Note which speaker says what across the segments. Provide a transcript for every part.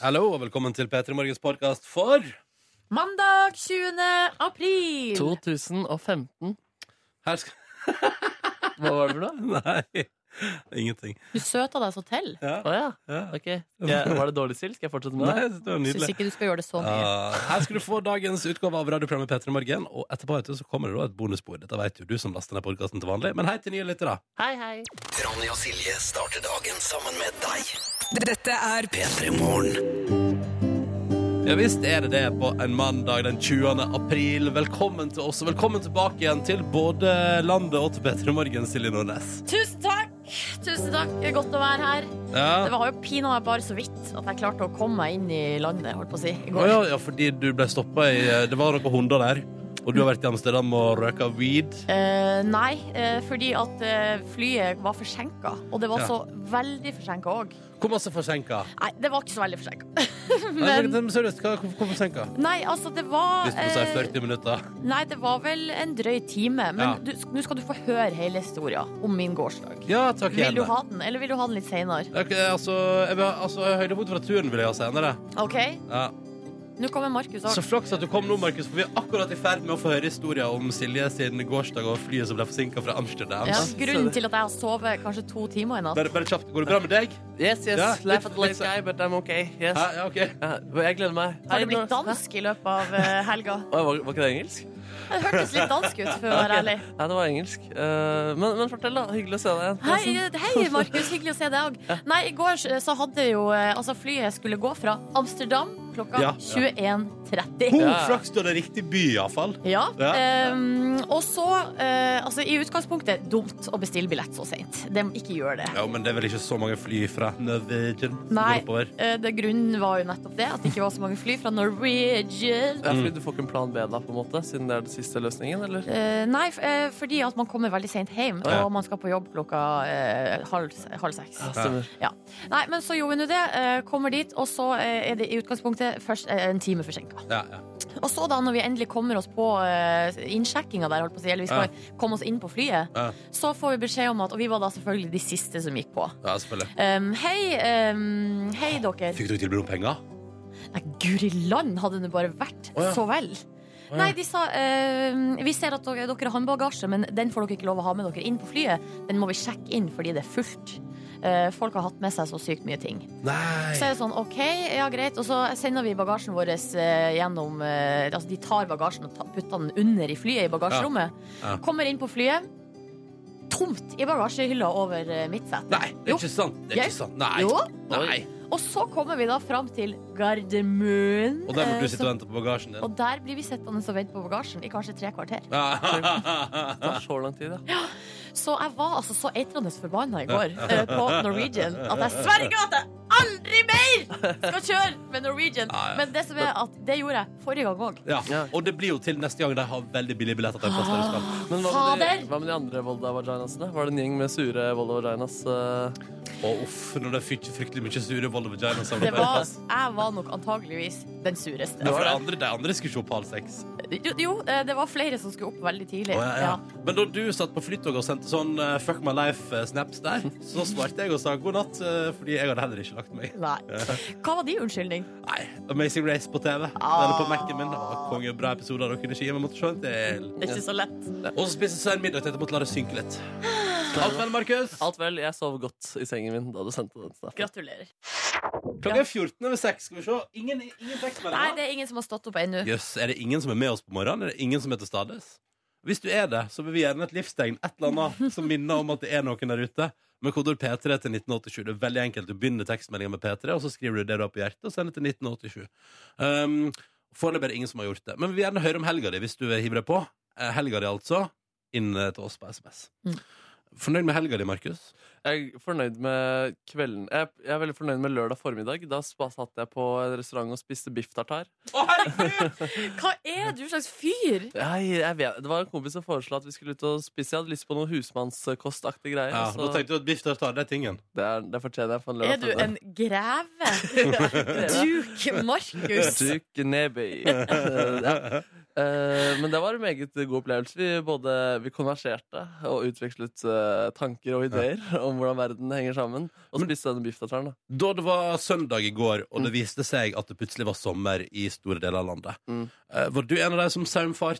Speaker 1: Hallo, og velkommen til P3 Morgens podkast for
Speaker 2: Mandag 20. april.
Speaker 3: 2015.
Speaker 1: Her skal
Speaker 3: Hva var det for noe?
Speaker 1: Nei. Ingenting.
Speaker 2: Du søta deg så til.
Speaker 1: Ja.
Speaker 3: Å ja.
Speaker 1: ja.
Speaker 3: Ok. Skal jeg- Var det dårlig stilt? Skal jeg fortsette med
Speaker 1: Nei,
Speaker 3: det?
Speaker 1: jeg synes det var
Speaker 2: Syns
Speaker 1: nydelig.
Speaker 2: ikke du skal gjøre det så mye.
Speaker 1: Ja, her skal du få dagens utgave av radioprogrammet P3 Morgen. Og etterpå vet du, så kommer det da et bonusbord. Dette vet jo du som laster ned podkasten til vanlig. Men hei til nye lyttere.
Speaker 3: Hei, hei.
Speaker 4: Ronny og Silje starter dagen sammen med deg.
Speaker 5: Dette er
Speaker 4: P3 Morgen.
Speaker 1: Ja visst er det det på en mandag den 20. april. Velkommen til oss, og velkommen tilbake igjen til både landet og til P3 Morgen, Silje Nordnes.
Speaker 2: Tusen takk! Tusen takk. Det er Godt å være her. Det
Speaker 1: Ja.
Speaker 2: var jo pinadø bare så vidt at jeg klarte å komme meg inn i landet, holdt på å si, i
Speaker 1: Å
Speaker 2: går.
Speaker 1: ja, ja, fordi du ble stoppa i eh, Det var noen hunder der. Og du har vært i Amsterdam og røyka weed.
Speaker 2: Eh, nei, eh, fordi at eh, flyet var forsinka. Og det var
Speaker 1: Ja.
Speaker 2: så veldig forsinka òg.
Speaker 1: Hvor masse forsinka?
Speaker 2: Nei, det var ikke så veldig forsinka.
Speaker 1: Nei,
Speaker 2: Men
Speaker 1: men seriøst, hva, hvor, hvor forsinka?
Speaker 2: Nei, altså, det var
Speaker 1: Hvis du sier
Speaker 2: eh,
Speaker 1: 40 minutter.
Speaker 2: Nei, det var vel en drøy time. Men
Speaker 1: Ja.
Speaker 2: du- nå skal du få høre hele historia om min gårsdag.
Speaker 1: Ja, takk
Speaker 2: Vil du
Speaker 1: gjerne.
Speaker 2: ha den, eller vil du ha den litt seinere?
Speaker 1: Ok, altså, jeg vil, ha- altså Høydepunkt fra turen vil jeg ha senere.
Speaker 2: OK?
Speaker 1: Ja.
Speaker 2: Nå kommer Markus
Speaker 1: Så
Speaker 2: òg.
Speaker 1: flaks at du kom nå, Markus, for vi er akkurat i ferd med å få høre historien om Silje sin gårsdag og flyet som ble forsinka fra Amsterdam.
Speaker 2: Ja,
Speaker 3: så-
Speaker 2: grunnen til at jeg har sovet kanskje to timer i natt.
Speaker 1: Bare, bare kjapt, går det bra med deg?
Speaker 3: Yes, yes.
Speaker 1: Ja,
Speaker 3: Laugh
Speaker 1: litt-
Speaker 3: at the late
Speaker 1: litt så-
Speaker 3: guy, but I'm okay. Yes.
Speaker 1: Hæ? Ja, ok.
Speaker 3: Ja, men jeg gleder meg.
Speaker 2: Har
Speaker 3: Hei,
Speaker 2: du blitt
Speaker 3: Nor-
Speaker 2: dansk i løpet av eh, helga?
Speaker 3: Å, Var, var ikke det engelsk?
Speaker 2: Det hørtes litt dansk ut, for å
Speaker 3: Ok.
Speaker 2: være ærlig.
Speaker 3: Nei, det var engelsk. Eh, men, men fortell, da. Hyggelig å se deg igjen. sånn-
Speaker 2: Hei, hei Markus. Hyggelig å se deg òg. Nei, i går så hadde jo eh, Altså, flyet skulle gå fra Amsterdam klokka
Speaker 1: Ja, ja.
Speaker 2: 21.30.
Speaker 1: God
Speaker 3: Ja.
Speaker 1: flaks du er riktig by, iallfall.
Speaker 2: Ja.
Speaker 1: Ja.
Speaker 2: ehm, og så eh, Altså, i utgangspunktet dumt å bestille billett så seint. De ikke gjør det.
Speaker 1: Ja, men det er vel ikke så mange fly fra Norwegian som
Speaker 2: Nei.
Speaker 1: går oppover.
Speaker 2: Eh, det grunnen var jo nettopp det, at det ikke var så mange fly fra Norwegian.
Speaker 3: Ja,
Speaker 1: Mm.
Speaker 3: fordi du får ikke en plan B, da, på en måte, siden det er den siste løsningen? eller?
Speaker 2: Eh, nei, f eh, fordi at man kommer veldig seint hjem,
Speaker 1: Ja.
Speaker 2: og man skal på jobb klokka eh, halv, halv seks.
Speaker 3: Ja, stemmer.
Speaker 2: Ja. Nei, men så gjorde hun jo det. eh, kommer dit, og så eh, er det i utgangspunktet først eh, en time forsinka.
Speaker 1: Ja, ja.
Speaker 2: Og så, da, når vi endelig kommer oss på eh, innsjekkinga der, holdt på å si, eller vi skal komme oss inn på flyet,
Speaker 1: Ja.
Speaker 2: så får vi beskjed om at Og vi var da selvfølgelig de siste som gikk på.
Speaker 1: ja selvfølgelig.
Speaker 2: Um, hei, um, hei dere.
Speaker 1: Fikk du tilbud om penger?
Speaker 2: Nei, guri land hadde det bare vært
Speaker 1: Å ja.
Speaker 2: så vel.
Speaker 1: Å ja.
Speaker 2: Nei, de sa eh, Vi ser at dere, dere har håndbagasje, men den får dere ikke lov å ha med dere inn på flyet. Den må vi sjekke inn fordi det er fullt. Eh, folk har hatt med seg så sykt mye ting. Så
Speaker 1: Nei.
Speaker 2: er det sånn, OK, ja greit. Og så sender vi bagasjen vår eh, gjennom eh, Altså, de tar bagasjen og ta- putter den under i flyet i bagasjerommet.
Speaker 1: Ja. Ja.
Speaker 2: Kommer inn på flyet. Tomt i bagasjehylla over eh, mitt sete.
Speaker 1: Nei, det er ikke sant. Det er
Speaker 2: Jeg-
Speaker 1: ikke sant. Nei.
Speaker 2: Jo.
Speaker 1: Nei.
Speaker 2: Og så kommer vi da fram til Gardermoen.
Speaker 1: Og der
Speaker 2: eh,
Speaker 1: må du sitte
Speaker 2: som-
Speaker 1: og vente på bagasjen din.
Speaker 2: og der blir vi sittende og vente på bagasjen i kanskje tre kvarter.
Speaker 1: Ja.
Speaker 3: Det tar så lang tid, ja.
Speaker 2: Så jeg var altså så eitrende forbanna i går eh, på Norwegian at jeg sverger at jeg aldri mer skal kjøre med Norwegian!
Speaker 1: Ja, ja.
Speaker 2: Men det som er at det gjorde jeg forrige gang òg.
Speaker 1: Ja.
Speaker 3: Ja.
Speaker 1: Og det blir jo til neste gang de har veldig billige billetter. til en fast fellesskap.
Speaker 3: Men hva med, de,
Speaker 2: Fader!
Speaker 3: hva med de andre Volda vaginasene? Var det en gjeng med sure Volda vaginas? eh?
Speaker 1: Og uff, når det er frykt- fryktelig mye sure vold og vagina
Speaker 2: Det
Speaker 1: samlet på en
Speaker 2: var,
Speaker 1: plass.
Speaker 2: jeg var nok antageligvis den
Speaker 1: Ja,
Speaker 2: sureste.
Speaker 1: for de andre, de andre skulle se på halv seks.
Speaker 2: Jo, Jo, eh, det var flere som skulle opp veldig tidlig.
Speaker 1: Å, ja, ja.
Speaker 2: Ja.
Speaker 1: Men da du satt på flytoget og sendte sånn eh, fuck my life-snaps der, så svarte jeg og sa god natt, eh, fordi jeg hadde heller ikke lagt meg.
Speaker 2: Nei. Hva var din unnskyldning?
Speaker 1: Nei, Amazing Race på TV. Eller på Mac-en min. Det var konge, bra episoder. Og kunne ikke gi meg måtte se en til.
Speaker 2: Det er ikke så lett.
Speaker 1: Og så spiste jeg så en middag til jeg måtte la det synke litt. Alt vel, Markus?
Speaker 3: Alt vel, jeg sov godt i sengen min da du sendte den. snappen.
Speaker 2: Gratulerer.
Speaker 1: Klokka er 14 over 6. Skal vi se. Ingen, ingen
Speaker 2: Nei,
Speaker 1: tekstmeldinger.
Speaker 2: det er ingen som har stått opp ennå.
Speaker 1: Jøss, er det ingen som er med oss på morgenen? Er det ingen som er til stades? Hvis du er det, så vil vi gjerne et livstegn, et eller annet, som minner om at det er noen der ute. Med kodord P3 til 1987. Det er veldig enkelt. Du begynner tekstmeldingen med P3, og så skriver du det du har på hjertet, og sender til 1987. Um, Foreløpig er det ingen som har gjort det. Men vi vil gjerne høre om helga di, hvis du hiver deg på. Eh, Helga di, altså. Inn eh, til oss på SMS.
Speaker 2: Mm.
Speaker 1: Fornøyd med helga di, Markus?
Speaker 3: Jeg er fornøyd med kvelden Jeg, jeg er veldig fornøyd med lørdag formiddag. Da spa- satt jeg på en restaurant og spiste biff tartar.
Speaker 1: Å, herregud!
Speaker 2: Hva er du slags fyr?
Speaker 3: Jeg, jeg vet, det var en kompis som foreslo at vi skulle ut og spise. Jeg hadde lyst på noe husmannskostaktig greier.
Speaker 1: Ja,
Speaker 3: så
Speaker 2: Altså-
Speaker 1: nå tenkte du at biff tartar, det er tingen.
Speaker 3: det, er, det fortjener jeg på en
Speaker 2: Er
Speaker 3: lørdag
Speaker 2: du en greve?
Speaker 3: formiddag.
Speaker 2: Duke Markus?
Speaker 3: Duke Neby. Eh, ja. Eh, men det var en meget god opplevelse. Vi, både, vi konverserte og utvekslet eh, tanker og ideer om hvordan verden henger sammen. Og spiste denne bifftataren. da.
Speaker 1: Da det var søndag i går, og
Speaker 2: Mm.
Speaker 1: det viste seg at det plutselig var sommer i store deler av landet,
Speaker 3: Mm.
Speaker 1: eh, var du en av de som saumfarte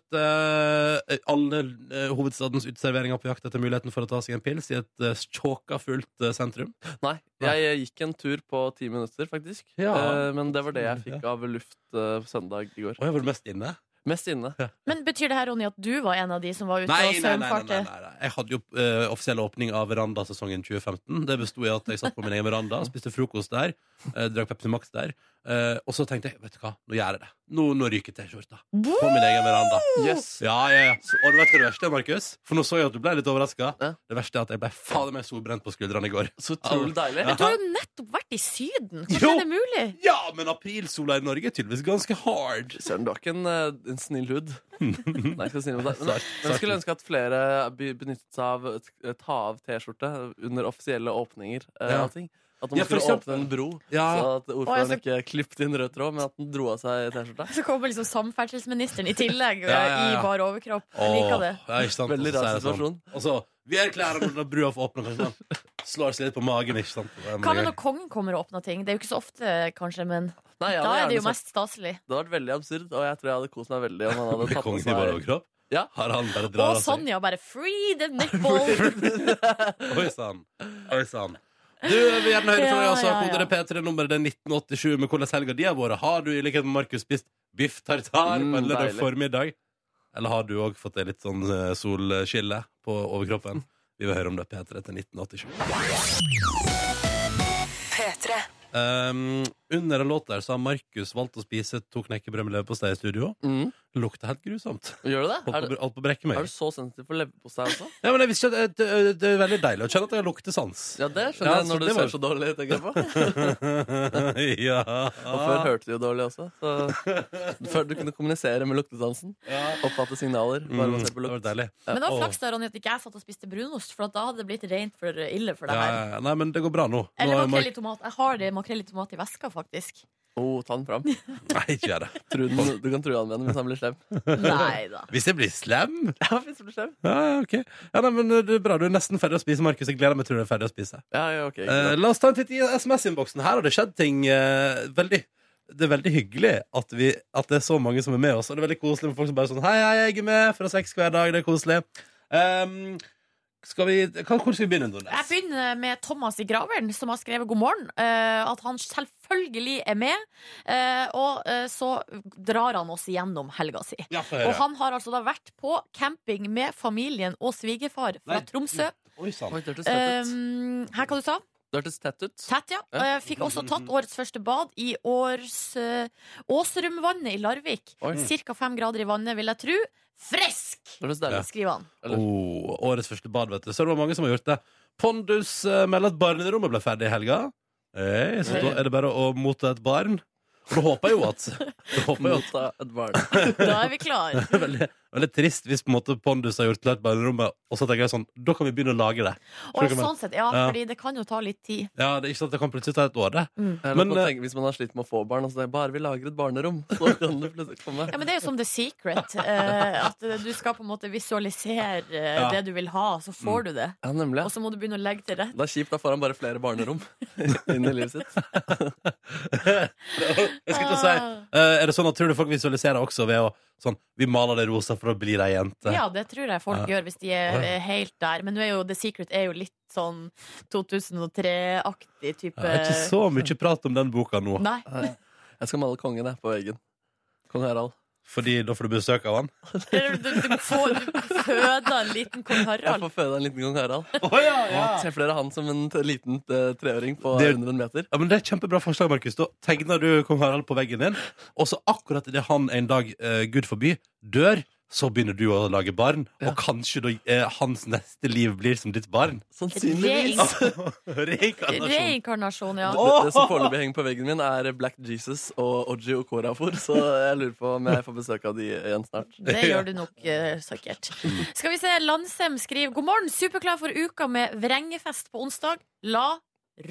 Speaker 1: eh, alle eh, hovedstadens uteserveringer på jakt etter muligheten for å ta seg en pils i et eh, tjåka fullt eh, sentrum?
Speaker 3: Nei, jeg eh, gikk en tur på ti minutter, faktisk.
Speaker 1: Ja.
Speaker 3: Eh, men det var det jeg fikk av luft eh, søndag i går.
Speaker 1: Og jeg var mest inne.
Speaker 3: Mest inne.
Speaker 2: Men betyr det her, Ronny, at du var en av de som var ute
Speaker 1: Nei,
Speaker 2: og
Speaker 1: nei, nei, nei, nei,
Speaker 2: saumfarte?
Speaker 1: nei, nei. Jeg hadde jo eh, offisiell åpning av verandasesongen 2015. Det besto i at jeg satt på min egen veranda, spiste frokost der, eh, drakk Pepsi Max der. eh, og så tenkte jeg vet du hva, nå gjør jeg det. Nå, nå ryker T-skjorta. På min egen veranda.
Speaker 3: Yes.
Speaker 1: Ja, ja, ja. Så, og du vet hva det verste er, Markus? For nå så jeg at du ble litt overraska.
Speaker 3: Ja.
Speaker 1: Det verste er at jeg ble fader meg solbrent på skuldrene i går.
Speaker 3: Så utrolig deilig.
Speaker 1: Ja.
Speaker 2: Du har jo nettopp vært i Syden! Hvordan
Speaker 1: Jo.
Speaker 2: er det mulig?
Speaker 1: Ja, men aprilsola i Norge er tydeligvis ganske hard.
Speaker 3: Søren, du har ikke en, eh, en snill hud. Nei, jeg skal snill med deg. Men,
Speaker 1: Sart,
Speaker 3: men jeg skulle
Speaker 1: sart.
Speaker 3: ønske at flere be- benyttet seg av eh, ta av T-skjorte under offisielle åpninger. eh,
Speaker 1: Ja.
Speaker 3: av ting. At når man
Speaker 1: Ja, for
Speaker 3: skulle
Speaker 1: eksempel.
Speaker 3: åpne en bro,
Speaker 1: Ja.
Speaker 3: så at
Speaker 2: Å,
Speaker 3: ordføreren
Speaker 2: jeg
Speaker 3: ikke klippet inn rød tråd, men at den dro av seg T-skjorta.
Speaker 2: Så kommer liksom samferdselsministeren i tillegg
Speaker 1: Ja, ja, ja.
Speaker 2: i bar overkropp.
Speaker 1: Åh,
Speaker 2: Jeg liker det.
Speaker 1: ja, ikke sant?
Speaker 3: Veldig
Speaker 1: Og så sier
Speaker 3: rar
Speaker 1: jeg sånn,
Speaker 3: situasjon.
Speaker 1: Og så Vi erklærer når brua får åpne, kanskje sånn. Slår seg litt på magen, ikke sant? Det er
Speaker 2: Hva med
Speaker 1: gøy.
Speaker 2: når kongen kommer og åpner ting? Det er jo ikke så ofte, kanskje, men
Speaker 3: Nei, jeg
Speaker 2: da
Speaker 3: hadde
Speaker 2: er
Speaker 3: gjerne
Speaker 2: det jo
Speaker 3: sett-
Speaker 2: mest staselig.
Speaker 3: Det hadde vært veldig absurd, og jeg tror jeg hadde kost meg veldig om han hadde
Speaker 1: Blir
Speaker 3: tatt med
Speaker 1: kongen i bare
Speaker 3: seg
Speaker 1: overkropp?
Speaker 3: Ja.
Speaker 1: Har han bare
Speaker 2: Og
Speaker 1: drar altså- av seg?
Speaker 2: Sonja bare 'free the nipple'!
Speaker 1: Oi sann. Oi sann. Du, jeg vil gjerne høre fra deg
Speaker 2: Ja,
Speaker 1: også.
Speaker 2: ja, ja.
Speaker 1: Kodet er P3-nummeret det er 1987. Men hvordan helga di har vært? Har du i likhet med Markus spist biff tartar
Speaker 3: Mm,
Speaker 1: på en lørdag
Speaker 3: deilig.
Speaker 1: formiddag? Eller har du òg fått deg litt sånn eh, solskille på overkroppen? Vi vil høre om det er P3 til 1987. Um, under en låt der så har Markus valgt å spise to knekkebrød med leverpostei i studio.
Speaker 3: Mm.
Speaker 1: Lukter helt grusomt.
Speaker 3: Gjør du det?
Speaker 1: Holdt
Speaker 3: Er,
Speaker 1: på, holdt på å brekke
Speaker 3: du-
Speaker 1: meg.
Speaker 3: er du så sensitiv for leverpostei også?
Speaker 1: Ja, men jeg visste ikke at det, eh, det, det er veldig deilig å kjenne at jeg har luktesans.
Speaker 3: Ja, det skjønner
Speaker 1: Ja,
Speaker 3: jeg
Speaker 1: så
Speaker 3: når du
Speaker 1: det var-
Speaker 3: ser så dårlig, tenker jeg på.
Speaker 1: ja.
Speaker 3: Og før hørte du jo dårlig også. Så før du kunne kommunisere med luktesansen. Oppfatte signaler. Bare basert på
Speaker 1: Mm. det var
Speaker 3: lukt.
Speaker 1: deilig.
Speaker 2: Men det var
Speaker 1: Åh.
Speaker 2: flaks da, Ronny, at ikke jeg satt og spiste brunost, for at da hadde det blitt rent for ille for
Speaker 1: Ja,
Speaker 2: det her.
Speaker 1: ja, ja. Nei, men det går bra nå. nå
Speaker 2: Eller
Speaker 1: har
Speaker 2: makrell i
Speaker 1: Mark...
Speaker 2: tomat. Jeg har det makrell i tomat i veska, faktisk.
Speaker 3: Oh, ta den fram.
Speaker 1: Nei, ikke gjør det.
Speaker 3: Truden, du kan true han med den hvis han blir slem.
Speaker 2: Nei da.
Speaker 1: Hvis jeg blir slem?
Speaker 3: Ja, hvis han blir slem.
Speaker 1: Ja, ja, ok. Ja, nei, men eh, det er bra. Du er nesten ferdig å spise, Markus. Jeg gleder meg til du er ferdig å spise.
Speaker 3: Ja, ja, ok.
Speaker 1: Eh,
Speaker 3: greit.
Speaker 1: la oss ta en titt i SMS-innboksen. Her har det skjedd ting eh, veldig det er veldig hyggelig at, vi, at det er så mange som er med oss. Og det er veldig koselig med folk som bare er sånn Hei, hei, jeg er med fra seks hver dag. Det er koselig. Ehm, skal vi, hva, hvor skal vi begynne,
Speaker 2: Jeg
Speaker 1: Nordnes?
Speaker 2: begynner med Thomas i Graveren, som har skrevet 'God morgen'. eh, at han selvfølgelig er med. eh, og eh, så drar han oss igjennom helga si.
Speaker 1: Ja, få
Speaker 2: Og
Speaker 1: høre.
Speaker 2: han har altså da vært på camping med familien og svigerfar fra
Speaker 1: Nei. mm,
Speaker 2: Tromsø.
Speaker 1: Oi sann.
Speaker 3: Oi, det hørtes tett ut.
Speaker 2: Um, her, hva du sa
Speaker 3: Det hørtes tett ut.
Speaker 2: Tett, ja.
Speaker 3: Ja.
Speaker 2: Eh, Fikk
Speaker 1: Mm.
Speaker 2: også tatt årets første bad i års, eh, Åserumvannet i Larvik.
Speaker 3: Oi.
Speaker 2: Cirka fem grader i vannet, vil jeg tro. Frisk!
Speaker 3: Det hørtes deilig ut.
Speaker 2: Skriver han.
Speaker 3: Eller-
Speaker 1: Oh, årets første bad, vet du. Så det var mange som har gjort det. Pondus eh, melder at barnerommet ble ferdig i helga. Hey, så da er det bare å motta et barn. Og da håper jeg jo at Da håper jeg jo at
Speaker 3: Motta et barn.
Speaker 2: Da er vi klar.
Speaker 1: veldig, veldig trist hvis på en måte Pondus har gjort klart barnerommet, og så tenker jeg sånn Da kan vi begynne å lage det.
Speaker 2: Og
Speaker 1: Skjønner du hva jeg mener?
Speaker 2: sånn sett, ja,
Speaker 1: Ja.
Speaker 2: fordi det kan jo ta litt tid.
Speaker 1: Ja, det er ikke sant, det kan plutselig ta et år, det.
Speaker 3: Eller
Speaker 1: Men,
Speaker 3: at
Speaker 1: eh,
Speaker 3: man tenker, hvis man har slitt med å få barn, og så er det bare vi lager et barnerom, så kan det plutselig komme.
Speaker 2: Ja, men det er jo som The Secret. eh, at du skal på en måte visualisere eh,
Speaker 1: Ja. Mm.
Speaker 2: det du vil ha, så får du det.
Speaker 3: Ja, nemlig.
Speaker 2: Og så må du begynne å legge til rette.
Speaker 3: Det er kjipt, da får han bare flere barnerom inn i livet sitt.
Speaker 1: Jeg skal ikke si eh, Er det sånn at tror du folk visualiserer også ved å sånn Vi maler det rosa for å bli ei jente.
Speaker 2: Ja, det tror jeg folk gjør hvis de er eh, helt der. Men nå er jo The Secret er jo litt sånn 2003-aktig type
Speaker 1: Ja, Det er ikke så mye prat om den boka nå,
Speaker 2: Nei.
Speaker 3: Jeg skal male kongen jeg, på veggen. Kong Harald.
Speaker 1: Fordi da får du besøk av han.
Speaker 2: Du, du, du, får, du føder en liten kong
Speaker 3: Jeg
Speaker 2: Harald.
Speaker 3: får føde en liten kong Harald.
Speaker 1: Å, ja,
Speaker 3: Å, Se flere han som en t- liten eh, treåring på
Speaker 1: Det-
Speaker 3: under en meter.
Speaker 1: Ja, men Det er et kjempebra forslag, Markus. Da tegner du kong Harald på veggen din, og så akkurat idet han en dag, eh, gud forby, dør, så begynner du å lage barn,
Speaker 3: Ja.
Speaker 1: og kanskje da, eh, hans neste liv blir som ditt barn.
Speaker 3: Sannsynligvis.
Speaker 2: Reing-
Speaker 1: Reinkarnasjon.
Speaker 2: Reinkarnasjon, ja.
Speaker 3: Det, det som foreløpig henger på veggen min, er Black Jesus og Oji Okorafor. Så jeg lurer på om jeg får besøk av de igjen snart.
Speaker 2: Det gjør du nok eh, sikkert. Skal vi se, Landsem skriver God morgen, superklar for uka med vrengefest på onsdag. La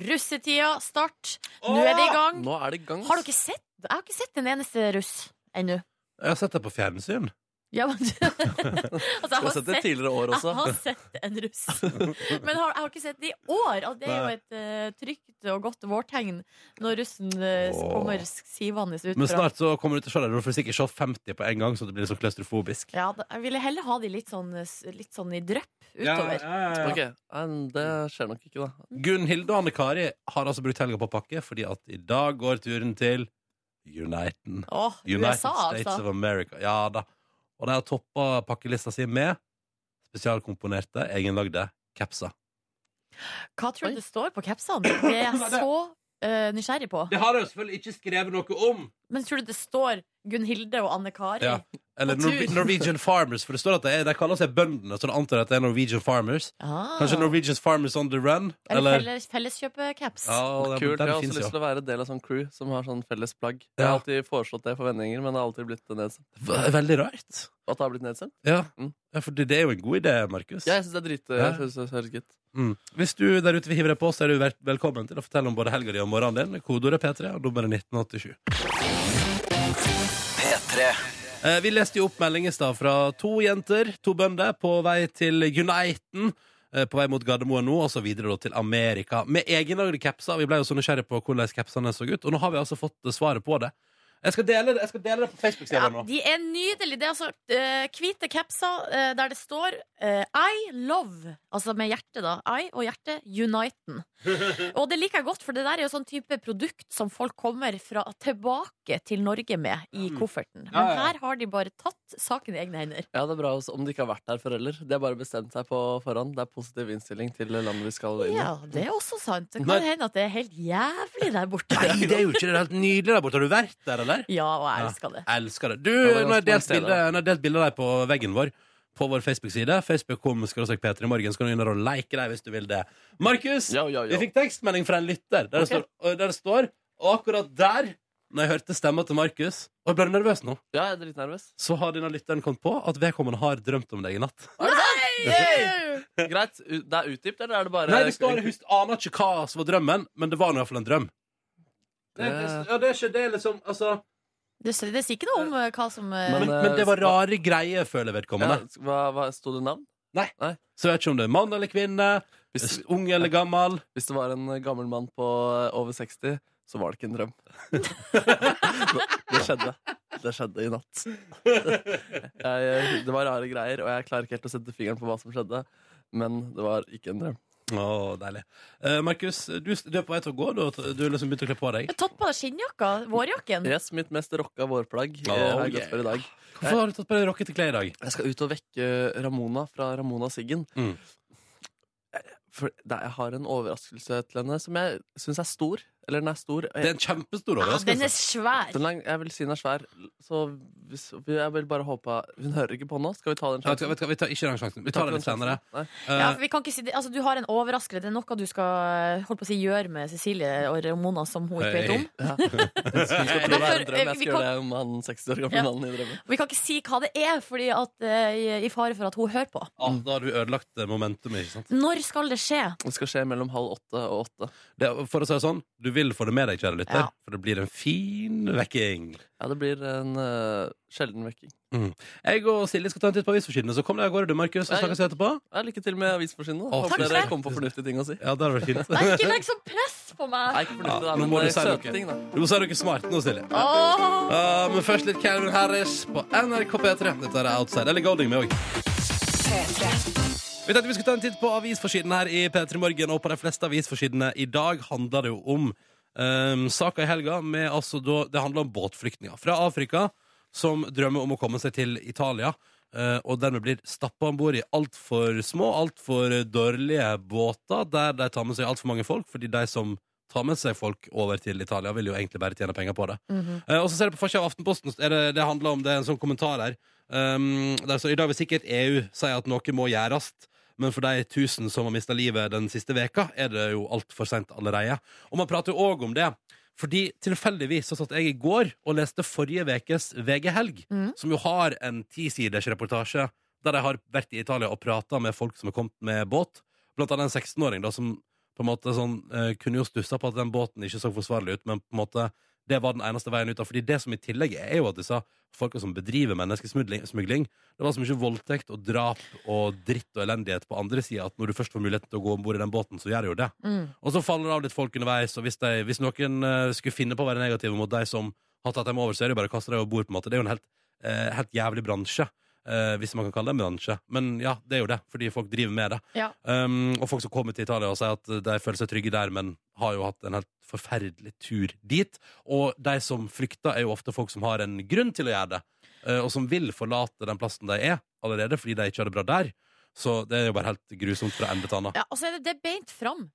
Speaker 2: russetida starte. Nå er det i gang.
Speaker 3: Nå er det i gang.
Speaker 2: Har dere sett? Jeg har ikke sett en eneste russ ennå.
Speaker 1: Jeg har sett det på fjernsyn.
Speaker 2: Ja, men du
Speaker 3: Du
Speaker 2: altså, jeg,
Speaker 3: har
Speaker 2: har
Speaker 3: sett det
Speaker 2: sett,
Speaker 3: tidligere år
Speaker 2: jeg
Speaker 3: også.
Speaker 2: har sett en russ. Men har, jeg har ikke sett det i år. Altså, det er jo
Speaker 1: Nei.
Speaker 2: et eh, trygt og godt vårtegn når russen eh,
Speaker 1: Åh.
Speaker 2: kommer sivende ut
Speaker 1: Men
Speaker 2: fra
Speaker 1: snart så kommer du til å se det. Du får sikkert se 50 på en gang, så det blir litt sånn klaustrofobisk.
Speaker 2: ja, da- Jeg ville heller ha de litt sånn, eh, s- litt sånn i drypp utover.
Speaker 3: Ok, nei, Det skjer nok ikke, da.
Speaker 1: Gunhild og Anne Kari har altså brukt helga på å pakke, fordi at i dag går turen til Uniten.
Speaker 2: Åh,
Speaker 1: United
Speaker 2: USA,
Speaker 1: States
Speaker 2: altså.
Speaker 1: of America. Ja da. Og de har toppa pakkelista si med spesialkomponerte, egenlagde capser.
Speaker 2: Hva tror
Speaker 3: Oi.
Speaker 2: du det står på capsene? Det er jeg så eh, nysgjerrig på.
Speaker 1: Det har de selvfølgelig ikke skrevet noe om.
Speaker 2: Men tror du det står Gunn-Hilde og Anne Kari?
Speaker 1: Ja. Eller
Speaker 2: På tur.
Speaker 1: Norwe- Norwegian Farmers, for det står at de, er- de kaller seg bøndene. Så de antar at det er Norwegian Farmers.
Speaker 2: Ah.
Speaker 1: Kanskje Norwegian Farmers on the run?
Speaker 2: Eller
Speaker 1: Eller
Speaker 2: felles, eh, felleskjøpecaps.
Speaker 1: ja, den,
Speaker 3: Kult, Jeg
Speaker 1: den
Speaker 3: har også
Speaker 1: finnes
Speaker 3: lyst
Speaker 1: jo.
Speaker 3: til å være del av sånn crew som har sånn felles plagg. Jeg har
Speaker 1: Ja.
Speaker 3: alltid foreslått det for vendinger, men det har alltid blitt nedstemt.
Speaker 1: V- Veldig rart.
Speaker 3: At det har blitt nedstemt?
Speaker 1: Ja.
Speaker 3: Mm.
Speaker 1: ja, for det, det er jo en god idé, Markus.
Speaker 3: Ja, jeg syns det er drit.
Speaker 1: Ja.
Speaker 3: Jeg synes det høres gutt.
Speaker 1: Mm. Hvis du der ute vil hive deg på, så er du vel- velkommen til å fortelle om både helga di og morgenen din. Kodeordet P3 og nummeret 1987.
Speaker 4: P3
Speaker 1: Eh, vi leste jo opp melding i stad fra to jenter, to bønder, på vei til Uniten. eh, På vei mot Gardermoen nå, og så videre da til Amerika. Med egenlagde capser. Vi ble jo så nysgjerrige på hvordan capsene så ut, og nå har vi altså fått eh, svaret på det. Jeg skal dele det, jeg skal dele det på Facebook-sida
Speaker 2: Ja,
Speaker 1: nå.
Speaker 2: de er nydelige. Det er altså eh, hvite capser eh, der det står eh, I love, altså med hjerte, da. I og hjerte Uniten. Og det liker jeg godt, for det der er jo sånn type produkt som folk kommer fra, tilbake til Norge med i
Speaker 1: Mm.
Speaker 2: kofferten.
Speaker 1: Ja,
Speaker 2: Men
Speaker 1: ja.
Speaker 2: her har de bare tatt saken i egne hender.
Speaker 3: Ja, det er bra også, om de ikke har vært der før heller. De har bare bestemt seg på forhånd. Det er positiv innstilling til landet vi skal inn i.
Speaker 2: Ja, det er også sant. Det
Speaker 1: Men-
Speaker 2: kan hende at det er helt jævlig der borte.
Speaker 1: Nei, det er jo ikke det. Det er helt nydelig der borte. Har du vært der, eller?
Speaker 2: Ja, og jeg elsker det.
Speaker 1: Jeg elsker det. Du,
Speaker 3: det er
Speaker 1: nå har jeg
Speaker 3: ganske mange
Speaker 1: delt
Speaker 3: steder,
Speaker 1: bilde- nå har jeg delt bilde av deg på veggen vår på vår Facebook-side. Facebook kom, skal du søke Peter i morgen, så kan du inn der og like deg hvis du vil det. Markus,
Speaker 3: Ja, ja,
Speaker 1: vi
Speaker 3: ja.
Speaker 1: fikk tekstmelding fra en lytter
Speaker 2: Ok.
Speaker 1: der det står, og der det står og akkurat der, når jeg hørte stemma til Markus, og jeg ble nervøs nå,
Speaker 3: ja jeg er dritnervøs.
Speaker 1: så har denne lytteren kommet på at vedkommende har drømt om deg i natt.
Speaker 2: Yay!
Speaker 3: Greit. u- Det er utdypt, eller er det bare
Speaker 1: Nei, det står, jeg husker, aner ikke hva som var drømmen, men det var nå i hvert fall en drøm.
Speaker 3: Det-
Speaker 1: ja, det er ikke det, liksom, altså
Speaker 2: Det, s- det sier ikke noe om eh, hva som eh,
Speaker 1: Men,
Speaker 3: Men,
Speaker 1: men det var
Speaker 3: eh,
Speaker 1: rare greier, føler
Speaker 3: ja,
Speaker 1: vedkommende.
Speaker 3: hva, hva, Sto det navn?
Speaker 1: Så jeg vet ikke om det er mann eller kvinne,
Speaker 3: Hvis,
Speaker 1: ung eller gammel.
Speaker 3: hvis det var en gammel mann på over 60, så var det ikke en drøm. det skjedde. Det skjedde i natt. Jeg, det var rare greier, og jeg klarer ikke helt å sette fingeren på hva som skjedde. Men det var ikke en drøm.
Speaker 1: Å, deilig. Eh, Markus, du, du er på vei til å gå. Du, har- du har liksom begynt å kle på deg.
Speaker 2: Tatt på deg skinnjakka, vårjakken.
Speaker 3: Yes, mitt mest rocka vårplagg
Speaker 1: Oh,
Speaker 3: eh, har jeg
Speaker 1: yeah.
Speaker 3: gått for i dag.
Speaker 1: Hvorfor har du tatt på deg rockete klær i dag?
Speaker 3: Jeg skal ut og vekke Ramona fra Ramona Siggen.
Speaker 1: Mm.
Speaker 3: For det, jeg har en overraskelse til henne som jeg syns er stor. Eller den er stor.
Speaker 1: Det er en kjempestor
Speaker 2: Ja, den er
Speaker 1: overraskelse.
Speaker 2: svær.
Speaker 3: Den er, jeg vil si den er svær. Så hvis, jeg vil bare håpe Hun hører ikke på nå. Skal vi ta den
Speaker 1: Ja, vet du hva, vet du hva, vi tar ikke den sjansen. Vi tar det litt senere.
Speaker 3: Nei.
Speaker 2: Ja,
Speaker 1: Eh,
Speaker 2: for vi kan ikke si det. Altså, du har en overraskelse. Det er noe du skal eh, holdt på å si, gjøre med Cecilie og Ramona som hun ikke
Speaker 1: Eh,
Speaker 2: vet om.
Speaker 3: Ja. Jeg skal tro det er en drøm. Jeg
Speaker 2: Vi
Speaker 3: skal
Speaker 2: kan-
Speaker 3: gjøre det om han 60 år gamle
Speaker 2: Ja.
Speaker 3: mannen i drømmen.
Speaker 2: Vi kan ikke si hva det er, fordi at, eh, i- i fare for at hun hører på.
Speaker 1: ah, da har du ødelagt eh, momentumet, ikke sant?
Speaker 2: Når skal det skje?
Speaker 3: Det skal skje mellom halv åtte og åtte.
Speaker 1: Det, for å si det sånn, du vil få det med deg, kjære lytter,
Speaker 2: Ja.
Speaker 1: for det blir en fin vekking.
Speaker 3: Ja, det blir en eh, sjelden vekking.
Speaker 1: Jeg og Silje skal ta en titt på avisforsidene, så kom deg av gårde, du, Markus, og
Speaker 3: Ja, ja.
Speaker 1: snakkes vi etterpå.
Speaker 3: Ja, lykke til med avisforsiden. da.
Speaker 1: Å,
Speaker 3: Håper
Speaker 2: takk
Speaker 3: dere
Speaker 2: for det.
Speaker 3: kommer på fornuftige ting å si.
Speaker 1: Ja, det hadde vært fint.
Speaker 2: Nei, Ikke legg sånn press på meg!
Speaker 3: Nei, ikke fornuftig, da,
Speaker 1: nå
Speaker 3: men
Speaker 1: må du
Speaker 3: eh,
Speaker 1: si noe.
Speaker 3: søte ting, da.
Speaker 1: Du må si noe smart nå, Silje.
Speaker 2: Åh.
Speaker 1: Ah, men først litt Calvin Harris på NRK P3. Dette er Outside. Eller Golding med òg. Vi tenkte vi skulle ta en titt på avisforsiden her i P3 Morgen. Og på de fleste avisforsidene i dag handler det jo om um, saka i helga med altså da Det handler om båtflyktninger fra Afrika som drømmer om å komme seg til Italia. eh, og dermed blir stappa om bord i altfor små, altfor dårlige båter der de tar med seg altfor mange folk, fordi de som tar med seg folk over til Italia, vil jo egentlig bare tjene penger på det.
Speaker 2: Mhm.
Speaker 1: Eh, og så ser jeg på forsida av Aftenposten, er det, det handler om det er en sånn kommentar her. Um, der står, I dag vil sikkert EU si at noe må gjøres, men for de tusen som har mista livet den siste veka, er det jo altfor seint allerede. Og man prater jo òg om det. Fordi tilfeldigvis så satt jeg i går og leste forrige vekes VG Helg,
Speaker 2: Mhm.
Speaker 1: som jo har en tisiders reportasje der de har vært i Italia og prata med folk som har kommet med båt. Blant annet en 16-åring da, som på en måte sånn, eh, kunne jo stussa på at den båten ikke så forsvarlig ut, men på en måte Det var den eneste veien ut av Fordi det som i tillegg er jo at disse folka som bedriver menneskesmugling smugling, Det var så mye voldtekt og drap og dritt og elendighet på andre sida at når du først får muligheten til å gå om bord i den båten, så gjør du jo det.
Speaker 2: Mm.
Speaker 1: Og så faller det av litt folk underveis, og hvis, de, hvis noen eh, skulle finne på å være negative mot de som har tatt dem over, så er det jo bare å kaste dem over bord, på en måte. Det er jo en helt, eh, helt jævlig bransje. eh, hvis man kan kalle det en bransje. Men ja, det er jo det, fordi folk driver med det.
Speaker 2: Ja.
Speaker 1: Um, og folk som kommer til Italia og sier at de føler seg trygge der, men har jo hatt en helt forferdelig tur dit. Og de som flykter, er jo ofte folk som har en grunn til å gjøre det, eh, og som vil forlate den plassen de er, allerede fordi de ikke har det bra der. Så det er jo bare helt grusomt fra ende til annen.
Speaker 2: Ja, altså er det, det er beint fram.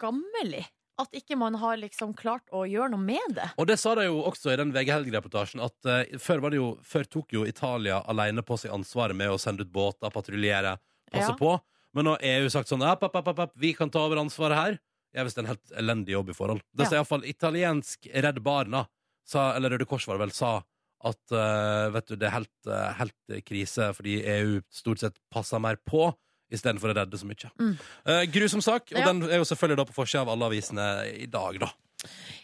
Speaker 2: Skammelig at ikke man har liksom klart å gjøre noe med det.
Speaker 1: Og det sa de jo også i den VG Helg-reportasjen, at eh, før, var det jo, før tok jo Italia alene på seg ansvaret med å sende ut båter, patruljere, passe
Speaker 2: Ja.
Speaker 1: på. Men nå har EU sagt sånn app, app, app, app, app, vi kan ta over ansvaret her. Jeg visste en helt elendig jobb i forhold. Det
Speaker 2: Ja.
Speaker 1: sa iallfall italiensk Redd Barna, sa, eller Røde Kors var det vel, sa at eh, vet du, det er helt, eh, helt krise fordi EU stort sett passer mer på istedenfor å redde så mye.
Speaker 2: Mm.
Speaker 1: Eh, grusom sak, og
Speaker 2: Ja.
Speaker 1: den er jo selvfølgelig da på forsida av alle avisene i dag, da.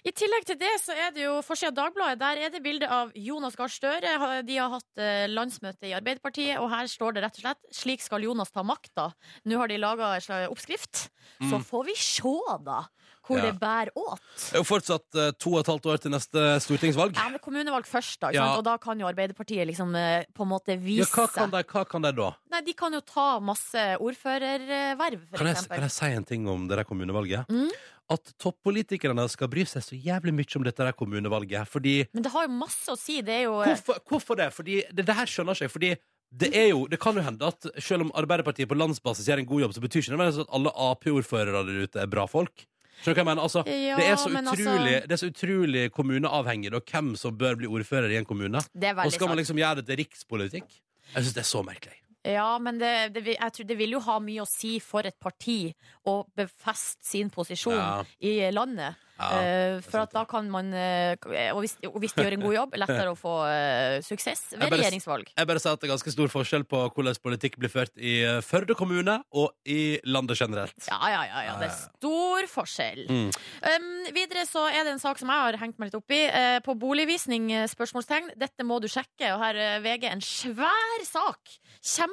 Speaker 2: I tillegg til det så er det jo forsida av Dagbladet. Der er det bilde av Jonas Gahr Støre. Ha- De har hatt eh, landsmøte i Arbeiderpartiet, og her står det rett og slett 'Slik skal Jonas ta makta'. Nå har de laga en slags oppskrift. Så
Speaker 1: Mm.
Speaker 2: får vi sjå, da, hvor
Speaker 1: Ja.
Speaker 2: det bærer åt.
Speaker 1: Det er jo fortsatt eh, to og et halvt år til neste stortingsvalg.
Speaker 2: Ja, men Kommunevalg først, da. Ikke
Speaker 1: Ja.
Speaker 2: sant? Og da kan jo Arbeiderpartiet liksom eh, på en måte
Speaker 1: Ja,
Speaker 2: vise
Speaker 1: hva kan de, hva kan de da?
Speaker 2: Nei, de kan jo ta masse ordførerverv, for
Speaker 1: Kan jeg,
Speaker 2: eksempel.
Speaker 1: kan jeg si en ting om det der kommunevalget?
Speaker 2: Mm.
Speaker 1: At toppolitikerne skal bry seg så jævlig mye om dette der kommunevalget. Fordi,
Speaker 2: Men det har jo masse å si. Det er jo
Speaker 1: hvorfor, hvorfor det? Fordi det, det her skjønner ikke jeg. Fordi det, er jo, det kan jo hende at selv om Arbeiderpartiet på landsbasis gjør en god jobb, så betyr ikke nødvendigvis at alle Ap-ordførere der ute er bra folk. Skjønner du hva jeg mener? Altså,
Speaker 2: eh, Ja,
Speaker 1: det, er så
Speaker 2: men
Speaker 1: utrolig, det er så utrolig kommuneavhengig da, hvem som bør bli ordfører i en kommune.
Speaker 2: Altså, det er
Speaker 1: Og
Speaker 2: veldig
Speaker 1: skal man
Speaker 2: sant.
Speaker 1: liksom gjøre det til rikspolitikk? Jeg syns det er så merkelig.
Speaker 2: Ja, men det, det, vil- jeg tror det vil jo ha mye å si for et parti å befeste sin posisjon
Speaker 1: Ja.
Speaker 2: i landet.
Speaker 1: Ja,
Speaker 2: Eh, for
Speaker 1: sant
Speaker 2: at da kan man eh, og, hvis, og hvis de gjør en god jobb, lettere å få eh, suksess ved
Speaker 1: Jeg bare-
Speaker 2: regjeringsvalg.
Speaker 1: Jeg bare sier at det er ganske stor forskjell på hvordan politikk blir ført i eh, Førde kommune og i landet generelt.
Speaker 2: Ja, ja, ja, ja. Det er stor forskjell.
Speaker 1: Mm.
Speaker 2: Um, videre så er det en sak som jeg har hengt meg litt opp i. Eh, på boligvisning, eh, spørsmålstegn. Dette må du sjekke. Og her er VG en svær sak.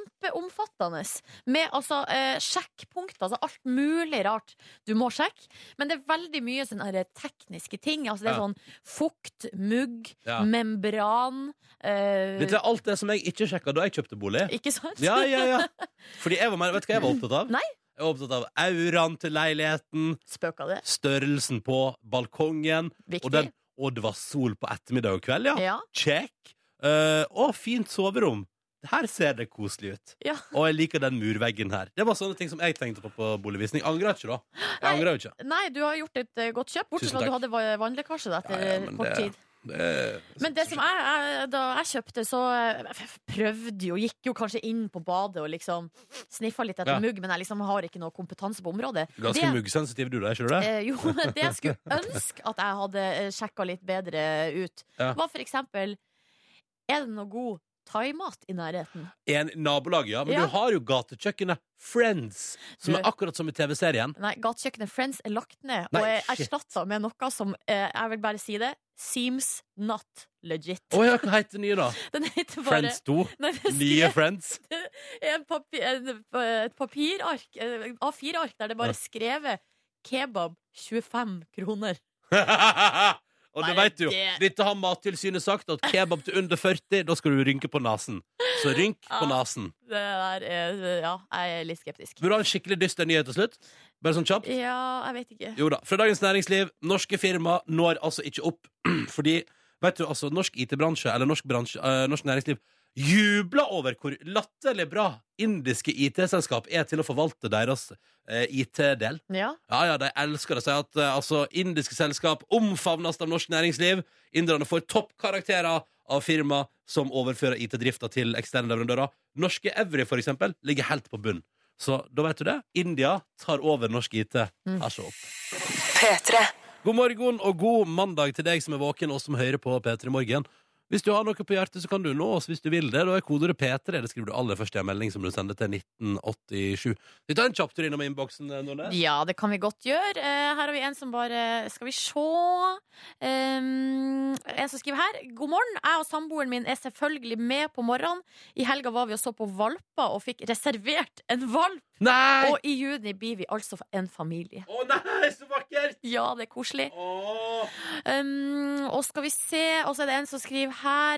Speaker 2: Kjempeomfattende. Med altså eh, sjekkpunkter. Altså alt mulig rart du må sjekke. Men det er veldig mye sånne her tekniske ting. Altså det er
Speaker 1: Ja.
Speaker 2: sånn fukt, mugg,
Speaker 1: Ja.
Speaker 2: membran eh,
Speaker 1: Dette er alt det som jeg ikke sjekka da jeg kjøpte bolig.
Speaker 2: Ikke sant?
Speaker 1: Ja, ja, ja. Fordi jeg var mer, Vet du hva jeg var opptatt av?
Speaker 2: Nei.
Speaker 1: Jeg var opptatt av auraen til leiligheten,
Speaker 2: Spøka det.
Speaker 1: størrelsen på balkongen, og,
Speaker 2: Viktig.
Speaker 1: den, og det var sol på ettermiddag og kveld, ja.
Speaker 2: ja.
Speaker 1: Check. Eh, å, fint soverom. Her ser det koselig ut.
Speaker 2: Ja.
Speaker 1: Og jeg liker den murveggen her. Det var sånne ting som jeg tenkte på på boligvisning. Angrer jeg ikke, da. Jeg
Speaker 2: Nei.
Speaker 1: angrer jo ikke.
Speaker 2: Nei, du har gjort et eh, godt kjøp, bortsett
Speaker 1: Tusen
Speaker 2: fra at du
Speaker 1: takk.
Speaker 2: hadde va- vannlekkasje da, etter
Speaker 1: Ja, ja, men
Speaker 2: kort
Speaker 1: det-
Speaker 2: tid.
Speaker 1: Det-
Speaker 2: Men det som jeg, jeg, da jeg kjøpte, så eh, f- prøvde jo, gikk jo kanskje inn på badet og liksom sniffa litt etter
Speaker 1: Ja.
Speaker 2: mugg, men jeg liksom har ikke noe kompetanse på området.
Speaker 1: Ganske muggsensitiv du da, ikke du det?
Speaker 2: eh, jo, men det jeg skulle ønske at jeg hadde sjekka litt bedre ut,
Speaker 1: Ja.
Speaker 2: var for eksempel Er det noe god thaimat i nærheten?
Speaker 1: En nabolag, ja. Men
Speaker 2: Ja.
Speaker 1: du har jo gatekjøkkenet Friends, som
Speaker 2: Du-
Speaker 1: er akkurat som i TV-serien.
Speaker 2: Nei, Gatekjøkkenet Friends er lagt ned
Speaker 1: Nei,
Speaker 2: og er
Speaker 1: shit.
Speaker 2: erstatta med noe som, eh, jeg vil bare si det, seems not legit.
Speaker 1: Å ja, hva heter det nye, da?
Speaker 2: Den heter bare
Speaker 1: Friends 2.
Speaker 2: Nei, det er
Speaker 1: Nye Friends.
Speaker 2: en papi- en, et papirark, en A4-ark, der det
Speaker 1: Ja.
Speaker 2: bare er skrevet 'kebab 25 kroner'.
Speaker 1: Og
Speaker 2: Bare
Speaker 1: det vet du jo.
Speaker 2: det.
Speaker 1: Dette har Mattilsynet sagt, at kebab til under 40, da skal du rynke på nesen. Så rynk på
Speaker 2: Ja.
Speaker 1: nesen.
Speaker 2: Det der er eh, Ja, jeg er litt skeptisk.
Speaker 1: Vil du ha en skikkelig dyster nyhet til slutt? Bare sånn kjapt?
Speaker 2: Ja, jeg vet ikke.
Speaker 1: Jo da. Fra Dagens Næringsliv. Norske firma når altså ikke opp fordi vet du, altså, norsk IT-bransje eller norsk, bransje, eh, norsk næringsliv jubler over hvor latterlig bra indiske IT-selskap er til å forvalte deres eh, IT-del.
Speaker 2: Ja.
Speaker 1: Ja, ja, de elsker det. Sier at eh, altså, indiske selskap omfavnes av norsk næringsliv. Inderne får toppkarakterer av firma som overfører IT-drifta til eksterne leverandører. Norske Evry, for eksempel, ligger helt på bunn. Så da vet du det. India tar over norsk IT.
Speaker 2: Mm.
Speaker 1: Altså opp. God morgen og god mandag til deg som er våken, og som hører på P3 Morgen. Hvis du har noe på hjertet, så kan du nå oss hvis du vil det. Da er kodeordet P3. Det skriver du aller først i en melding som du sender til 1987. Vi tar en kjapp tur innom innboksen, eh, Nordnes.
Speaker 2: Ja, det kan vi godt gjøre. Eh, her har vi en som bare Skal vi se. Um, en som skriver her. God morgen. Jeg og samboeren min er selvfølgelig med på morgenen. I helga var vi og så på valper og fikk reservert en valp.
Speaker 1: Nei!
Speaker 2: Og i juni blir vi altså en familie.
Speaker 1: Å nei, så vakkert!
Speaker 2: Ja, det er koselig.
Speaker 1: Åh.
Speaker 2: Um, og skal vi se Og så er det en som skriver her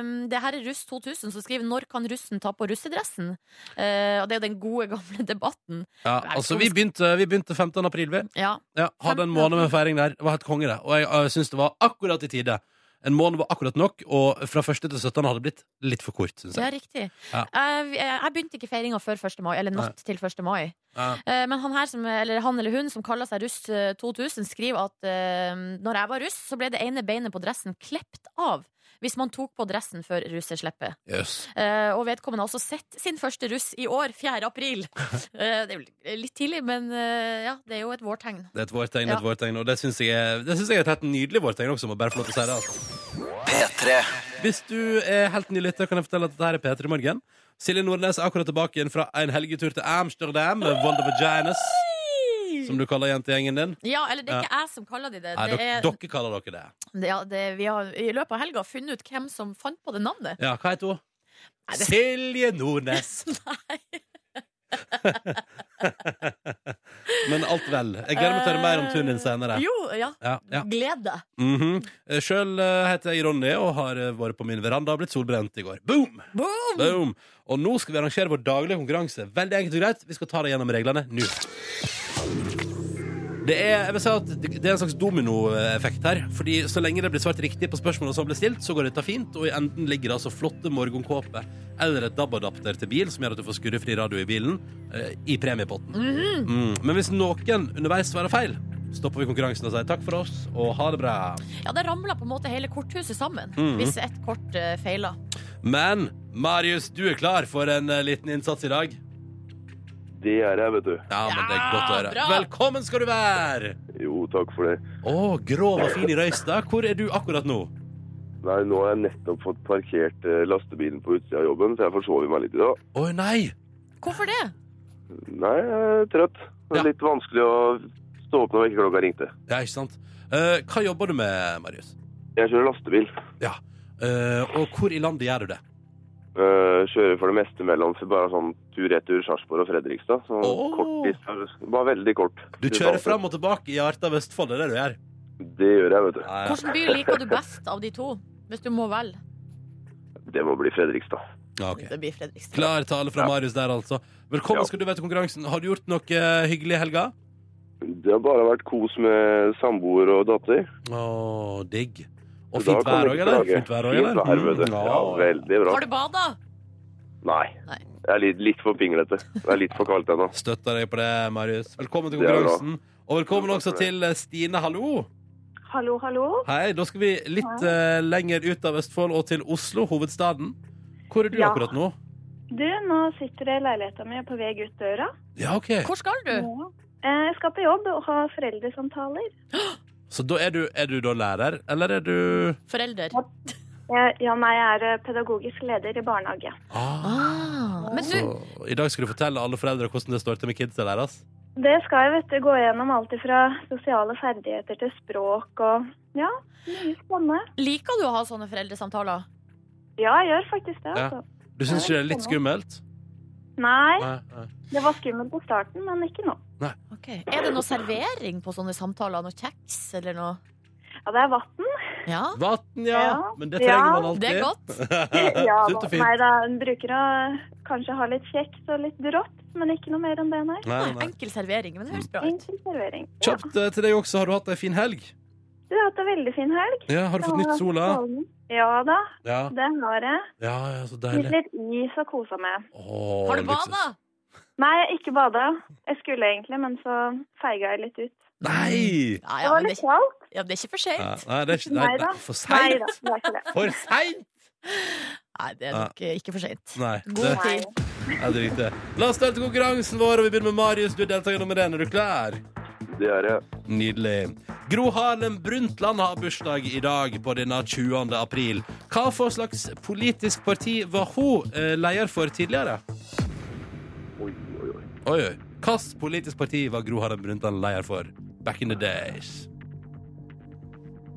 Speaker 2: um, Det her er Russ 2000 som skriver 'Når kan russen ta på russedressen?' Eh, og det er jo den gode, gamle debatten.
Speaker 1: Ja, altså, vi begynte, vi begynte 15. april, vi.
Speaker 2: Ja.
Speaker 1: Ja, hadde en måned med feiring der. Det var helt konge, det. Og jeg, jeg syns det var akkurat i tide. En måned var akkurat nok, og fra 1. til 17. hadde det blitt litt for kort, syns
Speaker 2: Ja,
Speaker 1: jeg.
Speaker 2: riktig.
Speaker 1: Ja.
Speaker 2: Jeg, jeg begynte ikke feiringa før 1. mai, eller natt til 1. mai.
Speaker 1: Ja.
Speaker 2: Eh, Men han, her som, eller han eller hun som kaller seg Russ eh, 2000, skriver at eh, når jeg var russ, så ble det ene beinet på dressen klept av hvis man tok på dressen før russesleppet.
Speaker 1: Jøss.
Speaker 2: Eh, Og vedkommende har også sett sin første russ i år, 4. april. Eh, Det er jo litt tidlig, men eh, ja, det er jo et vårtegn.
Speaker 1: Det er et vårtegn,
Speaker 2: Ja.
Speaker 1: et vårtegn, og det syns jeg, er- det syns jeg er et helt nydelig vårtegn også, må jeg bare få lov til å si det. altså.
Speaker 4: P3
Speaker 1: Hvis du er helt ny lytter, kan jeg fortelle at dette her er P3 Morgen. Silje Nordnes er akkurat tilbake igjen fra en helgetur til Amsterdam med Volda Vaginas, som du kaller jentegjengen din.
Speaker 2: Ja, eller det er ikke jeg som kaller de det.
Speaker 1: Nei,
Speaker 2: det,
Speaker 1: dere,
Speaker 2: er,
Speaker 1: dere kaller dere det.
Speaker 2: det, ja, det vi har i løpet av helga funnet ut hvem som fant på det navnet.
Speaker 1: Ja, hva heter hun?
Speaker 2: Nei, det-
Speaker 1: Silje Nordnes.
Speaker 2: Nei.
Speaker 1: Men alt vel. Jeg gleder meg til å høre mer om turen din senere.
Speaker 2: Eh, Jo, ja.
Speaker 1: Ja, ja.
Speaker 2: Gled deg.
Speaker 1: Mhm. Eh, Sjøl eh, heter jeg Ronny og har eh, vært på min veranda og blitt solbrent i går. Boom!
Speaker 2: Boom!
Speaker 1: Boom! Og nå skal vi arrangere vår daglige konkurranse. Veldig enkelt og greit. Vi skal ta deg gjennom reglene nå. Det er, jeg vil si at det det er en slags dominoeffekt her. Fordi Så lenge det blir svart riktig på spørsmålet som blir stilt, så går dette fint. Og i enden ligger det altså flotte morgenkåper eller et DAB-adapter til bil som gjør at du får skurrefri radio i bilen, eh, i premiepotten. Mm. Men hvis noen underveis svarer feil, stopper vi konkurransen og sier takk for oss og ha det bra.
Speaker 2: Ja, da ramla på en måte hele korthuset sammen
Speaker 1: Mhm.
Speaker 2: hvis ett kort uh, feila.
Speaker 1: Men Marius, du er klar for en eh, liten innsats i dag?
Speaker 5: Det er jeg, vet du.
Speaker 1: Ja, men det er
Speaker 2: Ja,
Speaker 1: godt å høre.
Speaker 2: bra.
Speaker 1: Velkommen skal du være!
Speaker 5: Jo, takk for det.
Speaker 1: Å, grov og fin i Røystad. Hvor er du akkurat nå?
Speaker 5: Nei, nå har jeg nettopp fått parkert eh, lastebilen på utsida av jobben, så jeg forsover meg litt i dag.
Speaker 1: Å nei!
Speaker 2: Hvorfor det?
Speaker 5: Nei, jeg er trøtt. Det
Speaker 1: Ja.
Speaker 5: er litt vanskelig å stå opp når vekkerklokka ringte.
Speaker 1: Ja, ikke sant. Eh, hva jobber du med, Marius?
Speaker 5: Jeg kjører lastebil.
Speaker 1: Eh, og hvor i landet gjør du det?
Speaker 5: Eh, kjører for det meste mellom så bare sånn tur-retur Sarpsborg og Fredrikstad. Så
Speaker 1: Åh.
Speaker 5: kort distans. Bare veldig kort.
Speaker 1: Du kjører fram og tilbake i hjertet av Vestfold, det er det du gjør?
Speaker 5: Det gjør jeg, vet du.
Speaker 1: Nei.
Speaker 2: Hvilken by liker du best av de to? Hvis du må velge.
Speaker 5: Det må bli Fredrikstad.
Speaker 1: Ja, ok.
Speaker 2: Det blir Fredrikstad.
Speaker 1: Klar tale fra
Speaker 5: Ja.
Speaker 1: Marius der, altså. Velkommen
Speaker 5: Ja.
Speaker 1: skal du være til konkurransen. Har du gjort noe eh, hyggelig i helga?
Speaker 5: Det har bare vært kos med samboer og datter.
Speaker 1: Å, digg. Og
Speaker 5: Så
Speaker 1: fint
Speaker 5: da kan
Speaker 1: vær
Speaker 5: jeg
Speaker 1: òg,
Speaker 5: ikke
Speaker 1: eller?
Speaker 5: klage.
Speaker 1: Fint vær òg,
Speaker 5: Fint
Speaker 1: eller?
Speaker 5: vær, vet du.
Speaker 1: Mm,
Speaker 5: Ja, veldig bra.
Speaker 2: Har du bada?
Speaker 5: Nei.
Speaker 2: Nei.
Speaker 5: Jeg er litt, litt for pinglete. Det er litt for kaldt ennå.
Speaker 1: Støtter deg på det, Marius. Velkommen til
Speaker 5: Det er bra.
Speaker 1: konkurransen. Og velkommen
Speaker 5: Takk
Speaker 1: også
Speaker 5: for det.
Speaker 1: til eh, Stine, hallo.
Speaker 6: Hallo, hallo.
Speaker 1: Hei, da skal vi litt eh, lenger ut av Østfold og til Oslo, hovedstaden. Hvor er du
Speaker 6: Ja.
Speaker 1: akkurat nå?
Speaker 6: Du, nå sitter jeg i leiligheten min og er på vei ut døra.
Speaker 1: Ja, ok.
Speaker 2: Hvor skal du?
Speaker 6: Nå. Eh, Jeg skal på jobb og ha foreldresamtaler.
Speaker 1: Så da er du, er du da lærer, eller er du
Speaker 2: Forelder.
Speaker 6: Jeg, ja, nei, jeg er eh, pedagogisk leder i barnehage.
Speaker 1: ah,
Speaker 2: Ah, men du,
Speaker 1: Så i dag skal du fortelle alle foreldre hvordan det står til med kidsa deres.
Speaker 6: Det skal jeg, vet du, gå gjennom alt fra sosiale ferdigheter til språk og ja, mye spennende.
Speaker 2: liker du å ha sånne foreldresamtaler?
Speaker 6: Ja, jeg gjør faktisk det.
Speaker 1: Ja.
Speaker 6: Altså.
Speaker 1: Du syns ikke det er litt skummelt?
Speaker 6: Nei,
Speaker 1: Nei, nei.
Speaker 6: det var skummelt på starten, men ikke nå.
Speaker 2: Ok. Er det noe servering på sånne samtaler? Noe kjeks eller noe?
Speaker 6: Ja, det er vann.
Speaker 2: Ja,
Speaker 1: Vann, ja.
Speaker 6: Ja.
Speaker 1: Men det trenger
Speaker 6: Ja,
Speaker 1: man alltid.
Speaker 2: det er godt.
Speaker 6: Ja,
Speaker 1: Sunt og
Speaker 6: nei
Speaker 1: fint.
Speaker 6: da, en bruker å kanskje ha litt kjeks og litt rått, men ikke noe mer enn det, nei.
Speaker 1: Nei, nei.
Speaker 2: Enkel servering, men det høres bra ut.
Speaker 6: Enkel servering. Ja.
Speaker 1: Kjapt eh, til deg også. Har du hatt ei en fin helg?
Speaker 6: Du har hatt en veldig fin helg.
Speaker 1: Ja, Har du fått nytt sola?
Speaker 6: Ja da,
Speaker 1: Ja,
Speaker 6: det har jeg.
Speaker 1: ja, ja så
Speaker 6: Spist
Speaker 1: deilig.
Speaker 6: litt is og kosa meg.
Speaker 1: Åh,
Speaker 2: Har du
Speaker 1: luksus.
Speaker 2: bada?
Speaker 6: Nei, jeg har ikke bada. Jeg skulle egentlig, men så feiga jeg litt ut.
Speaker 1: Nei!
Speaker 2: Ja,
Speaker 6: Det
Speaker 2: ja,
Speaker 6: var
Speaker 2: men det,
Speaker 6: litt kaldt.
Speaker 2: ja, det er ikke for
Speaker 1: Ja,
Speaker 2: seint.
Speaker 1: nei, det er ikke nei,
Speaker 6: Neida.
Speaker 1: nei, For
Speaker 6: Nei
Speaker 1: seint!
Speaker 6: da, det var ikke det.
Speaker 1: For seint!
Speaker 2: Nei, det er nok eh, ikke for seint.
Speaker 1: Nei. Det,
Speaker 2: God tid.
Speaker 1: ja, det er riktig. La oss starte konkurransen vår, og vi begynner med Marius. Du er deltaker nummer én. Er du klar?
Speaker 5: Det er jeg.
Speaker 1: Nydelig. Gro Harlem Brundtland har bursdag i dag på denne 20. april. Hva for slags politisk parti var hun eh, leder for tidligere?
Speaker 5: Oi, oi, oi.
Speaker 1: Oi, oi. Hvilket politisk parti var Gro Harlem Brundtland leder for back in the days?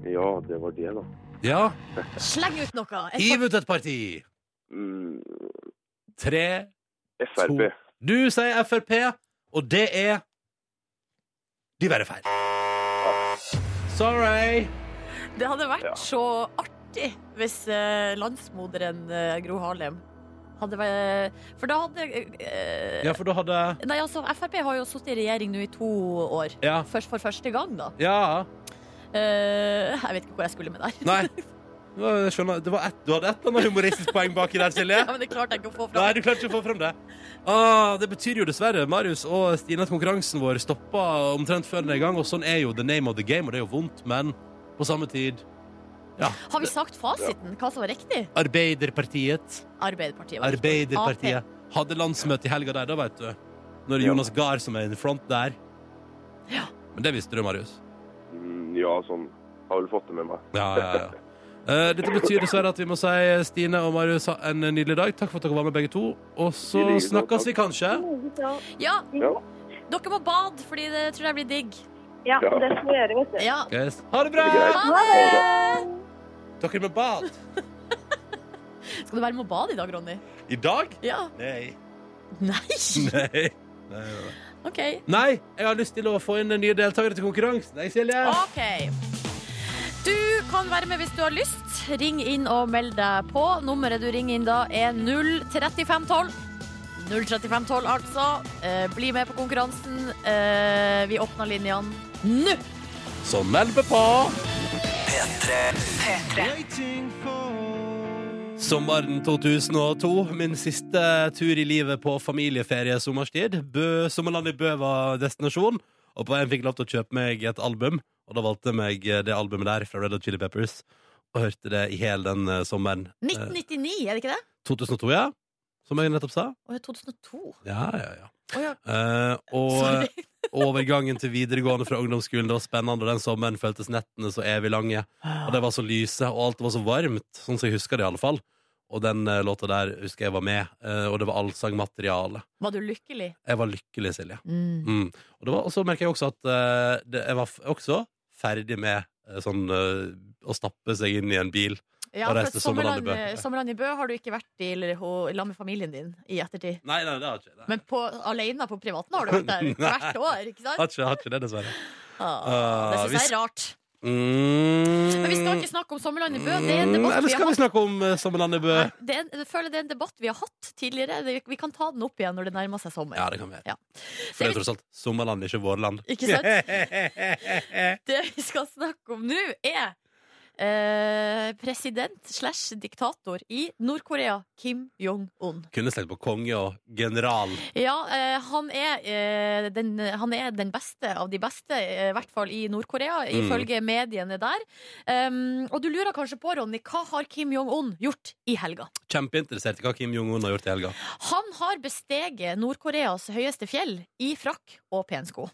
Speaker 5: Ja, det var det, da.
Speaker 1: Ja,
Speaker 2: Sleng ut noe! Et
Speaker 1: hiv ut et parti!
Speaker 5: Mm,
Speaker 1: Tre
Speaker 5: Frp.
Speaker 1: Du sier Frp, og det er De verre feil. Sorry.
Speaker 2: par- Det hadde vært
Speaker 5: Ja.
Speaker 2: så artig hvis eh, landsmoderen eh, Gro Harlem hadde vært For da hadde eh,
Speaker 1: Ja, for da hadde
Speaker 2: Nei, altså, Frp har jo sittet i regjering nå i to år.
Speaker 1: Ja.
Speaker 2: Først for første gang, da.
Speaker 1: ja.
Speaker 2: Eh, jeg vet ikke hvor jeg skulle med der.
Speaker 1: Nei. Nå, jeg skjønner. Det var et, du hadde et eller annet humoristisk poeng baki der, Silje.
Speaker 2: Ja, men det klarte jeg ikke å få
Speaker 1: Nei,
Speaker 2: fram.
Speaker 1: du klarte ikke å få fram det. Ah, det betyr jo dessverre, Marius og Stine, at konkurransen vår stoppa omtrent før den er i gang. Og sånn er jo the name of the game, og det er jo vondt, men på samme tid
Speaker 2: Har vi sagt fasiten? Hva som var riktig?
Speaker 1: Arbeiderpartiet.
Speaker 2: Arbeiderpartiet. var riktig.
Speaker 1: Arbeiderpartiet hadde landsmøte i helga der, da, veit du. Når det er
Speaker 5: Ja.
Speaker 1: Jonas Gahr som er i front der.
Speaker 2: Ja.
Speaker 1: Men det visste du, Marius.
Speaker 5: Mm, ja, sånn. Har vel fått det med meg.
Speaker 1: Ja, ja, ja. Eh, dette betyr dessverre at vi må si eh, Stine og Marius ha en nydelig dag. Takk for at dere var med, begge to. Og så
Speaker 5: I like måte,
Speaker 1: snakkes vi
Speaker 5: takk.
Speaker 1: kanskje.
Speaker 2: AP. Ja,
Speaker 5: Ja.
Speaker 2: dere må bade, fordi det tror jeg blir digg.
Speaker 6: Ja,
Speaker 5: Ja.
Speaker 6: det skal vi gjøre, vet du.
Speaker 2: Ja.
Speaker 1: Yes. Ha det bra!
Speaker 5: Det er greit.
Speaker 2: Ha
Speaker 6: Ha
Speaker 2: det!
Speaker 1: Dere med bad.
Speaker 2: Skal du være med og bade i dag, Ronny?
Speaker 1: I dag?
Speaker 2: Ja.
Speaker 1: Nei.
Speaker 2: Nei!
Speaker 1: Nei. Nei.
Speaker 2: OK.
Speaker 1: Nei, jeg har lyst til å få inn nye deltakere til konkurransen. Nei, Silje.
Speaker 2: Ok. Du kan være med hvis du har lyst. Ring inn og meld deg på. Nummeret du ringer inn da, er 03512. 03512, altså. Eh, bli med på konkurransen. Eh, vi åpner linjene nå!
Speaker 1: Så meld meg på.
Speaker 4: P3
Speaker 1: Sommeren 2002, min siste tur i livet på familieferie sommerstid. Bø, Sommerland i Bø var destinasjon, og på veien fikk jeg lov til å kjøpe meg et album. Og da valgte jeg meg det albumet der fra Red Hot Chili Peppers, og hørte det i hele den eh, sommeren. Eh,
Speaker 2: 1999, er det ikke det?
Speaker 1: 2002, ja. Som jeg nettopp sa.
Speaker 2: Å, 2002.
Speaker 1: Ja, ja, ja.
Speaker 2: Å ja.
Speaker 1: Eh, og eh,
Speaker 2: Sorry.
Speaker 1: overgangen til videregående fra ungdomsskolen det var spennende, og den sommeren føltes nettene så evig lange. Og det var så lyse, og alt var så varmt, sånn som jeg husker det i alle fall. Og den eh, låta der husker jeg var med, eh, og det var allsangmateriale.
Speaker 2: Var du lykkelig?
Speaker 1: Jeg var lykkelig, Silje.
Speaker 2: Mm.
Speaker 1: Mm. Og, det var, og så merker jeg også at eh, det, jeg var f også ferdig med eh, sånn eh, å stappe seg inn i en bil.
Speaker 2: Ja,
Speaker 1: Og
Speaker 2: for
Speaker 1: reiste
Speaker 2: at
Speaker 1: Sommerland i
Speaker 2: sommerland,
Speaker 1: Bø.
Speaker 2: eh, sommerland i Bø har du ikke vært i eller ho- i lag med familien din i ettertid.
Speaker 1: Nei, nei, det har ikke det.
Speaker 2: Men på, alene på privaten har du vært der hvert år, ikke sant?
Speaker 1: Har ikke, har ikke det, dessverre.
Speaker 2: Ah, det
Speaker 1: Ah,
Speaker 2: syns jeg
Speaker 1: hvis-
Speaker 2: er rart.
Speaker 1: Mm.
Speaker 2: Men vi skal ikke snakke om Sommerland i Bø. Det er en
Speaker 1: Mm,
Speaker 2: debatt
Speaker 1: Eller
Speaker 2: vi
Speaker 1: skal
Speaker 2: har
Speaker 1: vi
Speaker 2: hatt.
Speaker 1: snakke om eh, Sommerlandet Bø?
Speaker 2: Nei, Det er en, jeg føler det er en debatt vi har hatt tidligere. Det- Vi kan ta den opp igjen når det nærmer seg sommer.
Speaker 1: Ja, det kan vi gjøre.
Speaker 2: Ja.
Speaker 1: For det er tross alt sommerland, ikke vårland.
Speaker 2: Ikke sant? Det vi skal snakke om nå, er eh, president slash diktator i Nord-Korea, Kim Jong-un.
Speaker 1: Kunne slengt på konge og general.
Speaker 2: Ja, eh, han, er, eh, den, han er den beste av de beste, eh, i hvert fall i Nord-Korea,
Speaker 1: Mm.
Speaker 2: ifølge mediene der. Um, og du lurer kanskje på, Ronny, hva har Kim Jong-un gjort i helga?
Speaker 1: Kjempeinteressert i hva Kim Jong-un har gjort i helga.
Speaker 2: Han har besteget Nord-Koreas høyeste fjell i frakk og pensko.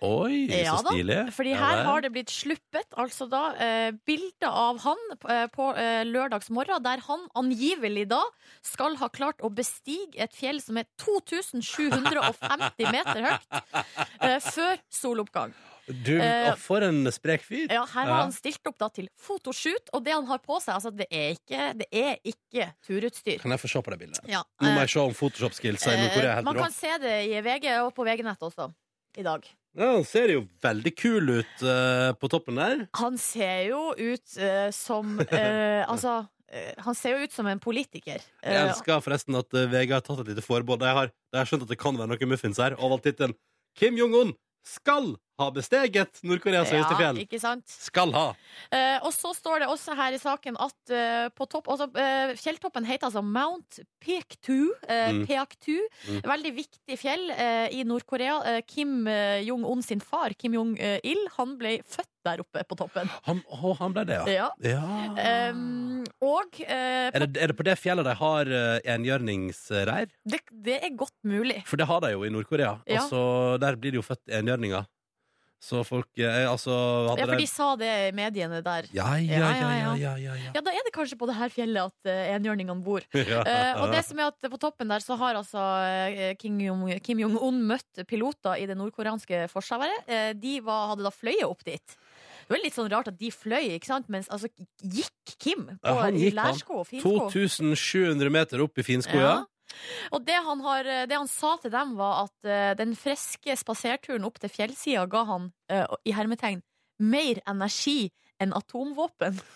Speaker 1: Oi,
Speaker 2: Ja
Speaker 1: så
Speaker 2: da,
Speaker 1: stilig.
Speaker 2: Fordi her har det blitt sluppet altså da, eh, bilder av han eh, på eh, lørdagsmorgen, der han angivelig da skal ha klart å bestige et fjell som er 2750 meter høyt eh, før soloppgang.
Speaker 1: Du,
Speaker 2: Eh,
Speaker 1: å, for en sprek fyr.
Speaker 2: Ja, her
Speaker 1: Ja.
Speaker 2: har han stilt opp da til fotoshoot, og det han har på seg, altså det er ikke, det er ikke turutstyr.
Speaker 1: Kan jeg få se på det bildet?
Speaker 2: Ja,
Speaker 1: Nå må
Speaker 2: eh,
Speaker 1: jeg se om Photoshop-skillsa i Nord-Korea
Speaker 2: eh,
Speaker 1: er helt
Speaker 2: man
Speaker 1: rå.
Speaker 2: kan se det i VG og på VG-nett også i dag.
Speaker 1: Ja, han ser jo veldig kul ut eh, på toppen der.
Speaker 2: Han ser jo ut eh, som eh, Altså, eh, han ser jo ut som en politiker.
Speaker 1: Jeg
Speaker 2: Eh,
Speaker 1: elsker forresten at eh, VG har tatt et lite forbehold. Jeg har, jeg har skjønt at det kan være noen muffins her, og valgt tittelen Kim Jong-un skal ha besteget Nord-Koreas høyeste
Speaker 2: ja,
Speaker 1: fjell.
Speaker 2: ikke sant?
Speaker 1: Skal ha.
Speaker 2: Eh, og så står det også her i saken at eh, på topp altså, eh, Fjelltoppen heter altså Mount Peaktu. eh,
Speaker 1: Mm.
Speaker 2: Peaktu.
Speaker 1: Mm.
Speaker 2: Veldig viktig fjell eh, i Nord-Korea. Eh, Kim eh, Jong-un sin far, Kim Jong-il, han ble født der oppe på toppen.
Speaker 1: Han, å, han ble det, ja.
Speaker 2: Ja. Ehm,
Speaker 1: Ja.
Speaker 2: Em, og eh,
Speaker 1: Er det, er det på det fjellet de har eh, enhjørningsreir?
Speaker 2: det, det er godt mulig.
Speaker 1: For det har de jo i Nord-Korea.
Speaker 2: Ja.
Speaker 1: Altså, der blir det jo født enhjørninger. Så folk eh, altså hadde
Speaker 2: Ja, for
Speaker 1: de-
Speaker 2: de sa det i mediene der.
Speaker 1: ja, ja, ja, ja,
Speaker 2: Ja, ja,
Speaker 1: ja, ja, ja.
Speaker 2: Ja, da er det kanskje på det her fjellet at eh, enhjørningene bor.
Speaker 1: Ja.
Speaker 2: Eh, og det som er at på toppen der så har altså eh, Kim Jong- Kim Jong-un møtt piloter i det nordkoreanske forsvaret. Eh, de var, hadde da fløyet opp dit. Det var litt sånn rart at de fløy, ikke sant? mens altså gikk Kim på
Speaker 1: Ja, han gikk,
Speaker 2: i lærsko og finsko.
Speaker 1: 2700 meter opp i finsko, ja.
Speaker 2: Ja. Og det han, har, eh, det han sa til dem, var at eh, den friske spaserturen opp til fjellsida ga han, eh, i hermetegn, mer energi enn atomvåpen.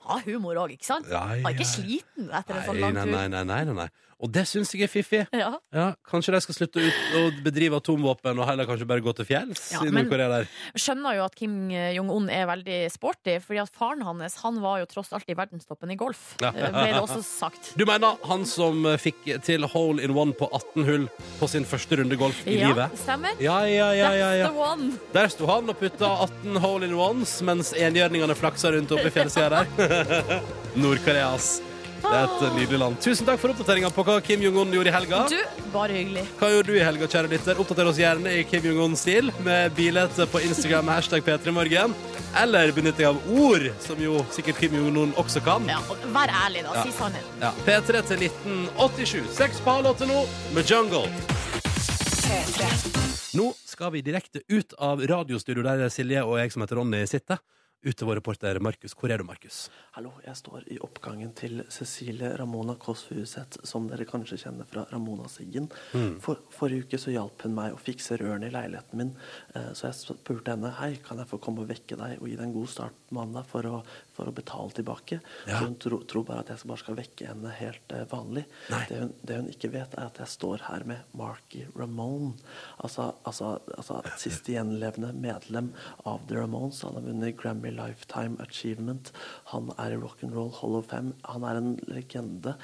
Speaker 2: Ja, humor òg, ikke sant?
Speaker 1: Ja,
Speaker 2: Han
Speaker 1: ja.
Speaker 2: er ikke sliten etter en sånn
Speaker 1: Nei,
Speaker 2: lang
Speaker 1: nei,
Speaker 2: tur.
Speaker 1: nei, nei, nei, nei, nei. Og det syns jeg er fiffig.
Speaker 2: Ja.
Speaker 1: Ja, Kanskje de skal slutte ut å bedrive atomvåpen og heller kanskje bare gå til fjells
Speaker 2: Ja,
Speaker 1: i
Speaker 2: men-
Speaker 1: Nord-Korea der.
Speaker 2: Skjønner jo at Kim Jong-un er veldig sporty, fordi at faren hans han var jo tross alt i verdenstoppen i golf,
Speaker 1: Ja.
Speaker 2: eh, ble det også sagt.
Speaker 1: Du mener han som eh, fikk til hole in one på 18 hull på sin første runde golf i
Speaker 2: Ja,
Speaker 1: livet?
Speaker 2: stemmer.
Speaker 1: Ja, ja, ja, ja, ja.
Speaker 2: That's the one.
Speaker 1: Der sto han og putta 18 hole in ones mens enhjørningene flaksa rundt oppe i fjellsida der. Nord-Korea, ass. Det er et nydelig land. Tusen takk for oppdateringa på hva Kim Jong-un gjorde i helga.
Speaker 2: Du, bare hyggelig.
Speaker 1: Hva gjorde du i helga, kjære lytter? Oppdater oss gjerne i Kim Jong-un-stil med bilete på Instagram med hashtag P3morgen. Eller benytting av ord, som jo sikkert Kim Jong-un også kan.
Speaker 2: Ja, og vær ærlig, da.
Speaker 1: Ja.
Speaker 2: Si sannheten.
Speaker 1: Ja. P3 til 1987. Seks på halv åtte nå med Jungle. Nå skal vi direkte ut av radiostudio der Silje og jeg som heter Ronny sitter. Ut til vår reporter Markus. Hvor er du, Markus?
Speaker 3: Hallo, jeg står i oppgangen til Cecilie Ramona Kåss Furuseth, som dere kanskje kjenner fra Ramona Siggen. For, forrige uke så hjalp hun meg å fikse rørene i leiligheten min, eh, så jeg spurte henne hei, kan jeg få komme og vekke deg og gi deg en god start på mandag for å, for å betale tilbake.
Speaker 1: Ja.
Speaker 3: Så hun tro, tror bare at jeg bare skal vekke henne helt eh, vanlig.
Speaker 1: Nei.
Speaker 3: Det hun, det hun ikke vet, er at jeg står her med Marky Ramone, altså, altså, altså sist gjenlevende medlem av The Ramones. Han har vunnet Grammy Lifetime Achievement. Han er i Rock'n'Roll Hall of Fame. Han er en legende.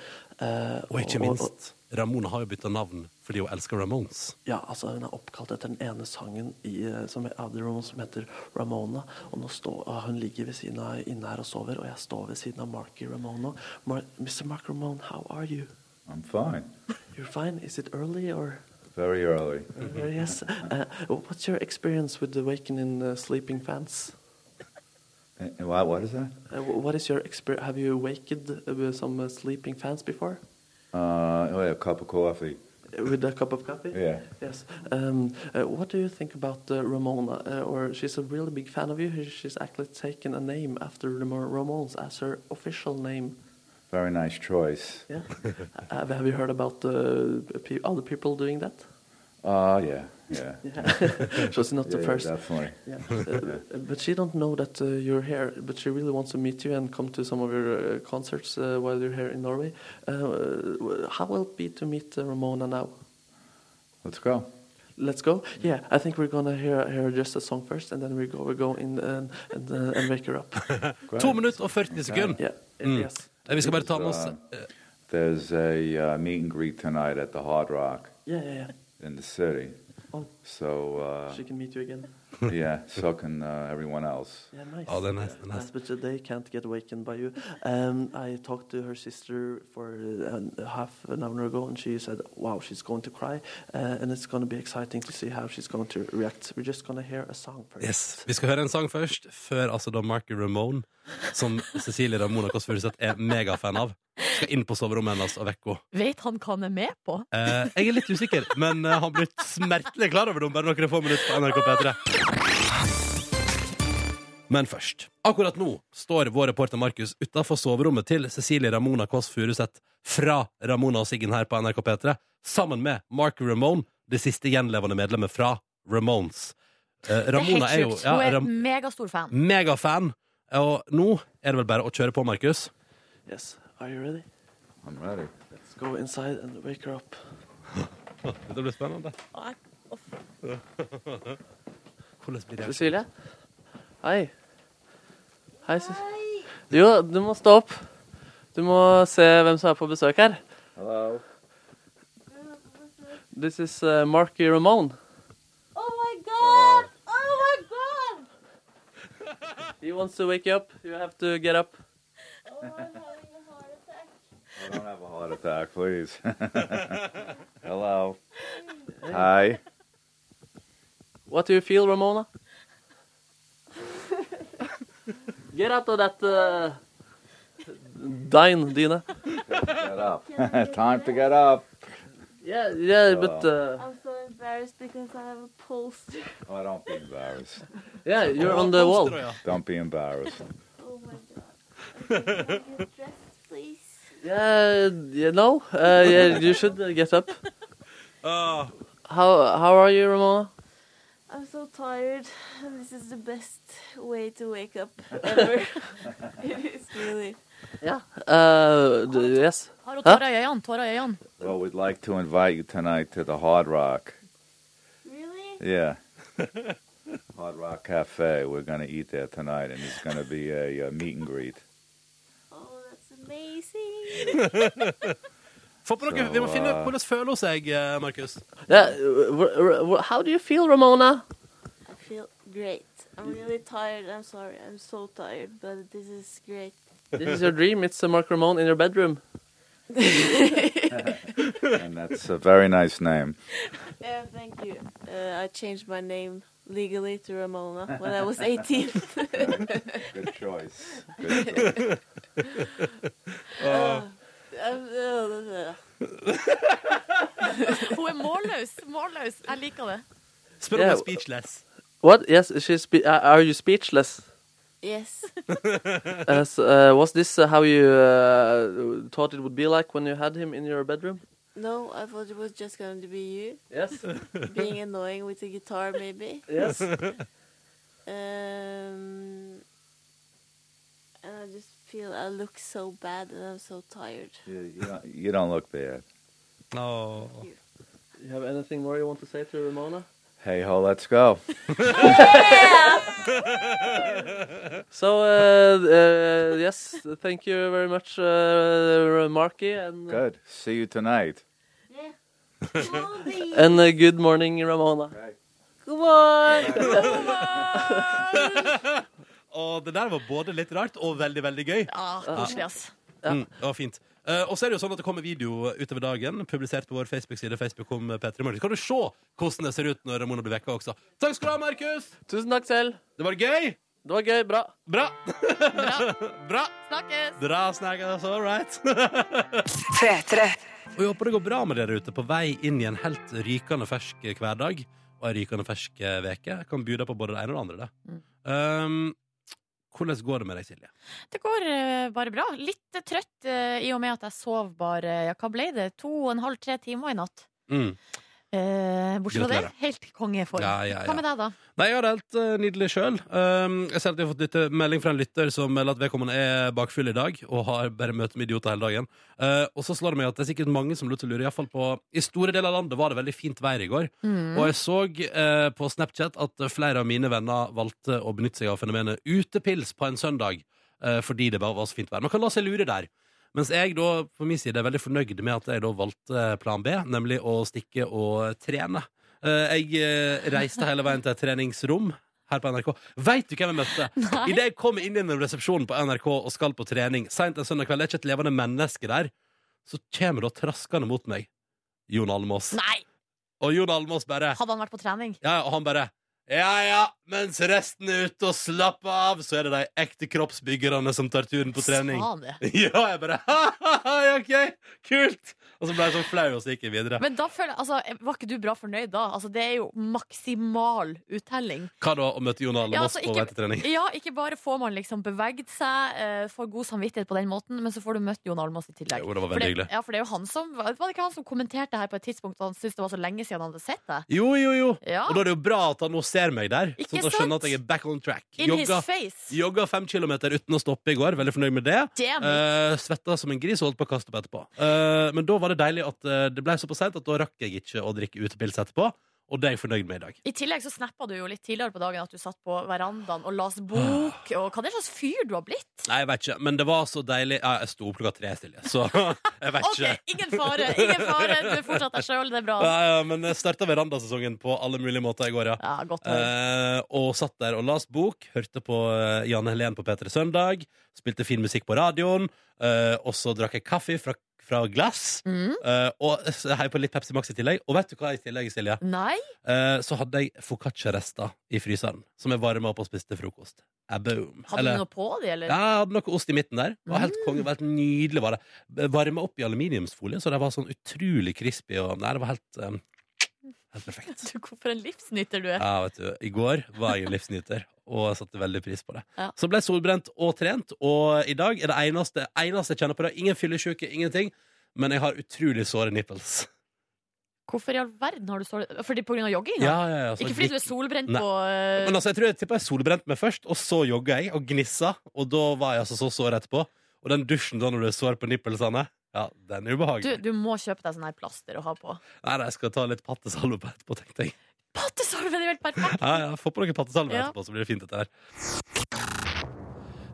Speaker 3: eh,
Speaker 1: Og ikke minst, Ramona har jo bytta navn fordi hun elsker Ramones.
Speaker 3: ja, altså Hun er oppkalt etter den ene sangen i, eh, som, av The Ramones som heter Ramona. Og nå står, og hun ligger ved siden av inne her og sover, og jeg står ved siden av Marky Ramone. Mar Mr. Mark Ramone, how are you?
Speaker 7: I'm fine.
Speaker 3: You're fine? Is it early or
Speaker 7: Very early.
Speaker 3: Uh, Yes. Uh, what's your experience with the waking and uh, sleeping fans?
Speaker 7: And, and Eh, why, what is that?
Speaker 3: Uh, wh- what is your experience? Have you awakened uh, with some uh, sleeping fans before?
Speaker 7: Uh, oh, yeah, a cup of coffee.
Speaker 3: Uh, With a cup of coffee?
Speaker 7: Yeah.
Speaker 3: Yes. Um, uh, what do you think about uh, Ramona? Uh, or she's a really big fan of you. She's actually taken a name after the Mo- Ramones as her official name.
Speaker 7: Very nice choice.
Speaker 3: Yeah. have, have you heard about uh, pe- other people doing that?
Speaker 7: Uh, yeah, yeah.
Speaker 3: Yeah. she's not the
Speaker 7: Yeah,
Speaker 3: first.
Speaker 7: definitely.
Speaker 3: Yeah. Uh, but she don't know that uh, you're here. But she really wants to meet you and come to some of your uh, concerts uh, while you're here in Norway. Uh, Uh, how will it be to meet uh, Ramona now?
Speaker 7: Let's go.
Speaker 3: Let's go. Yeah, I think we're gonna hear, hear just a song first, and then we go we go in and and, uh, and wake her up.
Speaker 7: Great.
Speaker 1: To minutter og 40 sekunder.
Speaker 3: yeah. Yes.
Speaker 1: Eh, Vi skal bare ta med oss eh,
Speaker 7: There's a uh, meet and greet tonight at the Hard Rock
Speaker 3: Yeah, yeah, yeah.
Speaker 7: in the city.
Speaker 3: Oh.
Speaker 7: So,
Speaker 3: She
Speaker 7: uh,
Speaker 3: can meet you again.
Speaker 7: yeah, so can uh, everyone else.
Speaker 3: Yeah, nice.
Speaker 1: Ja, det er nice, det er nice.
Speaker 3: Yes, but they can't get awakened by you. Um, I talked to her sister for uh, an- half an hour ago, and she said, "Wow, she's going to cry, uh, and it's going to be exciting to see how she's going to react." We're just going to hear a song first.
Speaker 1: Yes. Vi skal høre en sang først, før altså da Marky Ramone, som Cecilie Ramona Kåss Furuseth er megafan av, skal inn på soverommet hennes og vekke henne.
Speaker 2: Vet han hva han er med på?
Speaker 1: Eh, jeg er litt usikker, men eh, han blir smertelig klar over det om bare noen få minutter på NRK P3. Men først. Akkurat nå står vår reporter Markus utafor soverommet til Cecilie Ramona Kåss Furuseth fra Ramona og Siggen her på NRK P3, sammen med Mark Ramone, det siste gjenlevende medlemmet fra Ramones. Eh, Ramona
Speaker 2: det
Speaker 1: er
Speaker 2: er helt
Speaker 1: jo
Speaker 2: sjukt.
Speaker 1: ja,
Speaker 2: Hun er
Speaker 1: Ram
Speaker 2: megastor fan.
Speaker 1: megafan, og nå er det vel bare å kjøre på, Markus.
Speaker 3: Yes. Are you ready?
Speaker 7: I'm ready.
Speaker 3: Let's go inside and wake her up.
Speaker 1: Dette blir spennende. Hvordan blir det?
Speaker 3: Cecilie. Hei. Hei. Ce- Jo, du må stå opp. Du må se hvem som er på besøk her.
Speaker 7: Hello.
Speaker 3: This is uh, Marky Ramone. He wants to wake you up. You have to get up.
Speaker 7: I don't have a heart attack, please. Hello. Hi.
Speaker 3: What do you feel, Ramona? Get out of that uh, dine, dyne.
Speaker 7: Get up. Time to get up.
Speaker 3: Yeah, yeah, but uh,
Speaker 8: I'm so embarrassed because I have a pulse.
Speaker 7: Oh, don't be embarrassed.
Speaker 3: yeah, you're on the wall.
Speaker 1: Hamster, ja.
Speaker 7: Don't be embarrassed.
Speaker 8: Oh my god. Okay, can I get dressed, please?
Speaker 3: Yeah, you know, uh, yeah, you should uh, get up.
Speaker 1: Ah,
Speaker 3: How how are you, Ramona?
Speaker 8: I'm so tired. This is the best way to wake up ever. it is really.
Speaker 3: Uh, d- yes.
Speaker 2: Har hun tårer i øynene? Tårer i øynene.
Speaker 7: Well, we'd like to invite you tonight to the Hard Rock.
Speaker 8: Really?
Speaker 7: Yeah. Hard Rock Cafe. We're going to eat there tonight, and it's going to be a, uh meet and greet.
Speaker 8: Oh, that's amazing.
Speaker 1: Få på noe,
Speaker 7: Så,
Speaker 1: vi må finne ut
Speaker 7: eh,
Speaker 1: hvordan føler hun seg, eh, Markus.
Speaker 3: Yeah. uh, wh- wh- wh- how do you feel, Ramona?
Speaker 8: I feel great. I'm really tired. I'm sorry. I'm so tired, but this is great.
Speaker 3: This is your dream. It's uh, Mark Ramon in your bedroom.
Speaker 7: And that's a very nice name.
Speaker 8: Yeah, thank you. Uh, I changed my name legally to Ramona when I was 18.
Speaker 7: Good choice. Good choice.
Speaker 8: I'm- uh,
Speaker 2: Hun er målløs. Målløs. Jeg liker det.
Speaker 1: Spør om
Speaker 3: Ja.
Speaker 1: hun er speechless.
Speaker 3: What? Yes, she's. Spe- uh, are you speechless?
Speaker 8: yes.
Speaker 3: Uh, s uh, was this uh, how you uh, thought it would be like when you had him in your bedroom?
Speaker 8: No, I thought it was just going to be you
Speaker 3: Yes.
Speaker 8: being annoying with the guitar, maybe.
Speaker 3: yes.
Speaker 8: Um, and I just feel I look so bad and I'm so tired.
Speaker 7: You, you, don't, you don't look bad.
Speaker 1: Åh.
Speaker 3: You have anything more you want to say to Ramona?
Speaker 7: Hey ho, let's go.
Speaker 3: So uh, uh, yes, thank you very much, uh, Marky, and
Speaker 7: Good. See you tonight.
Speaker 8: Yeah. Come on, baby.
Speaker 3: and uh, good morning, Ramona.
Speaker 8: Come on.
Speaker 1: Og det der var både litt rart og veldig, veldig gøy.
Speaker 2: Ja, koselig, ass.
Speaker 1: Mm, det var fint. Eh, og så er det jo sånn at det kommer video utover dagen, publisert på vår Facebook-side. Facebook om Petter i morgen. Så kan du se hvordan det ser ut når Ramona blir vekka også. Takk skal du ha, Markus!
Speaker 3: Tusen takk selv.
Speaker 1: Det var gøy!
Speaker 3: Det var gøy. Bra.
Speaker 1: Bra! Bra!
Speaker 2: Snakkes!
Speaker 1: Bra snakkes, all right. og jeg håper det går bra med dere ute på vei inn i en helt rykende fersk hverdag og ei rykende fersk eh, veke. Jeg kan by deg på både det ene og det andre. Det. Um, hvordan går det med deg, Silje?
Speaker 2: Det går eh, bare bra. Litt eh, trøtt eh, i og med at jeg sov bare ja, Hva ble det? To og en halv, tre timer i natt.
Speaker 1: Mm.
Speaker 2: Eh, bortsett fra det,
Speaker 1: Gratulerer.
Speaker 2: helt kongeform.
Speaker 1: Ja, ja, ja.
Speaker 2: Hva med deg, da?
Speaker 1: Nei, jeg har det helt eh, nydelig sjøl. Um, jeg ser at jeg har fått lytte- melding fra en lytter som melder at vedkommende er bakfull i dag og har bare møtt med idioter hele dagen. Eh, og så slår det meg at det er sikkert mange som lot seg lure. i hvert fall på, I store deler av landet var det veldig fint vær i går. Og jeg så eh, på Snapchat at flere av mine venner valgte å benytte seg av fenomenet utepils på en søndag eh, fordi det bare var så fint vær. Man kan la seg lure der. Mens jeg da, på min side er veldig fornøyd med at jeg da valgte plan B, nemlig å stikke og trene. Eh, Jeg eh, reiste hele veien til et treningsrom her på NRK. Veit du hvem jeg møtte? Idet jeg kom inn gjennom resepsjonen på NRK og skal på trening seint en søndag kveld, det er ikke et levende menneske der, så kommer da traskende mot meg Jon Almås.
Speaker 2: Nei!
Speaker 1: Og Jon Almås bare
Speaker 2: Hadde han vært på trening?
Speaker 1: ja, ja, og han bare Ja, ja, mens resten er ute og slapper av, så er det de ekte kroppsbyggerne som tar turen på trening.
Speaker 2: Sa han det?
Speaker 1: Ja, jeg bare Ha-ha-ha, ja, OK, kult! Og så ble jeg sånn flau, og så gikk jeg videre.
Speaker 2: Men da føler jeg, altså, var ikke du bra fornøyd da? Altså, det er jo maksimal uttelling.
Speaker 1: Hva da å møte Jon Almås
Speaker 2: Ja, altså,
Speaker 1: på
Speaker 2: ikke-
Speaker 1: vei til trening?
Speaker 2: Ja, ikke bare får man liksom beveget seg, eh, får god samvittighet på den måten, men så får du møtt Jon Almaas i tillegg.
Speaker 1: Jo, det var
Speaker 2: For
Speaker 1: veldig
Speaker 2: det,
Speaker 1: hyggelig.
Speaker 2: ja, for det er jo han som, var det ikke han som kommenterte det her på et tidspunkt da han syntes det var så lenge siden han hadde sett deg?
Speaker 1: Jo, jo, jo.
Speaker 2: Ja.
Speaker 1: Og da er det jo bra at han nå ser meg der,
Speaker 2: Ikke
Speaker 1: sånn at han
Speaker 2: sant?
Speaker 1: skjønner at jeg er back on track.
Speaker 2: In
Speaker 1: Jogga,
Speaker 2: his face!
Speaker 1: jogga fem kilometer uten å stoppe i går, veldig fornøyd med det.
Speaker 2: Damn it!
Speaker 1: Uh, svetta som en gris og holdt på å kaste opp etterpå. Eh, men da var det deilig at eh, det ble såpass seint at da rakk jeg ikke å drikke utepils etterpå. Og det er jeg fornøyd med i dag.
Speaker 2: I tillegg så snappa du jo litt tidligere på dagen at du satt på verandaen og las bok.
Speaker 1: Ah.
Speaker 2: Og hva er det slags fyr du har blitt?
Speaker 1: Nei, jeg vet ikke, men det var så deilig. Ja, jeg sto opp klokka tre, Silje, så jeg vet
Speaker 2: OK,
Speaker 1: ikke. Ah.
Speaker 2: ingen fare. Ingen fare. Du er fortsatt deg sjøl, det er bra.
Speaker 1: Ja, ja, men jeg starta verandasesongen på alle mulige måter i går, ja.
Speaker 2: Ja, godt å høre.
Speaker 1: Eh, og satt der og las bok, hørte på eh, Janne Helen på P3 Søndag, spilte fin musikk på radioen, eh, og så drakk jeg kaffe fra fra glass.
Speaker 2: Mm.
Speaker 1: eh, og så heier på litt Pepsi Max i tillegg. Og vet du hva i tillegg, Silje?
Speaker 2: Nei?
Speaker 1: Eh, så hadde jeg foccaccia-rester i fryseren, som jeg varma opp og spiste til frokost. Ah, boom.
Speaker 2: Hadde
Speaker 1: Eller-
Speaker 2: du noe på det, Mm. eller?
Speaker 1: Ja, jeg hadde noe ost i midten der. Det var helt konge, det var helt nydelig var det. Varme opp i aluminiumsfolie, så det var sånn utrolig crispy. Og, nei, det var helt, eh, helt perfekt.
Speaker 2: Du, hvorfor en livsnyter du er.
Speaker 1: Ja, vet du, I går var jeg en livsnyter, og jeg satte veldig pris på det.
Speaker 2: Ja.
Speaker 1: Så ble jeg solbrent og trent, og i dag er det eneste, eneste jeg kjenner på det. Ingen fyllesyke, ingenting. Men jeg har utrolig såre nipples.
Speaker 2: Hvorfor i all verden har du så Fordi på grunn av jogging? da?
Speaker 1: Ja, ja, ja, så
Speaker 2: Ikke fordi
Speaker 1: gikk-
Speaker 2: du er solbrent
Speaker 1: Nei.
Speaker 2: på eh,
Speaker 1: Men altså, jeg tror jeg tippa jeg solbrente meg først, og så jogga jeg og gnissa. Og da var jeg altså så sår etterpå. Og den dusjen da når du er sår på nippelsene, ja, den er
Speaker 2: du,
Speaker 1: ubehagelig.
Speaker 2: du må kjøpe deg sånn her plaster å ha på.
Speaker 1: Nei, nei, jeg skal ta litt pattesalve på etterpå, tenkte jeg.
Speaker 2: Pattesalve! Det er jo helt perfekt!
Speaker 1: Ja, ja, Få på noe pattesalve
Speaker 2: Ja.
Speaker 1: etterpå, så blir det fint, dette her.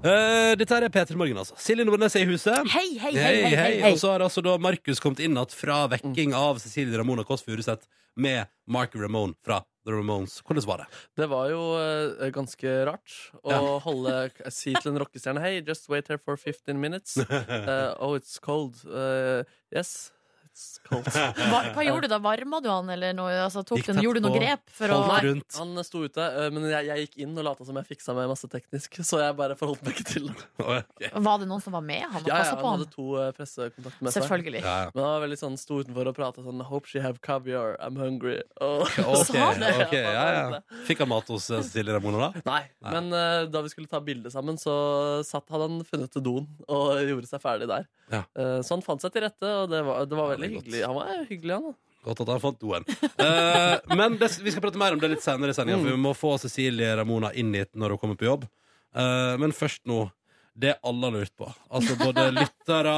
Speaker 1: Eh, dette her er P3 Morgen, altså. Silje Nordnes er i huset.
Speaker 2: Hei, hei, hei! hei, hei, hei. Mm.
Speaker 1: Og så har altså da Markus kommet inn igjen fra vekking av Cecilie Ramona Kåss Furuseth med Mark Ramone fra The Ramones. Hvordan var det?
Speaker 3: Det var jo eh, ganske rart å
Speaker 1: Ja.
Speaker 3: holde si til en rockestjerne Hey, just wait here for 15 minutes. Eh, oh, it's cold. Eh, yes, it's cold.
Speaker 2: Hva, hva gjorde du da? Varma du han, eller noe? Altså, tok
Speaker 1: Gikk
Speaker 2: den,
Speaker 1: tett
Speaker 2: gjorde du noe
Speaker 1: på.
Speaker 2: grep for å
Speaker 1: Holdt
Speaker 2: Nei.
Speaker 1: rundt.
Speaker 3: Han sto ute, eh, men jeg, jeg gikk inn og lata som jeg fiksa med masse teknisk. Så jeg bare forholdt meg ikke til det.
Speaker 1: Ok.
Speaker 2: Var det noen som var med han og
Speaker 3: Ja, ja,
Speaker 2: passa
Speaker 3: han
Speaker 2: på han?
Speaker 3: hadde to eh, pressekontakter med seg.
Speaker 2: Selvfølgelig.
Speaker 1: Ja, ja.
Speaker 3: Men han var veldig sånn, sto utenfor og prata sånn Hope she have caviar, I'm hungry. Og,
Speaker 1: Ok,
Speaker 2: Sa han det?
Speaker 1: ok, ja, ja. Fikk han mat hos eh, Cecilie Ramona da?
Speaker 3: Nei,
Speaker 1: Nei.
Speaker 3: men eh, da vi skulle ta bilde sammen, så satt, hadde han funnet til doen og gjorde seg ferdig der.
Speaker 1: Ja.
Speaker 3: Eh, så han fant seg til rette, og det var, det var
Speaker 1: Ja,
Speaker 3: veldig
Speaker 1: det er godt.
Speaker 3: hyggelig. Han var hyggelig, han. da.
Speaker 1: Godt at han fant doen. Eh, men det, vi skal prate mer om det litt senere i sendinga, for vi
Speaker 2: Mm.
Speaker 1: må få Cecilie Ramona inn hit når hun kommer på jobb. Eh, men først nå det alle har lurt på. Altså Både lyttere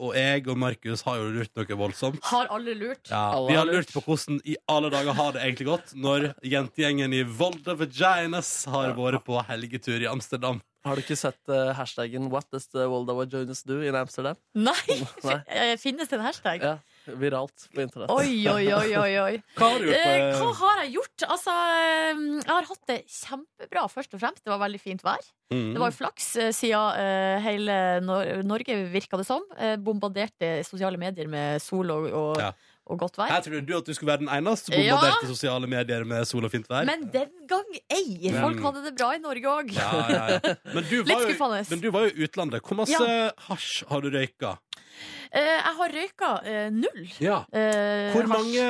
Speaker 1: og jeg og Markus har jo lurt noe voldsomt.
Speaker 2: Har alle lurt?
Speaker 1: Ja,
Speaker 3: Alle
Speaker 1: vi har
Speaker 3: har
Speaker 1: lurt
Speaker 3: lurt.
Speaker 1: på hvordan i alle dager har det egentlig gått når jentegjengen i Volda Vaginas har vært på helgetur i Amsterdam.
Speaker 3: Har du ikke sett eh, hashtaggen 'What does the Waldawa Jonas do?' in Amsterdam?
Speaker 2: Nei!
Speaker 3: Nei.
Speaker 2: Eh, Finnes det en hashtag?
Speaker 3: Ja, Viralt på internett.
Speaker 2: Oi, oi, oi, oi, oi.
Speaker 1: Hva har du gjort?
Speaker 2: Eh, hva
Speaker 1: på-
Speaker 2: har jeg gjort? Altså, eh, jeg har hatt det kjempebra, først og fremst. Det var veldig fint vær.
Speaker 1: Mm.
Speaker 2: Det var jo flaks, eh, siden eh, hele Nor Norge virka det som. eh, bombarderte sosiale medier med sol og, og,
Speaker 1: Ja.
Speaker 2: og godt vær.
Speaker 1: Her trodde du at du skulle være den eneste som
Speaker 2: Ja.
Speaker 1: bombarderte sosiale medier med sol og fint vær.
Speaker 2: Men den gang ei! Folk hadde det bra i Norge òg.
Speaker 1: Mm. ja, ja, ja. Men, du
Speaker 2: Litt
Speaker 1: var jo,
Speaker 2: skuffende.
Speaker 1: men du var jo i utlandet. Hvor masse hasj har du røyka?
Speaker 2: Eh, jeg har røyka eh, null. eh,
Speaker 1: Hvor,
Speaker 2: hasj.
Speaker 1: mange,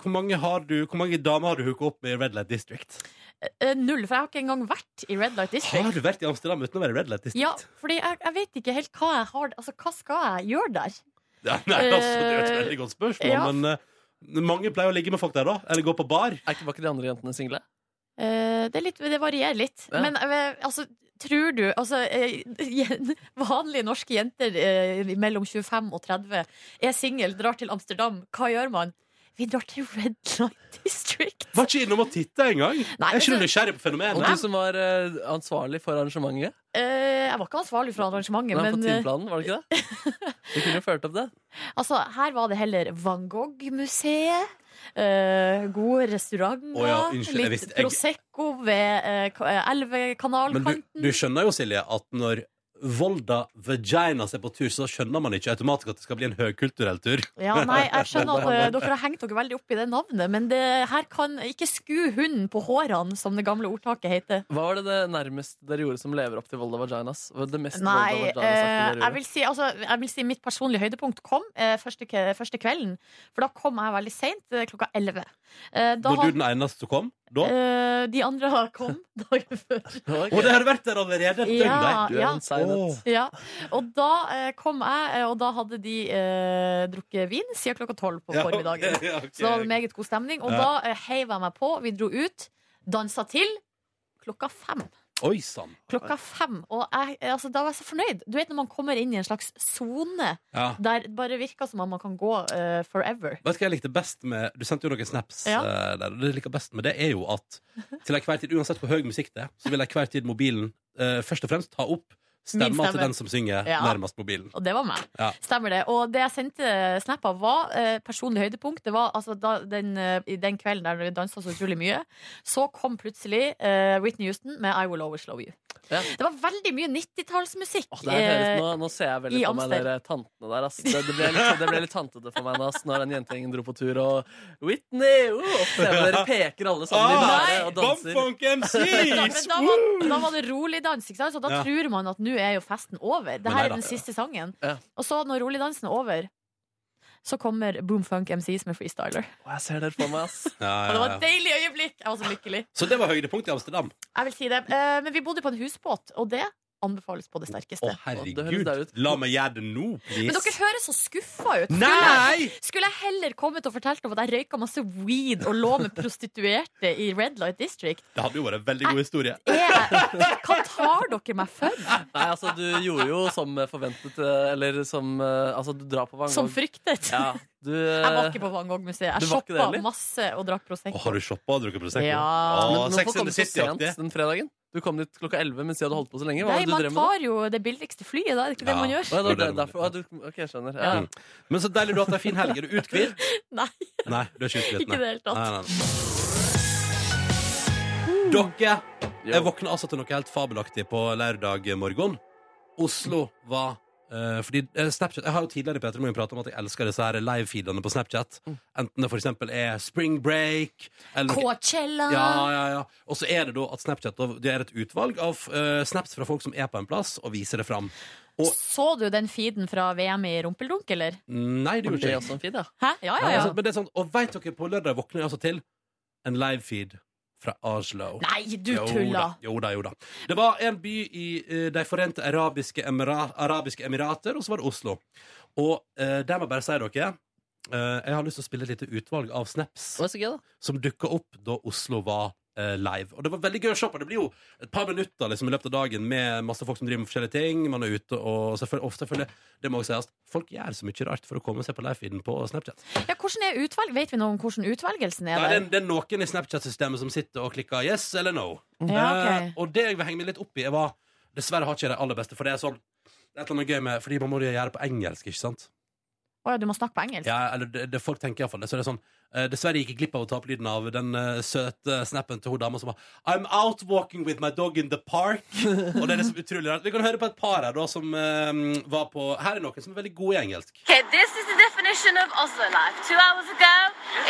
Speaker 1: hvor, mange har du, hvor mange damer har du hooka opp med i Red Light District?
Speaker 2: Eh, null, for jeg har ikke engang vært i Red Light District.
Speaker 1: Har du vært i Amsterdam uten å være i Red Light District?
Speaker 2: Ja, fordi jeg, jeg vet ikke helt hva jeg har Altså, hva skal jeg gjøre der?
Speaker 1: Ja, nei, altså, det er jo et veldig godt spørsmål,
Speaker 2: Eh, Ja.
Speaker 1: men eh, mange pleier å ligge med folk der, da. Eller gå på bar.
Speaker 3: Er ikke, var ikke de andre jentene single?
Speaker 2: Eh, det, er litt, det varierer litt.
Speaker 3: Ja.
Speaker 2: Men eh, altså, tror du altså, eh, jen- Vanlige norske jenter eh, mellom 25 og 30 er single, drar til Amsterdam. Hva gjør man? Vi drar til Red Light District.
Speaker 1: Var ikke innom og titta engang.
Speaker 2: Nei,
Speaker 1: Jeg er ikke
Speaker 2: altså-
Speaker 1: du nysgjerrig på
Speaker 3: Og
Speaker 1: fenomenet.
Speaker 3: du som var eh, ansvarlig for arrangementet?
Speaker 2: Eh, jeg var ikke ansvarlig for arrangementet,
Speaker 3: Nei, på
Speaker 2: men eh,
Speaker 3: timeplanen, var det ikke det? Du kunne jo ført opp det.
Speaker 2: altså, her var det heller Van Gogh-museet. eh, gode restauranter.
Speaker 1: Å ja, unnskyld, jeg
Speaker 2: litt
Speaker 1: visste- jeg-
Speaker 2: Prosecco ved eh, ka- eh,
Speaker 1: Men du,
Speaker 2: elvekanalkanten.
Speaker 1: du skjønner jo, Silje, at når Volda Vaginas er på tur, så skjønner man ikke automatisk at det skal bli en høykulturell tur.
Speaker 2: Ja, nei, jeg skjønner
Speaker 3: Veldig
Speaker 2: at eh,
Speaker 3: handel.
Speaker 2: dere har hengt dere veldig opp i det navnet, men det her kan ikke sku hunden på hårene, som det gamle ordtaket heter.
Speaker 3: Hva var det, det nærmest dere gjorde som lever opp til Volda Vaginas? Hva var Det mest
Speaker 2: Nei,
Speaker 3: Volda
Speaker 2: eh,
Speaker 3: Vaginas-aktige dere
Speaker 2: jeg
Speaker 3: gjorde?
Speaker 2: vil, si, altså, jeg vil si mitt personlige høydepunkt kom eh, første, ke- første kvelden, for da kom jeg veldig seint, eh, klokka elleve. Eh, da
Speaker 1: Var du
Speaker 2: hadde-
Speaker 1: den eneste som kom? Da?
Speaker 2: eh, de andre kom dagen før.
Speaker 1: Å, det har vært der allerede et døgn,
Speaker 2: Ja.
Speaker 1: der.
Speaker 3: Du er en seinhet.
Speaker 1: Åh.
Speaker 2: Ja, og da eh, kom jeg, eh, og da hadde de eh, drukket vin siden klokka tolv på
Speaker 1: Ja,
Speaker 2: formiddagen.
Speaker 1: ok, ja, ok.
Speaker 2: Så det var meget god stemning. Og
Speaker 1: Ja.
Speaker 2: da eh, heiv jeg meg på, vi dro ut, dansa til klokka fem.
Speaker 1: Oi sann.
Speaker 2: Klokka fem, og jeg, eh, altså, da var jeg så fornøyd. Du vet når man kommer inn i en slags sone
Speaker 1: Ja.
Speaker 2: der det bare virker som om man kan gå eh, forever.
Speaker 1: Vet du hva jeg likte best med Du sendte jo noen snaps
Speaker 2: Ja.
Speaker 1: eh, der. og Det jeg liker best med det, er jo at til enhver tid, uansett hvor høy musikk det er, så vil enhver tid mobilen eh, først og fremst ta opp
Speaker 2: Min
Speaker 1: Stemma
Speaker 2: stemme.
Speaker 1: til den som synger
Speaker 2: Ja.
Speaker 1: nærmest mobilen.
Speaker 2: Og det var meg.
Speaker 1: Ja.
Speaker 2: Stemmer det. Og det jeg sendte snap av, var eh, personlig høydepunkt. Det var altså da, den, eh, i den kvelden der vi dansa så utrolig mye. Så kom plutselig eh, Whitney Houston med I Will Always Love You.
Speaker 3: Ja.
Speaker 2: Det var veldig mye 90-tallsmusikk.
Speaker 3: Åh, det her høres,
Speaker 2: eh,
Speaker 3: nå, nå ser jeg veldig
Speaker 2: i
Speaker 3: på meg
Speaker 2: Amster.
Speaker 3: dere tantene der. Ass. Det, det, ble litt, sånn- det ble litt tantete for meg nå, ass, når den jentegjengen dro på tur og Whitney! Uh, og så ser jeg dere peker alle sammen i
Speaker 1: Ah,
Speaker 3: været og danser.
Speaker 1: Bumpfunk
Speaker 2: men da,
Speaker 1: MCs!
Speaker 2: men Eh, da, var, da var det rolig dans, ikke sant? så da
Speaker 1: Ja.
Speaker 2: tror man at nå er jo festen over. Det
Speaker 1: Men
Speaker 2: her
Speaker 1: nei
Speaker 2: er
Speaker 1: da.
Speaker 2: den siste sangen.
Speaker 3: Ja.
Speaker 2: Og så, når roligdansen er over, så kommer Boomfunk MCs med Freestyler.
Speaker 3: Åh, jeg ser dere for meg, ass.
Speaker 2: Og
Speaker 1: Ja,
Speaker 2: det
Speaker 1: ja,
Speaker 2: var et
Speaker 1: ja.
Speaker 2: deilig øyeblikk! Jeg var så lykkelig.
Speaker 1: Så det var høydepunktet i Amsterdam.
Speaker 2: Jeg vil si det. Eh, Men vi bodde på en husbåt, og det anbefales på det
Speaker 1: Å,
Speaker 2: sterkeste.
Speaker 3: Det høres
Speaker 1: herregud.
Speaker 3: der ut.
Speaker 1: La meg gjøre det nå,
Speaker 2: Men
Speaker 1: please.
Speaker 2: dere høres så skuffa ut. Skulle jeg-
Speaker 1: Nei!
Speaker 2: Skulle jeg heller kommet og fortalt om at jeg røyka masse weed og lå med prostituerte i Red Light District?
Speaker 1: Det hadde jo vært en veldig god historie.
Speaker 2: Er jeg, hva tar dere meg for?
Speaker 3: Nei, altså, du gjorde jo som forventet, eh, eller som eh, Altså, du drar på Van Gogh.
Speaker 2: Som fryktet?
Speaker 3: Ja, du eh,
Speaker 2: Jeg var ikke på Van Gogh-museet. Jeg
Speaker 3: Du var ikke det
Speaker 2: shoppa
Speaker 3: heller?
Speaker 2: masse og drakk
Speaker 1: Å,
Speaker 2: Prosecco.
Speaker 1: har du shoppa og drukket Prosecco?
Speaker 2: Ja.
Speaker 3: Men
Speaker 1: Å,
Speaker 3: hvorfor
Speaker 1: Sex
Speaker 3: kom
Speaker 1: in
Speaker 3: du
Speaker 1: the
Speaker 3: så sent
Speaker 1: City-aktig.
Speaker 3: den fredagen? Du kom dit klokka 11 mens de hadde holdt på så lenge. Hva var det
Speaker 2: Nei,
Speaker 3: du
Speaker 2: man
Speaker 3: drev med da?
Speaker 2: tar jo det billigste flyet, da. Er det ikke det
Speaker 1: Ja.
Speaker 2: man gjør?
Speaker 3: Åh, ja, det var
Speaker 1: Det
Speaker 3: det,
Speaker 1: var det man-
Speaker 3: derfor, Åh, du, ok, jeg skjønner. Ja.
Speaker 1: Mm.
Speaker 2: Ja.
Speaker 1: Men så deilig du har hatt ei en fin helg. Er du uthvilt?
Speaker 2: Nei,
Speaker 1: Nei, du er ikke uthvilt.
Speaker 2: ikke i det hele tatt.
Speaker 1: Nei, nei, nei. Dere, jeg
Speaker 3: Jo.
Speaker 1: våkna altså til noe helt fabelaktig på lørdag morgen. Oslo var eh, fordi eh, Snapchat, Jeg har jo tidligere i Peter Moen pratet om at jeg elsker disse her live-feedene på Snapchat.
Speaker 3: Mm.
Speaker 1: Enten det for eksempel er Spring Break eller noe-
Speaker 2: Coachella.
Speaker 1: ja, ja, ja. Og så er det da at Snapchat da, det er et utvalg av eh, snaps fra folk som er på en plass, og viser det fram. Og
Speaker 2: Så du den feeden fra VM i rumpeldunk, eller?
Speaker 1: Nei, det
Speaker 3: Det
Speaker 1: gjorde
Speaker 3: er
Speaker 1: jeg ikke.
Speaker 3: også en feed, ja.
Speaker 2: Hæ? Ja, Ah, ja, ja.
Speaker 1: Altså, Men det er sånn, og veit dere, på lørdag våkner jeg altså til en live-feed fra Oslo.
Speaker 2: Nei, du
Speaker 1: Jo da,
Speaker 2: tuller!
Speaker 1: Jo da, jo da. Det var en by i eh, De forente arabiske, emira arabiske emirater, og så var det Oslo. Og eh, der må jeg bare si dere eh, Jeg har lyst til å spille et lite utvalg av snaps
Speaker 3: Det var så gøy, da.
Speaker 1: som dukka opp da Oslo var eh, live. Og det var veldig gøy å se på. Det blir jo et par minutter liksom, i løpet av dagen med masse folk som driver med forskjellige ting. Man er ute og selvfølgelig, og selvfølgelig Det må også sies, folk gjør så mye rart for å komme seg på live-feeden på Snapchat.
Speaker 2: Ja, hvordan er utvalg? Vet vi noe om hvordan utvelgelsen er
Speaker 1: Nei, det,
Speaker 2: der?
Speaker 1: er, det er noen i Snapchat-systemet som sitter og klikker yes eller no.
Speaker 2: Ja, ok.
Speaker 1: Eh, og det jeg vil henge meg litt opp i, jeg var Dessverre har ikke jeg de aller beste, for det er sånn det er et eller annet gøy med, Fordi man må jo gjøre det på engelsk, ikke sant?
Speaker 2: Å ja, du må snakke på engelsk?
Speaker 1: Ja, eller det, det folk tenker iallfall det. Så det er sånn eh, Dessverre gikk jeg glipp av å ta opp lyden av den eh, søte snappen til hun dama som var I'm out walking with my dog in the park. og det er liksom utrolig rart. Vi kan høre på et par her da som eh, var på Her er noen som er veldig gode i engelsk.
Speaker 9: Okay, this is the definition of Oslo life. Two hours ago,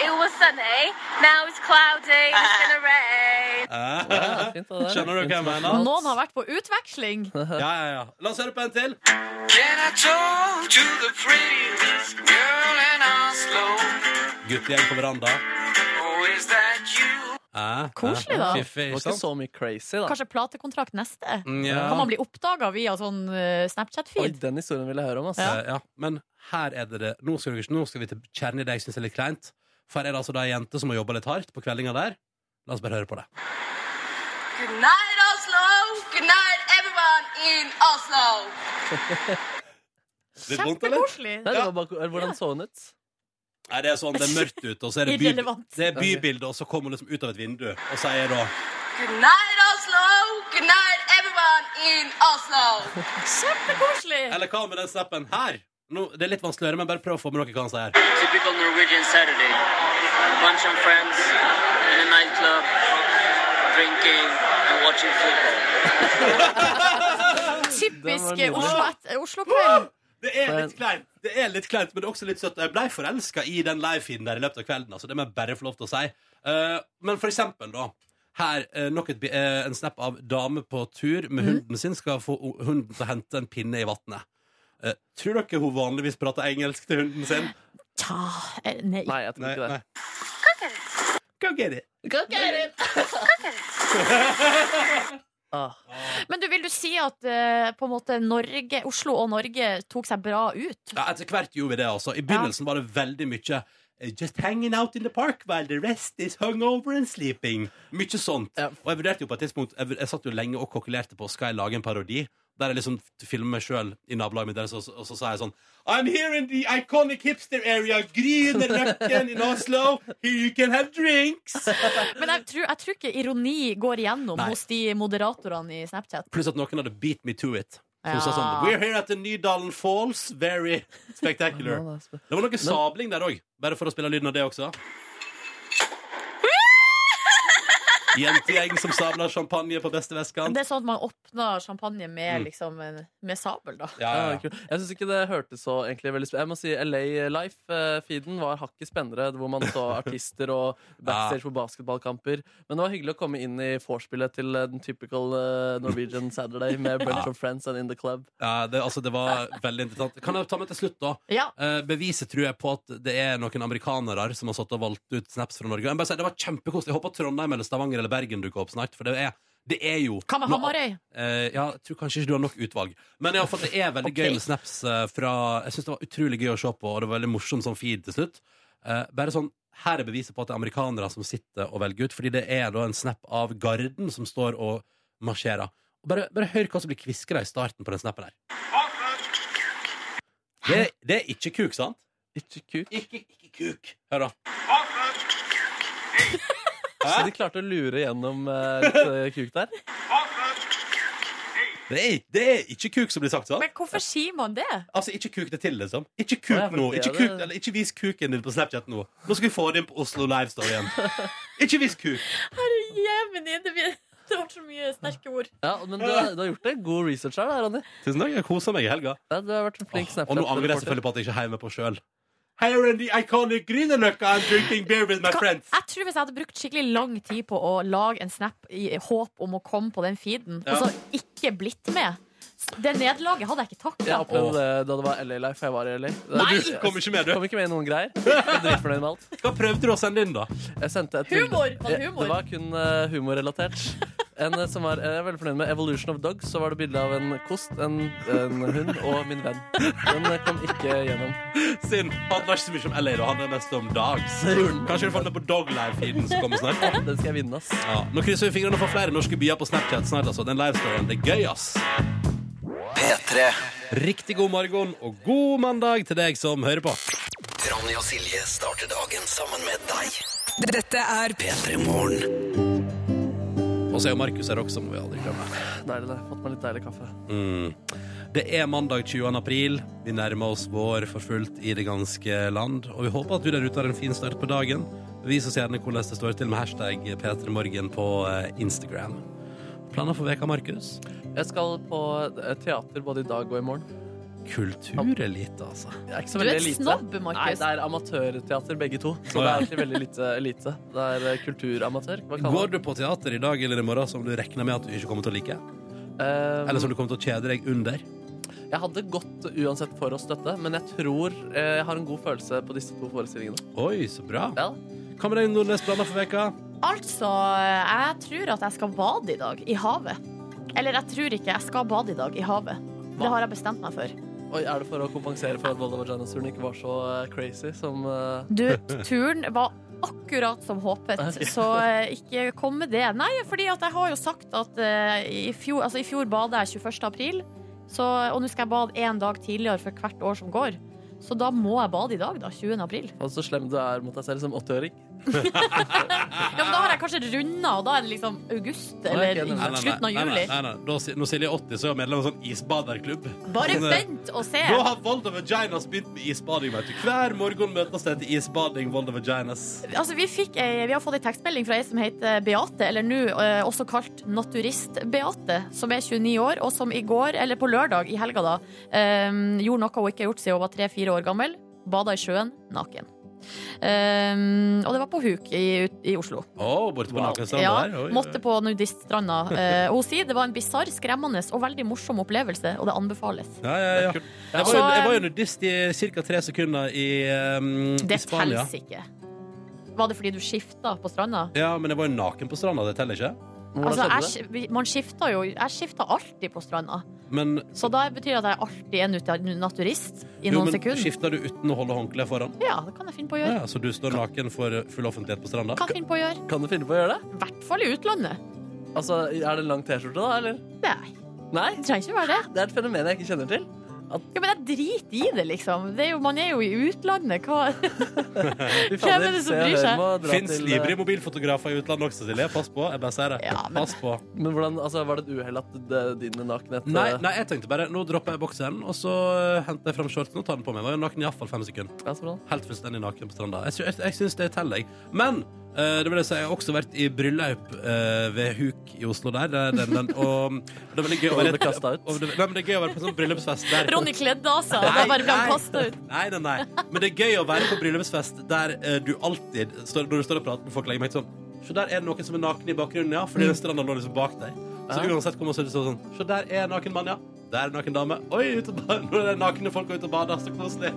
Speaker 9: it was sunny. Now it's cloudy. It's gonna rain.
Speaker 1: Eh,
Speaker 3: Ja, fint, det der.
Speaker 1: Skjønner du hva jeg mener?
Speaker 3: Internasjonalt.
Speaker 2: Noen har vært på utveksling!
Speaker 1: ja, ja, ja. La oss høre på en til.
Speaker 4: Then I talk to the prettiest girl in Oslo.
Speaker 1: Guttegjeng på veranda.
Speaker 4: Oh, is that you?
Speaker 1: Eh, eh,
Speaker 2: Koselig, da.
Speaker 1: Fiffig,
Speaker 3: Det var
Speaker 1: ikke
Speaker 3: ikke
Speaker 1: sant?
Speaker 3: så mye crazy, da.
Speaker 2: Kanskje platekontrakt neste?
Speaker 1: Mm, ja.
Speaker 2: Kan man bli oppdaga via sånn eh,
Speaker 3: Oi,
Speaker 2: Snapchat-feed?
Speaker 3: den historien vil jeg høre om, ass.
Speaker 1: Eh, ja. Men her er det det Nå skal, dere- nå skal vi til kjernen i det jeg syns er litt kleint. For her er det altså ei jente som har jobba litt hardt på kveldinga der. La oss bare høre på det.
Speaker 9: Good night, Oslo. Good night, everyone in Oslo.
Speaker 1: Litt vondt, eller?
Speaker 2: Kjempekoselig!
Speaker 3: Nei, det var bare, eller, hvordan så hun ut?
Speaker 1: Nei, det er sånn, det er mørkt ute, og så er det, by,
Speaker 2: Irrelevant.
Speaker 1: det er bybildet, og så kommer hun liksom ut av et vindu og sier da
Speaker 9: Good night, Oslo. Good night, everyone in Oslo.
Speaker 2: Kjempekoselig!
Speaker 1: Eller hva med den snappen her? Nå, det er litt vanskelig å høre, men bare prøv å få med dere hva han sier.
Speaker 10: Typical Norwegian Saturday. Bunch of friends in a nightclub, drinking and watching football.
Speaker 2: Typisk eh,
Speaker 3: Den var nydelig.
Speaker 2: Oslo- Oslo-kveld.
Speaker 1: Det er litt kleint, det er litt kleint, men det er også litt søtt. Jeg ble forelska i den live-feeden der i løpet av kvelden, altså. Det må jeg bare få lov til å si. Eh, men for eksempel, da. Her, eh, nok et, bi- eh, en snap av dame på tur med hunden sin skal få o- hunden til å hente en pinne i vannet. Eh, tror dere hun vanligvis prater engelsk til hunden sin?
Speaker 2: Ta eh, Nei.
Speaker 3: Nei, jeg tror ikke det.
Speaker 1: Go get it.
Speaker 3: Ah,
Speaker 2: Men du, vil du si at eh, på en måte Norge, Oslo og Norge tok seg bra ut?
Speaker 1: Ja, etter hvert gjorde vi det, altså. I begynnelsen var det veldig mye eh, Just hanging out in the park while the rest is hungover and sleeping. Mye sånt.
Speaker 3: Ja.
Speaker 1: Og jeg vurderte jo på et tidspunkt Jeg, jeg satt jo lenge og kokkelerte på skal jeg lage en parodi. Der jeg liksom filmer meg sjøl i nabolaget mitt, deres, og, så- og så sa jeg sånn I'm here in the iconic hipster area, Grünerløkken in Oslo. Here you can have drinks.
Speaker 2: Men jeg tror, jeg tror ikke ironi går igjennom
Speaker 1: Nei.
Speaker 2: hos de moderatorene i Snapchat.
Speaker 1: Pluss at noen hadde beat me to it. Som sa sånn We're here at the Nydalen Falls. Very spectacular. Det var noe sabling der òg, bare for å spille lyden av det også. Jentegjeng som sabler champagne på beste vestkant.
Speaker 2: Det er sånn at man åpner champagne med,
Speaker 3: Mm.
Speaker 2: liksom, en, med sabel, da.
Speaker 3: Ja, kult. Jeg syns ikke det hørtes så egentlig veldig sp- Jeg må si LA Life-feeden eh, var hakket spennere, hvor man så artister og backstage på basketballkamper. Men det var hyggelig å komme inn i vorspielet til eh, den typical eh, Norwegian Saturday med bunch
Speaker 1: Ja.
Speaker 3: of friends and in the club.
Speaker 1: Ja, det, altså, det var veldig interessant. Kan jeg ta med til slutt, da?
Speaker 2: Ja.
Speaker 1: Eh, beviset tror jeg på at det er noen amerikanere som har satt og valgt ut snaps fra Norge. Jeg må bare si, det var kjempekoselig. Jeg håper Trondheim eller Stavanger eller Bergen dukker opp snart. For det er, det er jo
Speaker 2: Hva med
Speaker 1: Nå-
Speaker 2: Hamarøy?
Speaker 1: Eh, ja, jeg tror kanskje ikke du har nok utvalg. Men i alle fall, det er veldig gøy med snaps eh, fra Jeg syns det var utrolig gøy å se på, og det var veldig morsomt som feed til slutt. Eh, bare sånn her er beviset på at det er amerikanere som sitter og velger ut, fordi det er da en snap av Garden som står og marsjerer. Og Bare, bare hør hva som blir kviskra i starten på den snappen her. Det, det er ikke kuk, sant?
Speaker 3: Ikke kuk.
Speaker 1: Ikke, ikke kuk. Hør, da.
Speaker 3: Så de klarte å lure gjennom eh, litt eh, kuk der.
Speaker 1: Det er, det er ikke kuk som blir sagt, sant?
Speaker 2: Men hvorfor sier man det?
Speaker 1: Altså, ikke kuk det til, liksom. Ikke kuk
Speaker 3: Å, ja, men
Speaker 1: nå.
Speaker 3: det er
Speaker 1: Ikke,
Speaker 3: det.
Speaker 1: kuk, eller, ikke vis kuken din på Snapchat nå. Nå skal vi få det inn på Oslo Live-storyen. ikke vis kuk.
Speaker 2: Jemini, det blir- det ble så mye sterke ord.
Speaker 3: Ja, men du, har- du har gjort det. God research her, da, Ronny.
Speaker 1: Tusen takk. Jeg koser meg i helga.
Speaker 3: Ja, du har vært en flink
Speaker 1: Og nå angrer jeg selvfølgelig på at jeg ikke heier meg på sjøl. Here in the iconic Grünerløkka, I'm drinking beer with my friends.
Speaker 2: Jeg tror Hvis jeg hadde brukt skikkelig lang tid på å lage en snap i håp om å komme på den feeden,
Speaker 1: Ja.
Speaker 2: og så ikke blitt med Det nederlaget hadde jeg ikke
Speaker 3: Jeg
Speaker 2: takla.
Speaker 3: opplevde det da det var LA Life, og jeg var i LA.
Speaker 1: Nei, du kom ikke med, du.
Speaker 3: Kom ikke med i noen greier. Jeg er Dritfornøyd med alt.
Speaker 1: Hva prøvde du å sende inn, da?
Speaker 3: Jeg sendte et
Speaker 2: Humor!
Speaker 3: bilde.
Speaker 2: Var det humor?
Speaker 3: Det var kun eh, humorrelatert. En eh, som var, jeg er veldig fornøyd med Evolution of Dogs. Så var det bilde av en kost, en, en hund og min venn. Den eh, kom ikke gjennom.
Speaker 1: Synd. Handler ikke så mye om LA, da. Handler mest om dogs.
Speaker 3: Det gjorde den.
Speaker 1: Kanskje du får den på Doglife-feeden som kommer snart.
Speaker 3: Den skal jeg vinne, ass.
Speaker 1: Ja. Nå krysser vi fingrene for flere norske byer på Snapchat snart, altså. Den livestoryen. Det er gøy, ass.
Speaker 11: P3.
Speaker 1: Riktig god morgen og god mandag til deg som hører på.
Speaker 11: Ronny og Silje starter dagen sammen med deg.
Speaker 12: Dette er
Speaker 11: P3 Morgen.
Speaker 1: Og så er jo Markus her også, må vi aldri glemme.
Speaker 3: Deilig, det. Fått meg litt deilig kaffe.
Speaker 1: Mm. Det er mandag 20. april. Vi nærmer oss vår for fullt i det ganske land. Og vi håper at du der ute har en fin start på dagen. Vis oss gjerne hvordan det står til med hashtag P3morgen på eh, Instagram. Planer for veka, Markus?
Speaker 3: Jeg skal på eh, teater både i dag og i morgen.
Speaker 1: Kulturelite, altså.
Speaker 3: Det er ikke så
Speaker 2: Du er
Speaker 3: veldig
Speaker 2: et
Speaker 3: elite.
Speaker 2: snobb, Markus.
Speaker 3: Nei, det er amatørteater, begge to. Så det
Speaker 1: Å, ja.
Speaker 3: er egentlig veldig lite elite. Det er eh, kulturamatør. Hva kaller
Speaker 1: Går
Speaker 3: man
Speaker 1: du på teater i dag eller i morgen som du regner med at du ikke kommer til å like?
Speaker 2: Mm.
Speaker 3: det? Eh,
Speaker 1: Eller som du kommer til å kjede deg under?
Speaker 3: Jeg hadde gått uansett for å støtte, men jeg tror eh, jeg har en god følelse på disse to forestillingene.
Speaker 1: Oi, så bra.
Speaker 3: Ja.
Speaker 1: Hva med deg, Nordnes? Planer for veka?
Speaker 2: Altså, jeg tror at jeg skal bade i dag, i havet. Eller jeg tror ikke jeg skal bade i dag, i havet. Det har jeg bestemt meg for.
Speaker 3: Oi, er det for å kompensere for at Volda Vajanas-turen ikke var så eh, crazy som eh,
Speaker 2: Du, turen var akkurat som håpet,
Speaker 3: Ok.
Speaker 2: så eh, ikke kom med det. Nei, fordi at jeg har jo sagt at eh, i fjor, altså, i fjor badet jeg 21. april, så, og nå skal jeg bade én dag tidligere for hvert år som går. Så da må jeg bade i dag, da. 20. april.
Speaker 3: Og så slem du er mot deg selv som 80-åring.
Speaker 2: Ja, men da har jeg kanskje runda, og da er det liksom august
Speaker 3: Nei,
Speaker 2: eller
Speaker 3: ok, nei, nei,
Speaker 2: slutten av
Speaker 1: Nei, nei,
Speaker 2: juli.
Speaker 1: nei, nei. Da, si- når Silje er 80, så er hun medlem av en sånn isbaderklubb.
Speaker 2: Bare
Speaker 1: Sånn, eh,
Speaker 2: vent og se.
Speaker 1: Da har Volda Vaginas begynt med isbading. Vet du. Hver morgen møtes de til isbading. Volda Vaginas.
Speaker 2: Altså, vi, fikk, ei- vi har fått en tekstmelding fra ei som heter Beate, eller nå eh, også kalt Naturist-Beate, som er 29 år, og som i går, eller på lørdag i helga, da, eh, gjorde noe hun ikke har gjort siden hun var 3-4 år gammel. Bada i sjøen naken. Eh, og det var på Huk i, ut- i Oslo.
Speaker 1: Oh, borte på Nakenstrand
Speaker 2: Ja,
Speaker 1: der. Oi, oi.
Speaker 2: måtte på nudiststranda. Eh, og hun sier det var en bisarr, skremmende og veldig morsom opplevelse, og det anbefales.
Speaker 1: Ja, ja, ja. Jeg var, jo, jeg var jo nudist i ca. tre sekunder i, um, i
Speaker 2: um, Det
Speaker 1: Spania.
Speaker 2: teller ikke. Var det fordi du skifta på stranda?
Speaker 1: Ja, men jeg var jo naken på stranda. Det teller ikke.
Speaker 2: Altså, jeg, sk- man skifter jo Jeg skifter alltid på stranda.
Speaker 1: Men,
Speaker 2: Så da betyr det at jeg alltid er nut- naturist i
Speaker 1: jo,
Speaker 2: noen
Speaker 1: men
Speaker 2: sekunder.
Speaker 1: skifter du uten å holde håndkleet foran?
Speaker 2: Ja, det kan jeg finne på å gjøre.
Speaker 1: Ja, så du står naken for full offentlighet på stranda?
Speaker 2: Kan finne på å gjøre.
Speaker 3: Kan du finne på å gjøre
Speaker 2: I
Speaker 3: det?
Speaker 2: hvert fall i utlandet.
Speaker 3: Altså, Er det en lang T-skjorte, da? eller?
Speaker 2: Nei.
Speaker 3: Nei?
Speaker 2: Det trenger ikke være det.
Speaker 3: Det er et fenomen jeg ikke kjenner til.
Speaker 2: Ja, men jeg driter i det, liksom. Det er jo, man er jo i utlandet. Hva Hvem er det som bryr seg?
Speaker 1: Fins
Speaker 3: eh,
Speaker 1: livrig mobilfotografer i utlandet også, Silje. Pass på. Jeg bare sier det. Pass på.
Speaker 3: Men hvordan, altså, Var det et uhell at det- din nakenhet eh,
Speaker 1: Nei, nei, jeg tenkte bare Nå dropper jeg boksen, og så eh, henter jeg fram shortsen og tar den på meg. Jeg var jo naken i iallfall fem sekunder. Helt fullstendig naken på stranda. Jeg, sy- jeg, jeg syns det teller, jeg. Men eh, det vil jeg si, jeg har også vært i bryllup eh, ved Huk i Oslo der. der den, den, og det er veldig gøy å
Speaker 3: Og ble
Speaker 1: være
Speaker 3: kastet
Speaker 1: og det, nei, men det er gøy å være på sånn bryllupsfest der.
Speaker 2: Ronny kledde av seg, og da bare ble han kasta ut.
Speaker 1: Nei, nei, nei. Men det er gøy å være på bryllupsfest der eh, du alltid står, Når du står og prater med folk, legger merke til sånn Se, der er det noen som er naken i bakgrunnen, ja.
Speaker 2: Mm.
Speaker 1: Fordi den stranda lå liksom bak deg. Så uansett kommer man til å stå sånn Se, der er en naken mann, ja. Der er en naken dame. Oi, ute og bader. Nå er det nakne folk ute og bader. Så koselig.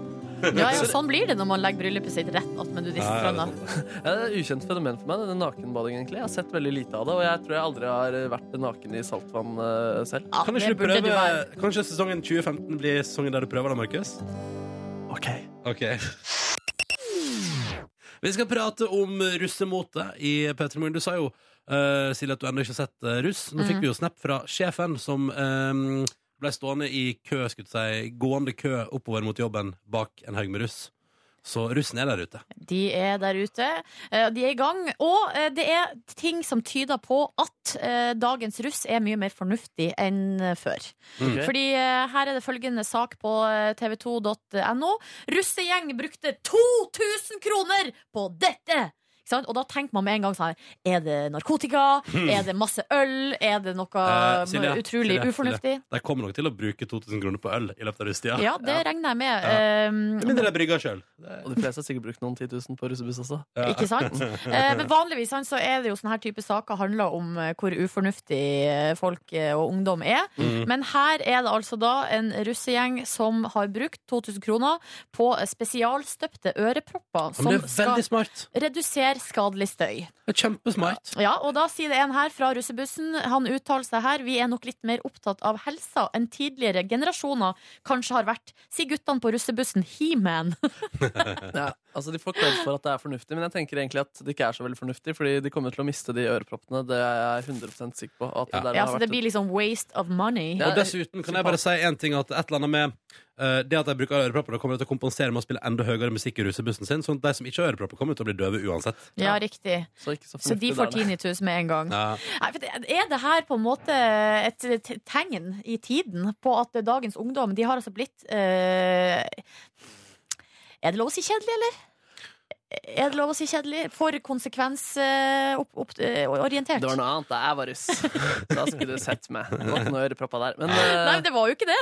Speaker 2: Ja, ja, sånn blir det når man legger bryllupet sitt rett attmed nudiststranda.
Speaker 1: sånn.
Speaker 3: Ja, det er et ukjent fenomen for meg, denne nakenbadingen. egentlig. Jeg har sett veldig lite av det, og jeg tror jeg aldri har vært naken i saltvann eh, selv.
Speaker 1: kan ikke du prøve Kanskje sesongen 2015 blir sesongen der du prøver da, Markus? OK. Vi skal prate om russemote i P3 Morgen. Du sa jo, eh, Silje, at du ennå ikke har sett eh, russ. Nå fikk
Speaker 12: Mhm.
Speaker 1: vi jo snap fra sjefen som eh, ble stående i kø, skulle jeg si, gående kø oppover mot jobben bak en haug med russ. Så russen er der ute.
Speaker 2: De er der ute, eh, de er i gang. Og eh, det er ting som tyder på at eh, dagens russ er mye mer fornuftig enn eh, før.
Speaker 9: Mm. Ok.
Speaker 2: Fordi eh, her er det følgende sak på eh, tv2.no. Russegjeng brukte 2000 kroner på dette! Ikke sant? Og da tenker man med en gang sånn her Er det narkotika?
Speaker 1: Hmm.
Speaker 2: Er det masse øl? Er det noe
Speaker 1: Eh, Silje,
Speaker 2: utrolig
Speaker 1: Silje, Silje,
Speaker 2: ufornuftig?
Speaker 1: De kommer nok til å bruke 2000 kroner på øl i løpet av russetida.
Speaker 2: Ja, det regner jeg med.
Speaker 1: Ja.
Speaker 2: Eh,
Speaker 1: Med mindre de brygger sjøl.
Speaker 3: Og de fleste har sikkert brukt noen 10 000 på russebuss også.
Speaker 2: Ikke sant? Eh, men vanligvis sant, så er det jo sånne her type saker handler om eh, hvor ufornuftig eh, folk eh, og ungdom er.
Speaker 9: Mm.
Speaker 2: Men her er det altså da en russegjeng som har brukt 2000 kroner på eh, spesialstøpte ørepropper
Speaker 1: Men
Speaker 2: som
Speaker 1: det er
Speaker 2: sånn skal
Speaker 1: veldig smart.
Speaker 2: redusere skadelig støy.
Speaker 1: Det er kjempesmart.
Speaker 2: Ja, og da sier det en her fra russebussen. Han uttaler seg her. Vi er nok litt mer opptatt av helsa enn tidligere generasjoner kanskje har vært. Si guttene på russebussen He-Man.
Speaker 3: Ja, altså De får kred for at det er fornuftig, men jeg tenker egentlig at det ikke er så veldig fornuftig, fordi de kommer til å miste de øreproppene. Det er jeg 100 sikker på. At det der
Speaker 2: Ja,
Speaker 3: har
Speaker 2: så
Speaker 3: vært
Speaker 2: det blir liksom waste of money.
Speaker 1: og dessuten kan jeg bare si en ting at et eller annet med eh, det at de bruker ørepropper, da kommer de til å kompensere med å spille enda høyere musikk i russebussen sin. Sånn at de som ikke har ørepropper, kommer til å bli døve uansett.
Speaker 2: Ja, riktig.
Speaker 3: Så,
Speaker 2: de får tinnitus med en gang.
Speaker 1: Ja.
Speaker 2: Nei, for det- er det her på en måte et t- tegn i tiden på at dagens ungdom de har altså blitt eh, Er det lov å si kjedelig, eller? Er det lov å si kjedelig? For konsekvensorientert.
Speaker 3: Det var noe annet da jeg var russ. Da skulle du sett meg. Det var ikke noe ørepropper der. Men eh,
Speaker 2: Nei, det var jo ikke det.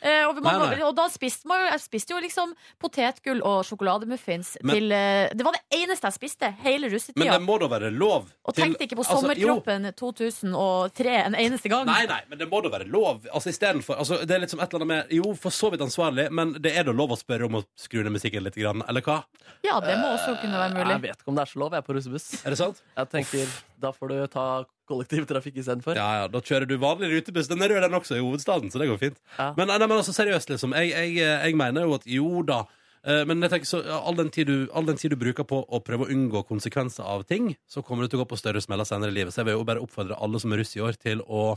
Speaker 2: Eh, og, man,
Speaker 3: Nei, nei.
Speaker 2: og da spiste man jo Jeg spiste jo liksom potetgull og sjokolademuffins
Speaker 1: Men-
Speaker 2: til eh, Det var det eneste jeg spiste hele russetida.
Speaker 1: Men det må da være lov
Speaker 2: Og
Speaker 1: til-
Speaker 2: tenkte ikke på
Speaker 1: altså, jo,
Speaker 2: sommerkroppen 2003 en eneste gang.
Speaker 1: Nei, nei, men det må da være lov. Altså, istedenfor altså, Det er litt som et eller annet med Jo, for så vidt ansvarlig, men det er da lov å spørre om å skru ned musikken litt, grann, eller hva?
Speaker 2: Ja, det må også kunne være mulig.
Speaker 3: eh, Jeg vet ikke om det er så lov, jeg er på russebuss.
Speaker 1: Er det sant?
Speaker 3: Jeg tenker, Da får du ta kollektivtrafikk istedenfor.
Speaker 1: Ja, ja, da kjører du vanlig rutebuss. Den er rød, den også, i hovedstaden, så det går fint. Men, nei, men altså, seriøst, liksom. Jeg, jeg, jeg mener jo at jo da. eh, Men jeg tenker så, ja, all, den tid du, all den tid du bruker på å prøve å unngå konsekvenser av ting, så kommer du til å gå på større smeller senere i livet. Så jeg vil jo bare oppfordre alle som er russ i år, til å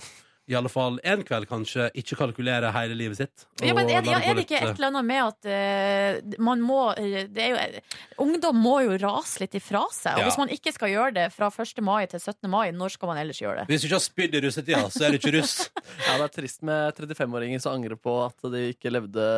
Speaker 1: i alle fall en kveld kanskje ikke kalkulere hele livet sitt.
Speaker 2: Ja, men
Speaker 1: og
Speaker 2: er det,
Speaker 1: la
Speaker 2: ja,
Speaker 1: gå
Speaker 2: er det ikke
Speaker 1: litt,
Speaker 2: et eller annet med at eh, man må eh, det er jo, eh, Ungdom må jo rase litt ifra seg. Og
Speaker 1: Ja.
Speaker 2: hvis man ikke skal gjøre det fra 1. mai til 17. mai, når skal man ellers gjøre
Speaker 1: eh,
Speaker 2: det?
Speaker 1: Hvis du ikke har spydd i russetida, så er du ikke russ.
Speaker 3: Ja, Det er trist med 35-åringer som angrer på at de ikke levde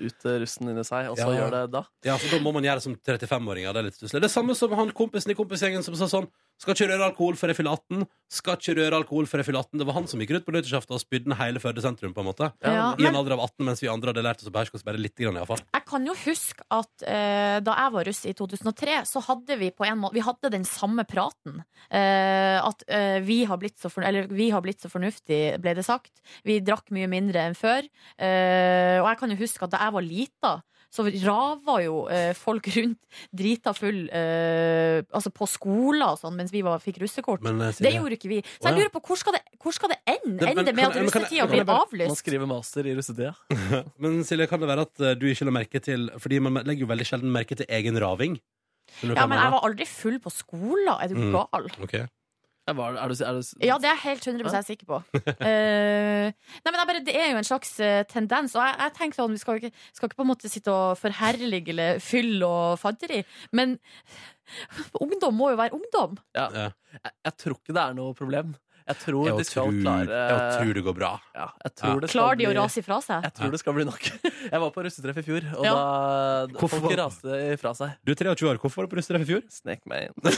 Speaker 3: ut russen inni seg, og så
Speaker 1: Ja.
Speaker 3: gjør det da.
Speaker 1: Ja, for da må man gjøre det som 35-åringer. Det er litt stusslig. Det er samme som han kompisen i kompisgjengen som sa sånn Skal ikke røre alkohol før jeg fyller 18. Skal ikke røre alkohol før jeg fyller 18. Det var han som gikk rundt på nyttårsaften og spydde den hele Førde sentrum, på en måte.
Speaker 2: Ja,
Speaker 1: I
Speaker 2: men-
Speaker 1: en alder av 18, mens vi andre hadde lært oss å beherske oss bare litt, grann, iallfall.
Speaker 2: Jeg kan jo huske at eh, da jeg var russ i 2003, så hadde vi på en måte Vi hadde den samme praten. Eh, at eh, vi, har blitt så fornu- eller, vi har blitt så fornuftig, ble det sagt. Vi drakk mye mindre enn før. Eh, og jeg kan jo huske at da jeg var lita, så rava jo eh, folk rundt drita full eh, altså på skoler og sånn, mens vi var, fikk russekort.
Speaker 3: Men, eh, Silje-
Speaker 2: det gjorde ikke vi.
Speaker 3: Å,
Speaker 2: Så
Speaker 3: ja.
Speaker 2: jeg lurer på hvor skal det, hvor skal det ende?
Speaker 1: Det- men
Speaker 2: Ende med at
Speaker 1: kan- men kan jeg-
Speaker 2: russetida
Speaker 1: kan jeg
Speaker 2: blir
Speaker 1: bare-
Speaker 3: Man
Speaker 2: avlyst?
Speaker 3: skriver master i russetida.
Speaker 1: Men Silje, kan det være at eh, du ikke la merke til Fordi man legger jo veldig sjelden merke til egen raving. Skjønner du hva
Speaker 2: Ja, men jeg
Speaker 1: mener?
Speaker 2: var aldri full på skolen. Er du
Speaker 1: Mm.
Speaker 2: gal?
Speaker 1: Ok.
Speaker 3: Ja, hva Er, det- er, du- er du-
Speaker 2: Ja, det er jeg helt 100 sikker på. Eh, nei, men jeg bare, Det er jo en slags eh, tendens. Og jeg, jeg tenker sånn, Vi skal jo ikke, skal ikke på en måte sitte og forherlige eller fylle og fanteri, men ungdom må jo være ungdom.
Speaker 3: Ja. Jeg, jeg tror ikke det er noe problem. Jeg tror
Speaker 1: Jeg
Speaker 3: de skal
Speaker 1: tror-
Speaker 3: klare
Speaker 1: jeg tror det går bra.
Speaker 3: Ja, jeg tror
Speaker 1: Ja.
Speaker 3: det skal
Speaker 2: Klarer de å
Speaker 3: bli-
Speaker 2: rase ifra seg?
Speaker 3: Jeg tror det skal bli nok. Jeg var på russetreff i fjor, og
Speaker 2: Ja.
Speaker 3: da Hvorfor? folk raste ifra seg.
Speaker 1: Du er 23 år, hvorfor var du på russetreff i fjor?
Speaker 3: Snek meg inn.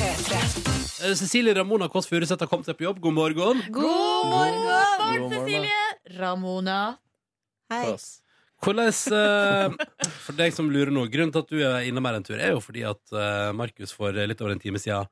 Speaker 1: Eh, Cecilie Ramona Kåss Furuseth har kommet seg på jobb. God morgen.
Speaker 2: God morgen,
Speaker 1: God morgen.
Speaker 2: Cecilie! Ramona. Hei.
Speaker 1: Hvordan, eh, for deg som lurer nå, grunnen til at du er innom her en tur, er jo fordi at eh, Markus for litt over en time siden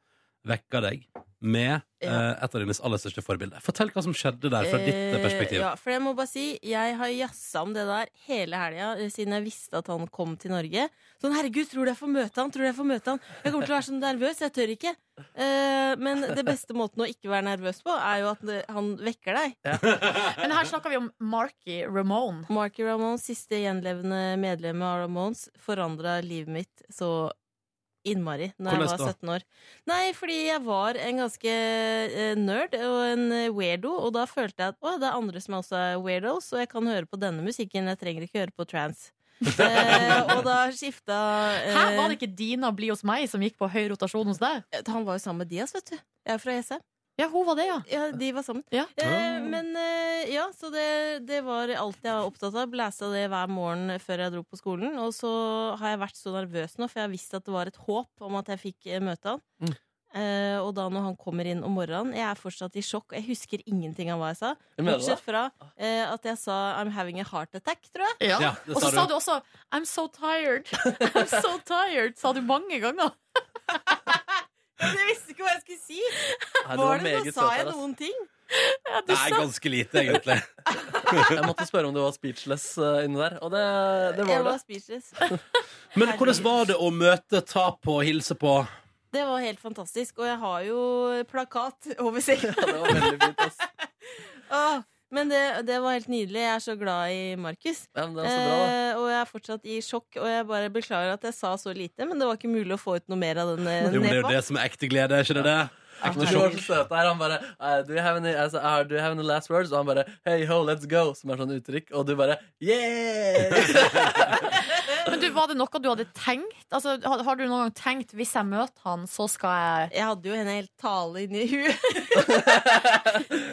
Speaker 1: vekka deg med eh, et av dines aller største forbilder. Fortell hva som skjedde der fra ditt eh,
Speaker 12: Eh,
Speaker 1: perspektiv.
Speaker 12: Ja, for jeg må bare si, jeg har jassa om det der hele helga eh, siden jeg visste at han kom til Norge. Sånn, herregud, tror du jeg får møte han? Tror du jeg får møte han? Jeg kommer til å være så nervøs, jeg tør ikke. Eh, men det beste måten å ikke være nervøs på, er jo at eh, han vekker deg.
Speaker 2: Men her snakker vi om Marky Ramone.
Speaker 12: Marky Ramones, siste gjenlevende medlem av Ramones, forandra livet mitt så innmari da jeg
Speaker 2: Hvordan
Speaker 12: var
Speaker 2: da?
Speaker 12: 17 år. Nei, fordi jeg var en ganske eh, nerd og en eh, weirdo, og da følte jeg at å, det er andre som også er weirdos, og jeg kan høre på denne musikken, jeg trenger ikke høre på trans. eh, og da skifta eh,
Speaker 2: Hæ, Var det ikke Dina Bli hos meg som gikk på høy rotasjon hos deg?
Speaker 12: Han var jo sammen med Dias, vet du. Jeg er fra E Jessheim.
Speaker 2: Ja, hun var det, ja.
Speaker 12: de var sammen.
Speaker 2: Ah.
Speaker 12: Eh, men eh, ja, så det, det var alt jeg var opptatt av. Blæsa det hver morgen før jeg dro på skolen. Og så har jeg vært så nervøs nå, for jeg har visst at det var et håp om at jeg fikk eh, møte han. Eh, og da når han kommer inn om morgenen Jeg er fortsatt i sjokk. og Jeg husker ingenting av hva jeg sa.
Speaker 2: Jeg mener det.
Speaker 12: Bortsett fra eh, at jeg sa 'I'm having a heart attack', tror jeg.
Speaker 2: Ja. og så sa du også 'I'm so tired'. I'm so tired, sa du mange ganger.
Speaker 12: Jeg visste ikke hva jeg skulle si!
Speaker 3: Nei, du var
Speaker 12: var det
Speaker 3: meget
Speaker 12: Nå sa
Speaker 3: søt
Speaker 12: jeg
Speaker 3: der, ass.
Speaker 12: noen ting.
Speaker 1: Det er ganske lite, egentlig.
Speaker 3: Jeg måtte spørre om du var speechless eh, inni der, og det, det
Speaker 12: jeg
Speaker 3: var det.
Speaker 12: var speechless.
Speaker 1: Men hvordan var det å møte, ta på, hilse på?
Speaker 12: Det var helt fantastisk, og jeg har jo plakat over senga. Åh, men det, det var helt nydelig. Jeg er så glad i Markus.
Speaker 3: det var så bra, da.
Speaker 12: Eh, og jeg er fortsatt i sjokk, og jeg bare beklager at jeg sa så lite, men det var ikke mulig å få ut noe mer av den eh,
Speaker 1: Jo, men det er jo
Speaker 12: nepa.
Speaker 1: det som er ekte glede, er ikke det det?
Speaker 3: Men de
Speaker 1: Ekte
Speaker 3: var så
Speaker 1: sjokk.
Speaker 3: søte her. Han bare eh, do you, have any, altså, eh, do you have any last words? Og han bare Hey ho, let's go! Som er sånn uttrykk. Og du bare Yeah!
Speaker 2: Men du, var det noe du hadde tenkt? Altså, har, har du noen gang tenkt 'hvis jeg møter han, så skal jeg'
Speaker 12: Jeg hadde jo en hel tale inni huet.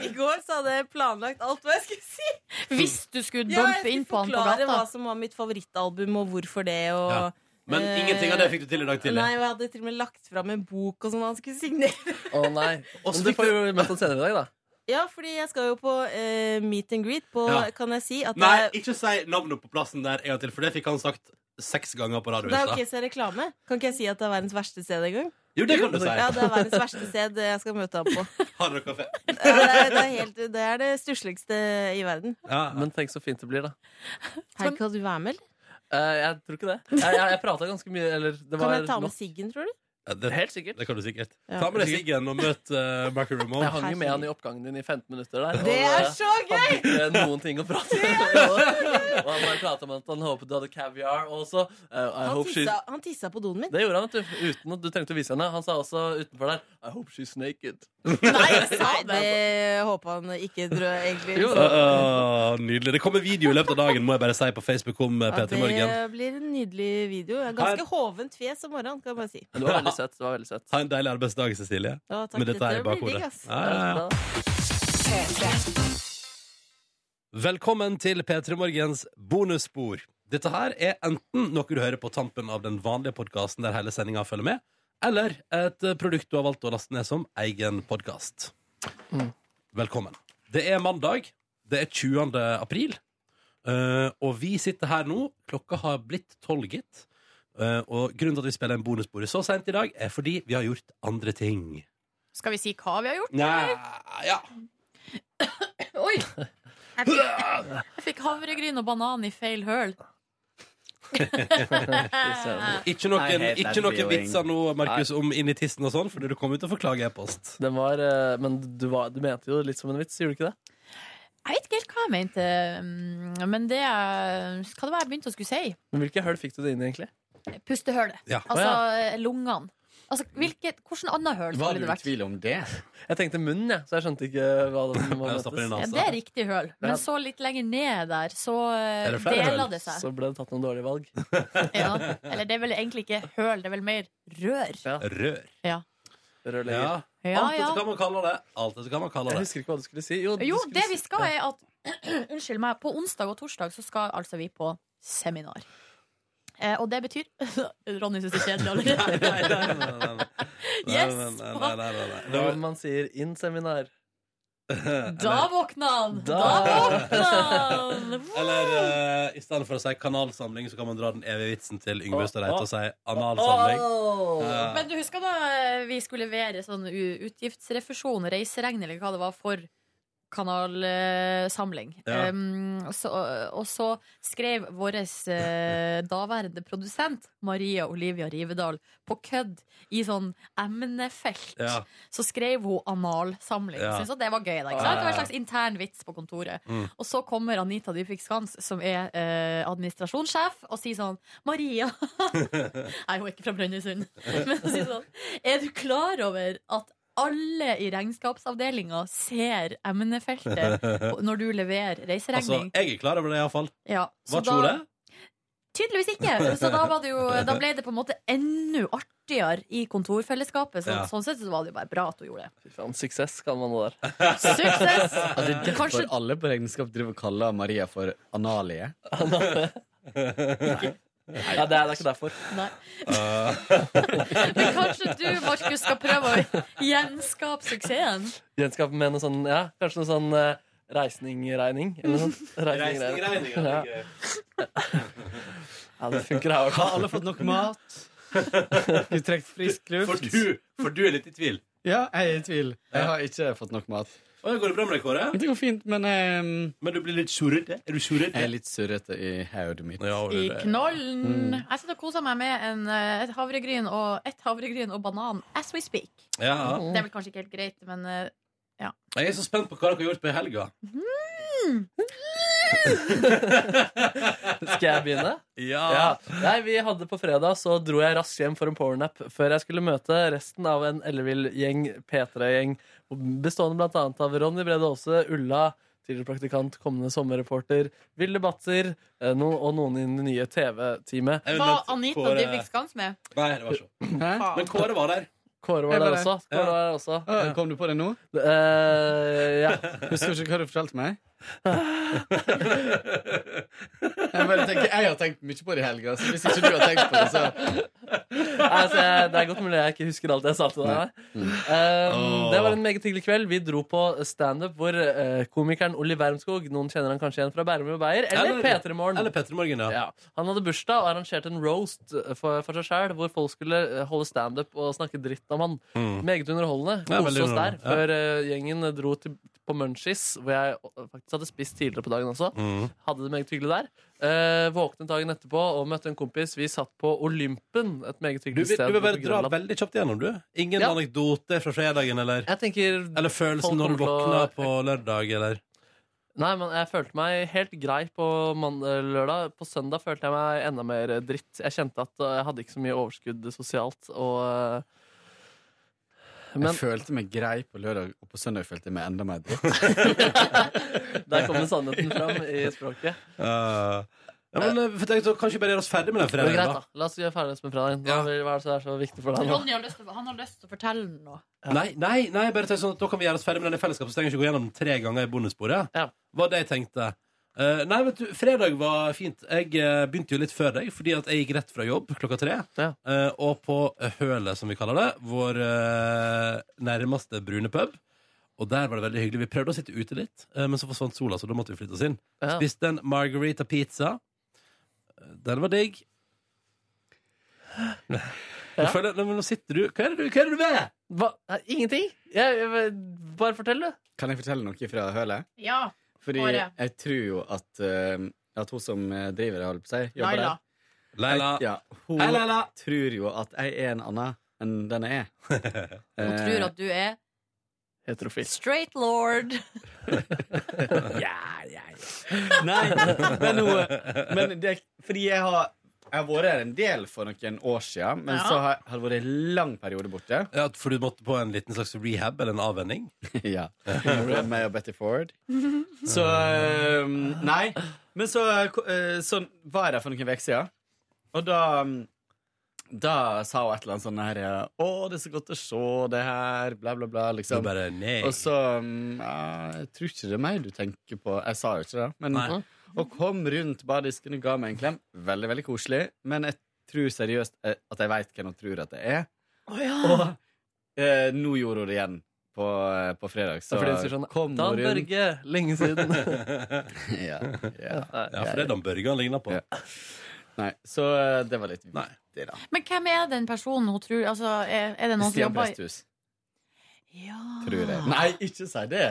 Speaker 12: I går så hadde jeg planlagt alt hva jeg skulle si.
Speaker 2: Hvis du skulle
Speaker 12: Mm. Ja, jeg
Speaker 2: dumpe
Speaker 12: skulle
Speaker 2: inn på han på
Speaker 12: forklare hva
Speaker 2: gata?
Speaker 12: som var mitt favorittalbum, og hvorfor det, og
Speaker 1: Ja. Men
Speaker 12: eh,
Speaker 1: ingenting av det fikk du til i dag tidlig.
Speaker 12: Nei, og jeg hadde til og med lagt fram en bok og sånn han skulle signere.
Speaker 3: Å nei. Men du får jo møtt ham senere i dag, da.
Speaker 12: Ja, fordi jeg skal jo på eh, meet and greet på
Speaker 1: Ja.
Speaker 12: Kan jeg si at
Speaker 1: Nei,
Speaker 12: det er
Speaker 1: ikke si navnet på plassen der en gang til, for det fikk han sagt seks ganger på radio.
Speaker 12: det er
Speaker 1: i
Speaker 12: ok,
Speaker 1: stad.
Speaker 12: så er det reklame. Kan ikke jeg si at det er verdens verste sted engang?
Speaker 1: Jo, det kan du si.
Speaker 12: Ja, det er verdens verste sted jeg skal møte ham på.
Speaker 1: Har dere kaffe?
Speaker 12: Ja, det, er, det, er helt, det er det stussligste i verden.
Speaker 3: Men tenk så fint det blir, da.
Speaker 12: Hei, kan du være med, eller?
Speaker 3: Eh, jeg tror ikke det. Jeg, jeg, jeg prata ganske mye, eller det var
Speaker 12: Kan jeg ta med
Speaker 3: nok.
Speaker 12: siggen, tror du?
Speaker 1: Ja, det,
Speaker 3: Helt sikkert.
Speaker 1: Det kan du sikkert.
Speaker 12: Ja.
Speaker 1: Ta med deg siggen og møt uh, Marky Ramone.
Speaker 3: Jeg hang jo med han i oppgangen din i 15 minutter der.
Speaker 12: Det
Speaker 3: og,
Speaker 12: er
Speaker 3: eh,
Speaker 12: så gøy!
Speaker 3: Hadde ikke eh, noen ting å prate om. Og han bare pratet om at han håpet du hadde caviar også. Eh, I
Speaker 12: Han
Speaker 3: hope she...
Speaker 12: tissa, han tissa på doen min.
Speaker 3: Det gjorde han, vet du. Uten at du trengte å vise henne. Han sa også utenfor der I hope she's naked.
Speaker 12: Nei, det håper han ikke, tror jeg egentlig.
Speaker 1: Jo, ah, nydelig. Det kommer video i løpet av dagen, må jeg bare si, på Facebook om eh,
Speaker 12: Ja,
Speaker 1: P3 Morgen.
Speaker 12: det blir en nydelig video. Ganske hovent fjes om morgenen, kan jeg bare si.
Speaker 1: Det var veldig søtt. Ha en deilig arbeidsdag, Cecilie.
Speaker 12: Ja, takk.
Speaker 1: Med dette her i
Speaker 12: Dette blir digg,
Speaker 1: bakhodet.
Speaker 12: ass.
Speaker 1: Ja, ja, ja. Velkommen til P3 Morgens bonusspor. Dette her er enten noe du hører på tampen av den vanlige podkasten der hele sendinga følger med, eller et eh, produkt du har valgt å laste ned som egen podkast.
Speaker 3: Mm.
Speaker 1: Velkommen. Det er mandag. Det er 20. april. Eh, og vi sitter her nå. Klokka har blitt tolv, gitt. Eh, og grunnen til at vi spiller en bonusspor så seint i dag, er fordi vi har gjort andre ting.
Speaker 2: Skal vi si hva vi har gjort?
Speaker 1: Nei, ja.
Speaker 2: Oi! Jeg fikk, jeg fikk havregryn og banan i feil høl.
Speaker 1: ikke
Speaker 3: I
Speaker 1: noen,
Speaker 3: hate that
Speaker 1: ikke noen
Speaker 3: feeling.
Speaker 1: vitser nå, Markus, om inn i tissen og sånn, fordi du kommer ut og forklager e-post.
Speaker 3: Den var, eh, men du, var, du mente jo litt som en vits, gjorde du ikke det?
Speaker 2: Jeg vet ikke helt hva jeg mente, mm, men det er- Hva det var jeg begynte å skulle si?
Speaker 3: Men hvilke høl fikk du det inn i, egentlig?
Speaker 2: Pustehølet.
Speaker 3: Ja.
Speaker 2: Altså lungene. Altså, hvilket, hvordan annet høl
Speaker 13: Var
Speaker 2: skulle
Speaker 13: du
Speaker 2: det
Speaker 13: i
Speaker 2: vært?
Speaker 13: tvil om det?
Speaker 3: Jeg tenkte munnen, jeg, så jeg skjønte ikke hva det som var.
Speaker 13: stapper i
Speaker 2: Ja,
Speaker 1: altså.
Speaker 2: det er riktig høl,
Speaker 3: Ja.
Speaker 2: men så litt lenger ned der, så eh,
Speaker 3: Er det flere
Speaker 2: deler
Speaker 3: hull?
Speaker 2: det seg.
Speaker 3: Så ble det tatt noen dårlige valg.
Speaker 2: Eller det er vel egentlig ikke høl, det er vel mer rør.
Speaker 1: Rør.
Speaker 2: Ja.
Speaker 1: Ja.
Speaker 2: Ja,
Speaker 1: Alt
Speaker 2: ja.
Speaker 1: etter hva man kaller det. Alt etter hva man kaller det.
Speaker 3: Jeg husker ikke hva du skulle si. Jo,
Speaker 2: Jo, det vi skal er at Unnskyld meg, på onsdag og torsdag så skal altså vi på seminar. Eh, og det betyr Ronny syns det er kjedelig allerede. Yes,
Speaker 1: nei, nei, nei, nei.
Speaker 3: Når man sier inn seminar
Speaker 2: Da våkna han! Da, våkna han!
Speaker 1: Eller eh, i stedet for å si kanalsamling, så kan man dra den evige vitsen til Yngve Østerreit og si analsamling. Eh,
Speaker 2: Men du husker da eh, vi skulle levere sånn u- utgiftsrefusjon, reiseregning eller hva det var for kanalsamling.
Speaker 13: Ja.
Speaker 2: Um, så, og så skrev vår eh, daværende produsent Maria Olivia Rivedal på kødd i sånn emnefelt.
Speaker 13: Ja.
Speaker 2: Så skrev hun analsamling.
Speaker 13: Ja.
Speaker 2: Synes at det var gøy. Da, ikke
Speaker 13: Ja,
Speaker 2: sant?
Speaker 13: ja,
Speaker 2: Det var en
Speaker 13: ja.
Speaker 2: slags intern vits på kontoret.
Speaker 13: Mm.
Speaker 2: Og så kommer Anita Dybvik Skans, som er eh, administrasjonssjef, og sier sånn Maria Nei, hun er ikke fra Brønnøysund. Men å si det sånn, er du klar over at alle i regnskapsavdelinga ser emnefeltet når du leverer
Speaker 1: altså,
Speaker 2: reiseregning?
Speaker 1: jeg er klar over det, iallfall.
Speaker 2: ja, så
Speaker 1: Hva tror
Speaker 2: da-
Speaker 1: du?
Speaker 2: Tydeligvis ikke. Så da, var det jo, da ble det på en måte enda artigere i kontorfellesskapet. Så,
Speaker 3: Ja.
Speaker 2: Sånn sett så var det jo bare bra at hun gjorde det.
Speaker 3: Fy faen, suksess kan man nå der.
Speaker 2: Suksess!
Speaker 13: Ja, det er derfor
Speaker 2: Kanskje-
Speaker 13: alle på regnskap driver og kaller Maria for Analie.
Speaker 3: Ja, det er, det er ikke derfor.
Speaker 2: Nei. Men kanskje du, Markus, skal prøve å gjenskape suksessen?
Speaker 3: Gjenskap med noe sånn, ja, kanskje noe sånn eh, reisning-regning. Eller noe sånt.
Speaker 1: Reisning-regning, ja, det er
Speaker 3: ja, det funker her.
Speaker 13: Har alle fått nok mat? Du trekt frisk luft?
Speaker 1: For du, for du er litt i tvil.
Speaker 13: Ja, jeg er i tvil. Jeg har ikke fått nok mat.
Speaker 1: Å, går det bra med deg, Kåre?
Speaker 13: Det går fint, men
Speaker 1: Men du blir litt surrete? Er du surrete?
Speaker 13: Jeg er litt surrete i hodet mitt.
Speaker 2: I knollen. Jeg sitter og koser meg med en, eh, et havregryn og et havregryn og banan as we speak.
Speaker 1: Ja.
Speaker 2: Det er vel kanskje ikke helt greit, men eh, ja.
Speaker 1: Jeg er så spent på hva dere har gjort på i helga.
Speaker 2: Mm.
Speaker 3: Skal jeg begynne?
Speaker 1: Ja.
Speaker 3: Nei, vi hadde på fredag, så dro jeg raskt hjem for en powernap før jeg skulle møte resten av en ellevill-gjeng, P3-gjeng, bestående blant annet av Ronny Brede Aase, Ulla, tidligere praktikant, kommende sommerreporter, Vilde Batzer eh, no, og noen i det nye TV-teamet.
Speaker 2: Var Anita
Speaker 13: eh,
Speaker 2: Dybvik Skans med?
Speaker 1: Nei, det var
Speaker 13: ikke
Speaker 1: Men Kåre var der.
Speaker 3: Kåre
Speaker 13: Jeg
Speaker 3: var
Speaker 13: var
Speaker 3: der
Speaker 13: der.
Speaker 3: også. Kåre
Speaker 13: Ja.
Speaker 3: var der også. Eh,
Speaker 13: Ja, kom du på det nå?
Speaker 3: ja.
Speaker 13: Husker ikke hva du fortalte meg? Jeg, bare tenker, jeg har tenkt mye på det i helga, så hvis ikke du har tenkt på det, så
Speaker 3: Nei, altså, jeg, det er godt mulig jeg ikke husker alt jeg sa til deg. Um,
Speaker 13: Åh.
Speaker 3: Det var en meget hyggelig kveld. Vi dro på standup hvor eh, komikeren Olli Wermskog Noen kjenner han kanskje igjen fra Bærum og Beyer. Eller,
Speaker 1: Eller-
Speaker 3: P3 Morgen.
Speaker 1: eller P3 Morgen, ja.
Speaker 3: Han hadde bursdag og arrangerte en roast eh, for, for seg sjæl, hvor folk skulle eh, holde standup og snakke dritt om han.
Speaker 1: Mm.
Speaker 3: Meget underholdende.
Speaker 1: Ja, veldig
Speaker 3: Koste oss der
Speaker 1: underholdende. Ja.
Speaker 3: før eh, gjengen dro til, på Munchies, hvor jeg eh, faktisk hadde spist tidligere på dagen også.
Speaker 1: Mm.
Speaker 3: Hadde det meget hyggelig der. Eh, våknet dagen etterpå og møtte en kompis. Vi satt på Olympen. Et meget
Speaker 1: Du,
Speaker 3: hyggelig
Speaker 1: vil-
Speaker 3: sted.
Speaker 1: du vil bare
Speaker 3: på
Speaker 1: dra
Speaker 3: Grønland.
Speaker 1: veldig kjapt gjennom, du. Ingen
Speaker 3: Ja.
Speaker 1: anekdote fra fredagen, eller?
Speaker 3: Jeg tenker
Speaker 1: Eller følelsen
Speaker 3: folk
Speaker 1: når du
Speaker 3: kommer til å-
Speaker 1: våkna på lørdag, eller?
Speaker 3: Nei, men jeg følte meg helt grei på mand- eh, lørdag. På søndag følte jeg meg enda mer dritt. Jeg kjente at eh, jeg hadde ikke så mye overskudd sosialt. Og eh, Men-
Speaker 13: Jeg følte meg grei på lørdag, og på søndag følte jeg meg enda mer dritt.
Speaker 3: der kommer sannheten fram i språket.
Speaker 1: Eh, ja, men eh, for tenk, så Kanskje bare gjøre oss ferdig med den
Speaker 3: Men
Speaker 1: fredagen,
Speaker 3: greit,
Speaker 1: da.
Speaker 3: da. La oss gjøre ferdig med fredagen. Hva vil- hva er det som er så viktig for deg nå?
Speaker 2: Ronny har lyst til, han har lyst til å fortelle noe.
Speaker 1: Nei, nei, nei, bare tenk sånn at da kan vi gjøre oss ferdig med den i fellesskap, så trenger vi ikke gå gjennom den tre ganger i bonusbordet. Var det jeg tenkte. Eh, nei, vet du, fredag var fint. Jeg eh, begynte jo litt før deg, fordi at jeg gikk rett fra jobb klokka tre. Eh, og på eh, Hølet, som vi kaller det, vår eh, nærmeste brune pub. Og der var det veldig hyggelig. Vi prøvde å sitte ute litt, eh, men så forsvant sola, så da måtte vi flytte oss inn.
Speaker 3: Ja.
Speaker 1: Spiste en margarita pizza. eh, Den var digg. Jeg føler, nei, men nå sitter du Hva er det du, hva er det du vil?
Speaker 3: Hva? Nei, Ingenting. Jeg, jeg, bare fortell, du.
Speaker 13: Kan jeg fortelle noe fra hølet?
Speaker 2: Ja.
Speaker 13: Fordi
Speaker 2: Bare.
Speaker 13: jeg tror jo at, eh, at hun som driver det, holder på å si, jobber
Speaker 2: Laila.
Speaker 13: der Jeg, ja, hun
Speaker 1: Hei, Laila.
Speaker 13: tror jo at jeg er en annen enn den jeg er.
Speaker 2: Hun tror at du er
Speaker 3: Heterofil.
Speaker 2: straight lord.
Speaker 13: ja, ja, ja. Nei, men, hun, men det, fordi jeg har Jeg har vært her en del for noen år siden, men
Speaker 1: Ja.
Speaker 13: så har har det vært en lang periode borte.
Speaker 1: Ja, for du måtte på en liten slags rehab eller en avvenning?
Speaker 13: ja. Med meg og Betty Ford. Så eh, Nei. Men så, eh, så var jeg der for noen uker siden, og da um, da sa hun et eller annet sånn her Å, det er så godt å se det her, bla, bla, bla. Liksom.
Speaker 1: Du bare, nei.
Speaker 13: Og så mm, ja, Jeg tror ikke det er meg du tenker på. Jeg sa jo ikke det, men
Speaker 1: Nei.
Speaker 13: Og kom rundt bardisken og ga meg en klem. Veldig, veldig koselig. Men jeg tror seriøst eh, at jeg veit hvem hun tror at det er. Og eh, nå gjorde hun det igjen på, eh, på fredag.
Speaker 3: Så
Speaker 13: Så
Speaker 3: fordi hun sier sånn
Speaker 13: kom
Speaker 3: Dan
Speaker 13: hun rundt.
Speaker 3: Børge, lenge siden.
Speaker 13: ja, ja,
Speaker 1: Ja, for det er Dan Børge han ligner på.
Speaker 13: Nei, så eh, det var litt vittig, da.
Speaker 2: Men hvem er den personen hun tror altså, er, er det noen som
Speaker 13: Stian
Speaker 2: jobber i
Speaker 13: Presthus. Tror
Speaker 3: Ah.
Speaker 13: jeg. Nei, ikke si det!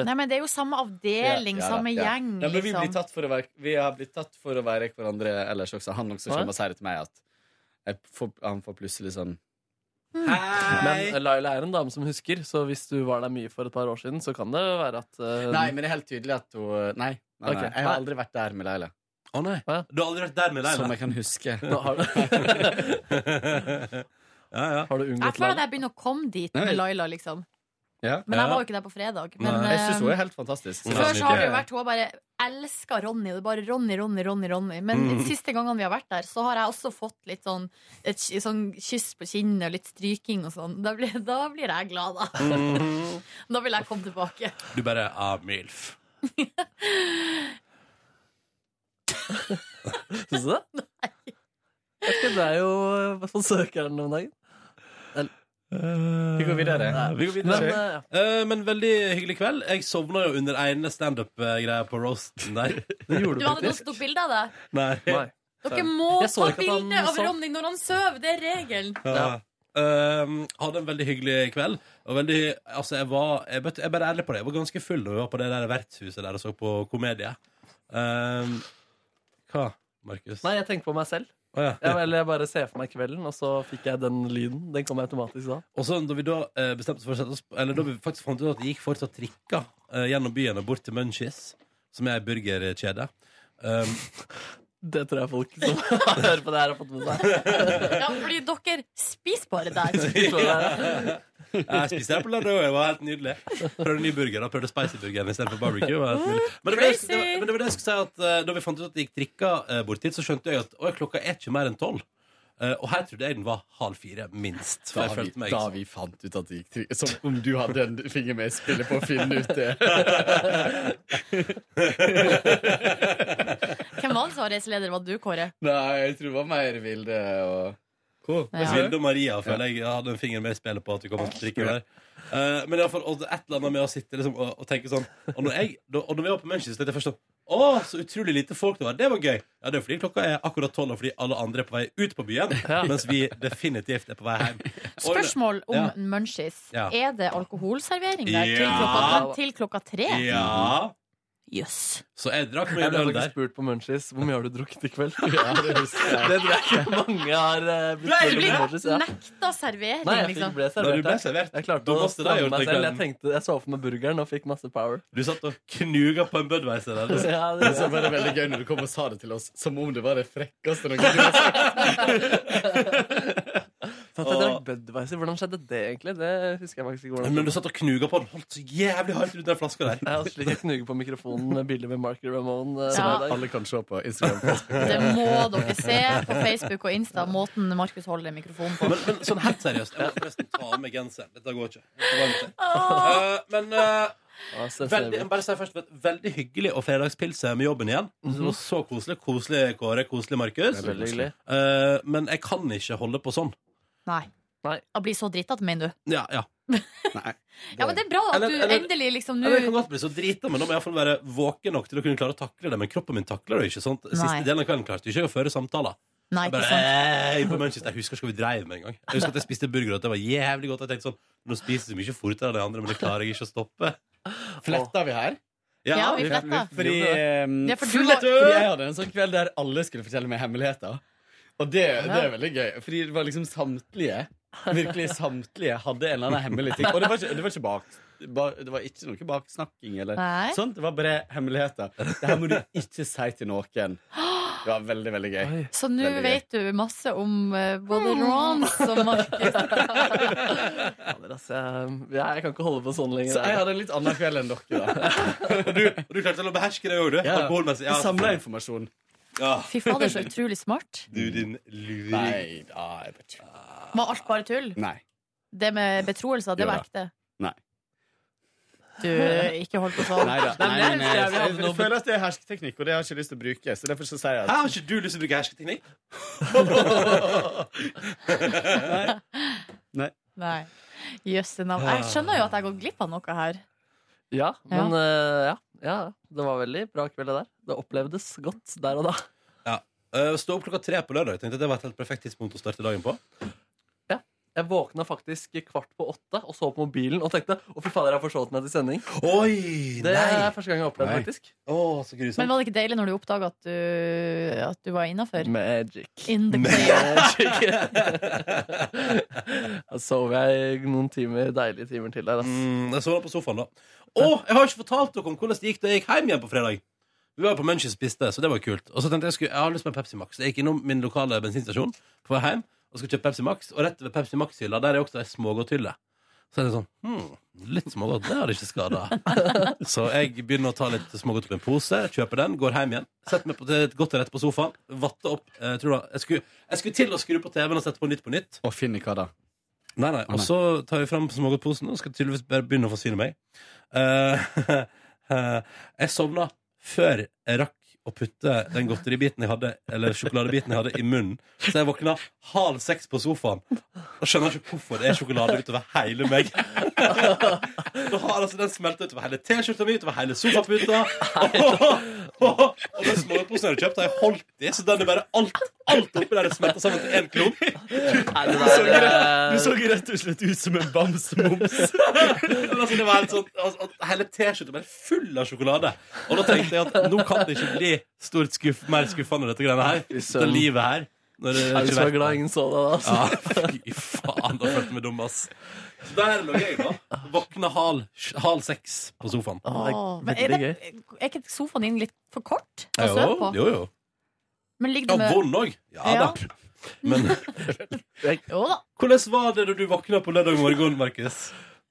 Speaker 2: Nei, men det er jo samme avdeling,
Speaker 13: Ja, ja da,
Speaker 2: samme
Speaker 13: ja.
Speaker 2: gjeng,
Speaker 13: Ja, men vi, blir
Speaker 2: liksom.
Speaker 13: tatt for å være, vi har blitt tatt for å være hverandre ellers også. Han også
Speaker 3: Hva?
Speaker 13: kommer og sier til meg at jeg får, han får plutselig sånn
Speaker 3: Men eh, Laila er en dame som husker, så hvis du var der mye for et par år siden, så kan det være at eh,
Speaker 13: Nei, men det er helt tydelig at hun eh, Nei, nei,
Speaker 3: Ok.
Speaker 13: nei. jeg har aldri vært der med Leila.
Speaker 1: Å nei. Du har aldri vært der med Leila?
Speaker 13: Som jeg kan huske.
Speaker 3: Nå har
Speaker 1: ja, ja.
Speaker 3: Har du
Speaker 2: Jeg føler at jeg begynner å komme dit
Speaker 13: Nei.
Speaker 2: med Laila, liksom.
Speaker 13: Ja.
Speaker 2: Men jeg var jo ikke der på fredag. Men,
Speaker 13: Nei. Jeg syns hun
Speaker 2: eh,
Speaker 13: er helt fantastisk.
Speaker 2: Før så har det jo vært Hun bare elsker Ronny, og det er bare Ronny, Ronny, Ronny. Ronny Men
Speaker 13: Mm.
Speaker 2: de siste gangene vi har vært der, så har jeg også fått litt sånn et ky- sånn kyss på kinnet og litt stryking og sånn. Da blir, da blir jeg glad, da.
Speaker 1: Mhm.
Speaker 2: Da vil jeg komme tilbake.
Speaker 1: Du bare ah, MILF.
Speaker 3: Syns du det? Nei. det er jo i hvert fall søkeren om dagen.
Speaker 13: Vi går videre.
Speaker 1: Vi går videre. Eh, men veldig hyggelig kveld. Jeg sovna jo under ene standup-greia på roasten der. Det
Speaker 2: Du hadde noen som tok bilde av deg.
Speaker 1: Nei.
Speaker 2: Dere må
Speaker 1: Jeg så
Speaker 2: ta
Speaker 1: ikke at han
Speaker 2: bilde av
Speaker 1: sov.
Speaker 2: Ronny når han sover! Det er regelen.
Speaker 1: Ja. Um, hadde en veldig hyggelig kveld. Og veldig, altså jeg var jeg, vet- jeg er bare ærlig på det, jeg var ganske full da vi var på det der vertshuset der og så på komedie. Um, hva, Markus?
Speaker 3: Nei, jeg tenker på meg selv.
Speaker 1: Å, ja.
Speaker 3: Ja, eller jeg bare ser for meg kvelden, og så fikk jeg den lyden. Den kom automatisk da.
Speaker 1: Og så da vi da eh, bestemte oss for å sette oss Eller da vi faktisk fant ut at det gikk fortsatt trikker eh, gjennom byen og bort til Munchies, som er ei burgerkjede. Um,
Speaker 3: det tror jeg folk som hører på det her, har fått med seg.
Speaker 2: Ja, fordi dere spiser bare der.
Speaker 1: Jeg spiste det på lørdag, og det var helt nydelig. Prøvde ny burger, da prøvde spicy burgeren istedenfor barbecue. Det var helt nydelig. men, det var det, jeg- det var, men det var det jeg skulle si at eh, Da vi fant ut at det gikk trikker eh, bort hit, så skjønte jeg at «Oi, klokka er ikke mer enn tolv. Eh, og her trodde jeg den var halv fire, minst. For
Speaker 13: Da
Speaker 1: jeg
Speaker 13: vi,
Speaker 1: følte meg
Speaker 13: da vi fant ut at det gikk tri- Som om du hadde en finger med i spillet på å finne ut det.
Speaker 2: Hvem var det som var reiseleder? Var du, Kåre?
Speaker 13: Nei, jeg tror det var mer Vilde og Hvor?
Speaker 1: Ja. Vilde og Maria føler jeg hadde en finger med i spillet på at vi kom oss til trikken der. Eh, men i alle fall, og det er et eller annet med å sitte liksom, og, og tenke sånn Og når, jeg, da, og når vi var på Manchester, tenkte jeg først sånn Å, så utrolig lite folk det var. Det var gøy. Ja, det er fordi klokka er akkurat tolv, og fordi alle andre er på vei ut på byen. Mens vi definitivt er på vei hjem. Og-
Speaker 2: Spørsmål om
Speaker 1: ja.
Speaker 2: munchies.
Speaker 1: Ja.
Speaker 2: Er det alkoholservering der til,
Speaker 1: Ja.
Speaker 2: klokka, til klokka tre?
Speaker 1: Ja.
Speaker 2: Jøss.
Speaker 1: Så jeg drakk mye
Speaker 3: Jeg ble
Speaker 1: øl
Speaker 3: faktisk
Speaker 1: der.
Speaker 3: spurt på Munchies hvor mye har du drukket i kveld.
Speaker 13: Ja, det husker jeg.
Speaker 3: Det tror jeg ikke mange har eh, blitt
Speaker 2: Ble
Speaker 3: spurt om på Munchies. Ja.
Speaker 2: nekta servering,
Speaker 3: Nei, jeg
Speaker 2: liksom.
Speaker 3: fikk ble servert.
Speaker 1: Nei, du ble
Speaker 3: ja.
Speaker 1: servert.
Speaker 3: Jeg klarte å
Speaker 1: Da måtte det ha
Speaker 3: stramme
Speaker 1: gjort
Speaker 3: meg
Speaker 1: det
Speaker 3: selv. Jeg,
Speaker 1: kvelden.
Speaker 3: tenkte, jeg så for meg burgeren og fikk masse power.
Speaker 1: Du satt og knuga på en Budweiser der. altså.
Speaker 3: Ja, det
Speaker 1: du.
Speaker 3: gjorde
Speaker 13: Så
Speaker 3: jeg.
Speaker 13: var det veldig gøy når du kom og sa det til oss som om det var det frekkeste noen kunne sagt.
Speaker 3: Så at jeg drakk Budweiser, Hvordan skjedde det, egentlig? Det husker jeg faktisk ikke. hvordan
Speaker 1: Men du satt og knuga på den. Holdt så jævlig hardt rundt den flaska der.
Speaker 3: Ja, slik jeg knuger på mikrofonen med bilder med Mark Ramone. eh,
Speaker 2: Som
Speaker 3: hver dag.
Speaker 13: Alle kan se på Instagram.
Speaker 2: Det må dere se på Facebook og Insta, måten Markus holder mikrofonen på.
Speaker 1: Men, men sånn helt seriøst, jeg må forresten ta av meg genseren. Dette går ikke. Det er varmt her. Eh, men eh, veldig, jeg må bare si først, vet, veldig hyggelig å fredagspilse med jobben igjen. Det var så koselig. Koselig Kåre, koselig Markus.
Speaker 3: Det er veldig hyggelig.
Speaker 1: Eh, men jeg kan ikke holde på sånn.
Speaker 2: Nei. Å bli så drittete, mener du?
Speaker 1: Ja, ja.
Speaker 2: Ja, men det er bra at
Speaker 1: Eller-
Speaker 2: du
Speaker 1: eller-
Speaker 2: endelig liksom
Speaker 1: Eller jeg kan
Speaker 2: nå
Speaker 1: godt bli så drita, men da må jeg iallfall være våken nok til å kunne klare å takle det. Men kroppen min takler det jo ikke. sant? Siste
Speaker 2: Nei.
Speaker 1: delen av kvelden klarte jeg ikke å føre samtaler.
Speaker 2: Nei,
Speaker 1: Jeg
Speaker 2: ikke
Speaker 1: bare,
Speaker 2: sant.
Speaker 1: «Ei, på Manchester, jeg husker ikke hva vi dreiv med en gang Jeg husker at jeg spiste burger, og at det var jævlig godt. Jeg tenkte sånn, Nå spiser du mye fortere enn de andre, men det klarer jeg ikke å stoppe.
Speaker 13: Fletta vi her?
Speaker 2: Ja, vi fletta.
Speaker 13: Fordi, ehm,
Speaker 2: Ja, for du
Speaker 13: fletta.
Speaker 2: var-
Speaker 13: fordi jeg hadde en sånn kveld der alle skulle fortelle meg hemmeligheter. Og det, det er
Speaker 3: Ja.
Speaker 13: veldig gøy, fordi det var liksom samtlige Virkelig samtlige hadde en eller annen hemmelig ting. Og det var ikke, det var ikke bak... Ba, det var ikke noe baksnakking eller
Speaker 2: Nei.
Speaker 13: sånt. Det var bare hemmeligheter. Det her må du ikke si til noen. Det var veldig, veldig gøy.
Speaker 2: Så nå
Speaker 13: Veldig gøy. Mm.
Speaker 2: vet du masse om eh, både Rons og Markus.
Speaker 3: Fader, ass, jeg, jeg kan ikke holde på sånn lenger.
Speaker 13: Så jeg hadde en litt annen kveld enn dere, da.
Speaker 1: og, du, og du klarte å beherske det òg, du? Alkoholmessig.
Speaker 13: Ja. Samla informasjon.
Speaker 2: Fy fader, så utrolig smart.
Speaker 1: Du, din luring.
Speaker 13: Nei, da, jeg vet ikke.
Speaker 2: Var alt bare tull?
Speaker 13: Nei.
Speaker 2: Det med betroelser, det
Speaker 13: Jo da.
Speaker 2: var ekte?
Speaker 13: Nei.
Speaker 2: Du, ikke hold på sånn.
Speaker 13: Neida. Nei,
Speaker 3: eh,
Speaker 2: Nei,
Speaker 13: men
Speaker 1: eh,
Speaker 2: nei,
Speaker 13: jeg,
Speaker 2: nei,
Speaker 13: jeg, jeg føler at det er hersketeknikk, og det har jeg ikke lyst til å bruke. Så derfor så sier jeg
Speaker 1: Hæ,
Speaker 13: at
Speaker 1: har ikke du lyst til å bruke hersketeknikk?
Speaker 13: Nei.
Speaker 2: Nei. Jøsse navn. Jeg skjønner jo at jeg har gått glipp av noe her.
Speaker 3: Ja, men eh, ja. ja. Det var veldig bra kveld, det der. Det opplevdes godt der og da.
Speaker 1: Eh, Stå opp klokka tre på lørdag. Jeg tenkte Det var et helt perfekt tidspunkt å starte dagen på.
Speaker 3: Jeg våkna faktisk kvart på åtte og så på mobilen og tenkte å, fy fader, jeg har forsovet meg til sending.
Speaker 1: Oi,
Speaker 3: det
Speaker 1: nei.
Speaker 3: er første gang jeg har opplevd det,
Speaker 1: Nei.
Speaker 3: faktisk.
Speaker 1: Oh, så grusomt.
Speaker 2: Men var det ikke deilig når du oppdaga at, du- at du var innafor?
Speaker 3: Magic.
Speaker 2: In the
Speaker 3: Magic. Da sov jeg noen timer, deilige timer til der. ass.
Speaker 1: Mm, Jeg så deg på sofaen, da. Å, jeg har ikke fortalt dere om hvordan det gikk da jeg gikk hjem igjen på fredag. Vi var på Munch og spiste, så det var kult. Og så tenkte jeg skulle, jeg har lyst på en Pepsi Max. Så Jeg gikk innom min lokale bensinstasjon på vei hjem og skulle kjøpe Pepsi Max. Og rett ved Pepsi Max-hylla der er også ei smågodthylle. Så er det sånn hmm, Litt smågodt, det hadde ikke skada. Så jeg begynner å ta litt smågodt på en pose, kjøper den, går hjem igjen. Setter meg på, til- godt og rett på sofaen, vatter opp. eh, tror du, jeg, skulle, jeg skulle til å skru på TV-en og sette på Nytt på Nytt.
Speaker 13: Og finne hva da?
Speaker 1: Nei, nei. Og så tar jeg fram smågodtposen og skal tydeligvis bare begynne å forsyne meg. Eh, eh, jeg sovna før jeg rakk å putte den godteribiten jeg hadde, eller sjokoladebiten jeg hadde, i munnen. Så jeg våkna halv seks på sofaen og skjønner ikke hvorfor det er sjokolade utover hele meg. Nå har altså den smelta utover hele T-skjorta mi, utover hele sofaputa. Og, og den smågodtposen jeg hadde kjøpt, har jeg holdt i, så den er bare alt, alt oppi der er smelta sammen til én klump.
Speaker 3: Du
Speaker 13: så,
Speaker 1: der,
Speaker 13: rett,
Speaker 1: eh,
Speaker 13: du så rett og slett ut som en bamsemums.
Speaker 1: Men altså, det var helt sånn, altså, at Hele T-skjorta bare full av sjokolade. Og da tenkte jeg at nå kan det ikke bli stort skuff, mer skuffende, dette greiene her. Dette
Speaker 3: søren.
Speaker 1: livet her. Når det
Speaker 3: Er du
Speaker 1: ikke
Speaker 3: så
Speaker 1: vet-
Speaker 3: glad ingen så deg da? altså? ass?
Speaker 1: Ja, fy faen, da følte jeg meg dum, ass. Så der lå jeg, da. Våkna halv, halv seks på sofaen.
Speaker 2: Åh, men er, det, er ikke sofaen din litt for kort å sove
Speaker 1: Jo,
Speaker 2: på?
Speaker 1: jo, jo.
Speaker 2: Men ligger
Speaker 1: Ja,
Speaker 2: du med
Speaker 1: vond òg. Ja da. Men
Speaker 2: Jo da.
Speaker 1: hvordan var det da du våkna på lørdag morgen, Markus?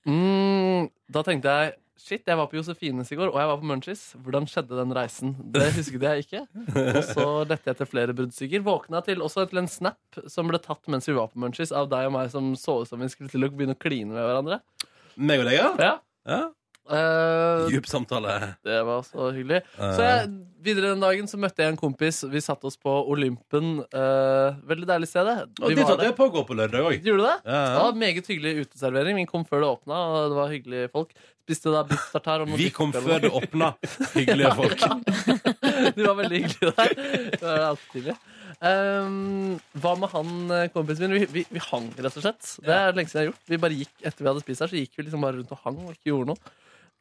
Speaker 3: Mm, da tenkte jeg Shit, jeg var på Josefines i går, og jeg var på Munchies. Hvordan skjedde den reisen? Det husket jeg ikke. Og så lette jeg etter flere bruddstykker. Våkna til også til en snap som ble tatt mens vi var på Munchies, av deg og meg som så ut som vi skulle til å begynne å kline med hverandre.
Speaker 1: Meg og deg,
Speaker 3: ja?
Speaker 1: ja.
Speaker 3: Eh,
Speaker 1: Djup samtale.
Speaker 3: det var så hyggelig. Så jeg, videre den dagen så møtte jeg en kompis. Vi satte oss på Olympen. eh, veldig deilig sted. det.
Speaker 1: Og
Speaker 3: Vi
Speaker 1: det
Speaker 3: var
Speaker 1: tatt jeg på å gå på lørdag òg.
Speaker 3: Gjorde du det?
Speaker 1: Ja, ja.
Speaker 3: Det var Meget hyggelig uteservering. Vi kom før det åpna, og det var hyggelige folk. Spiste da biff tartar. og noe
Speaker 1: Vi
Speaker 3: biff
Speaker 1: kom
Speaker 3: eller
Speaker 1: før det
Speaker 3: noe.
Speaker 1: åpna. Hyggelige folk.
Speaker 3: De var veldig hyggelige der. Det var alltid tidlig. Ehm, hva med han eh, kompisen min? Vi, vi, vi hang, rett og slett. Det er lenge siden jeg har gjort. Vi bare gikk Etter vi hadde spist her, så gikk vi liksom bare rundt og hang og ikke gjorde noe.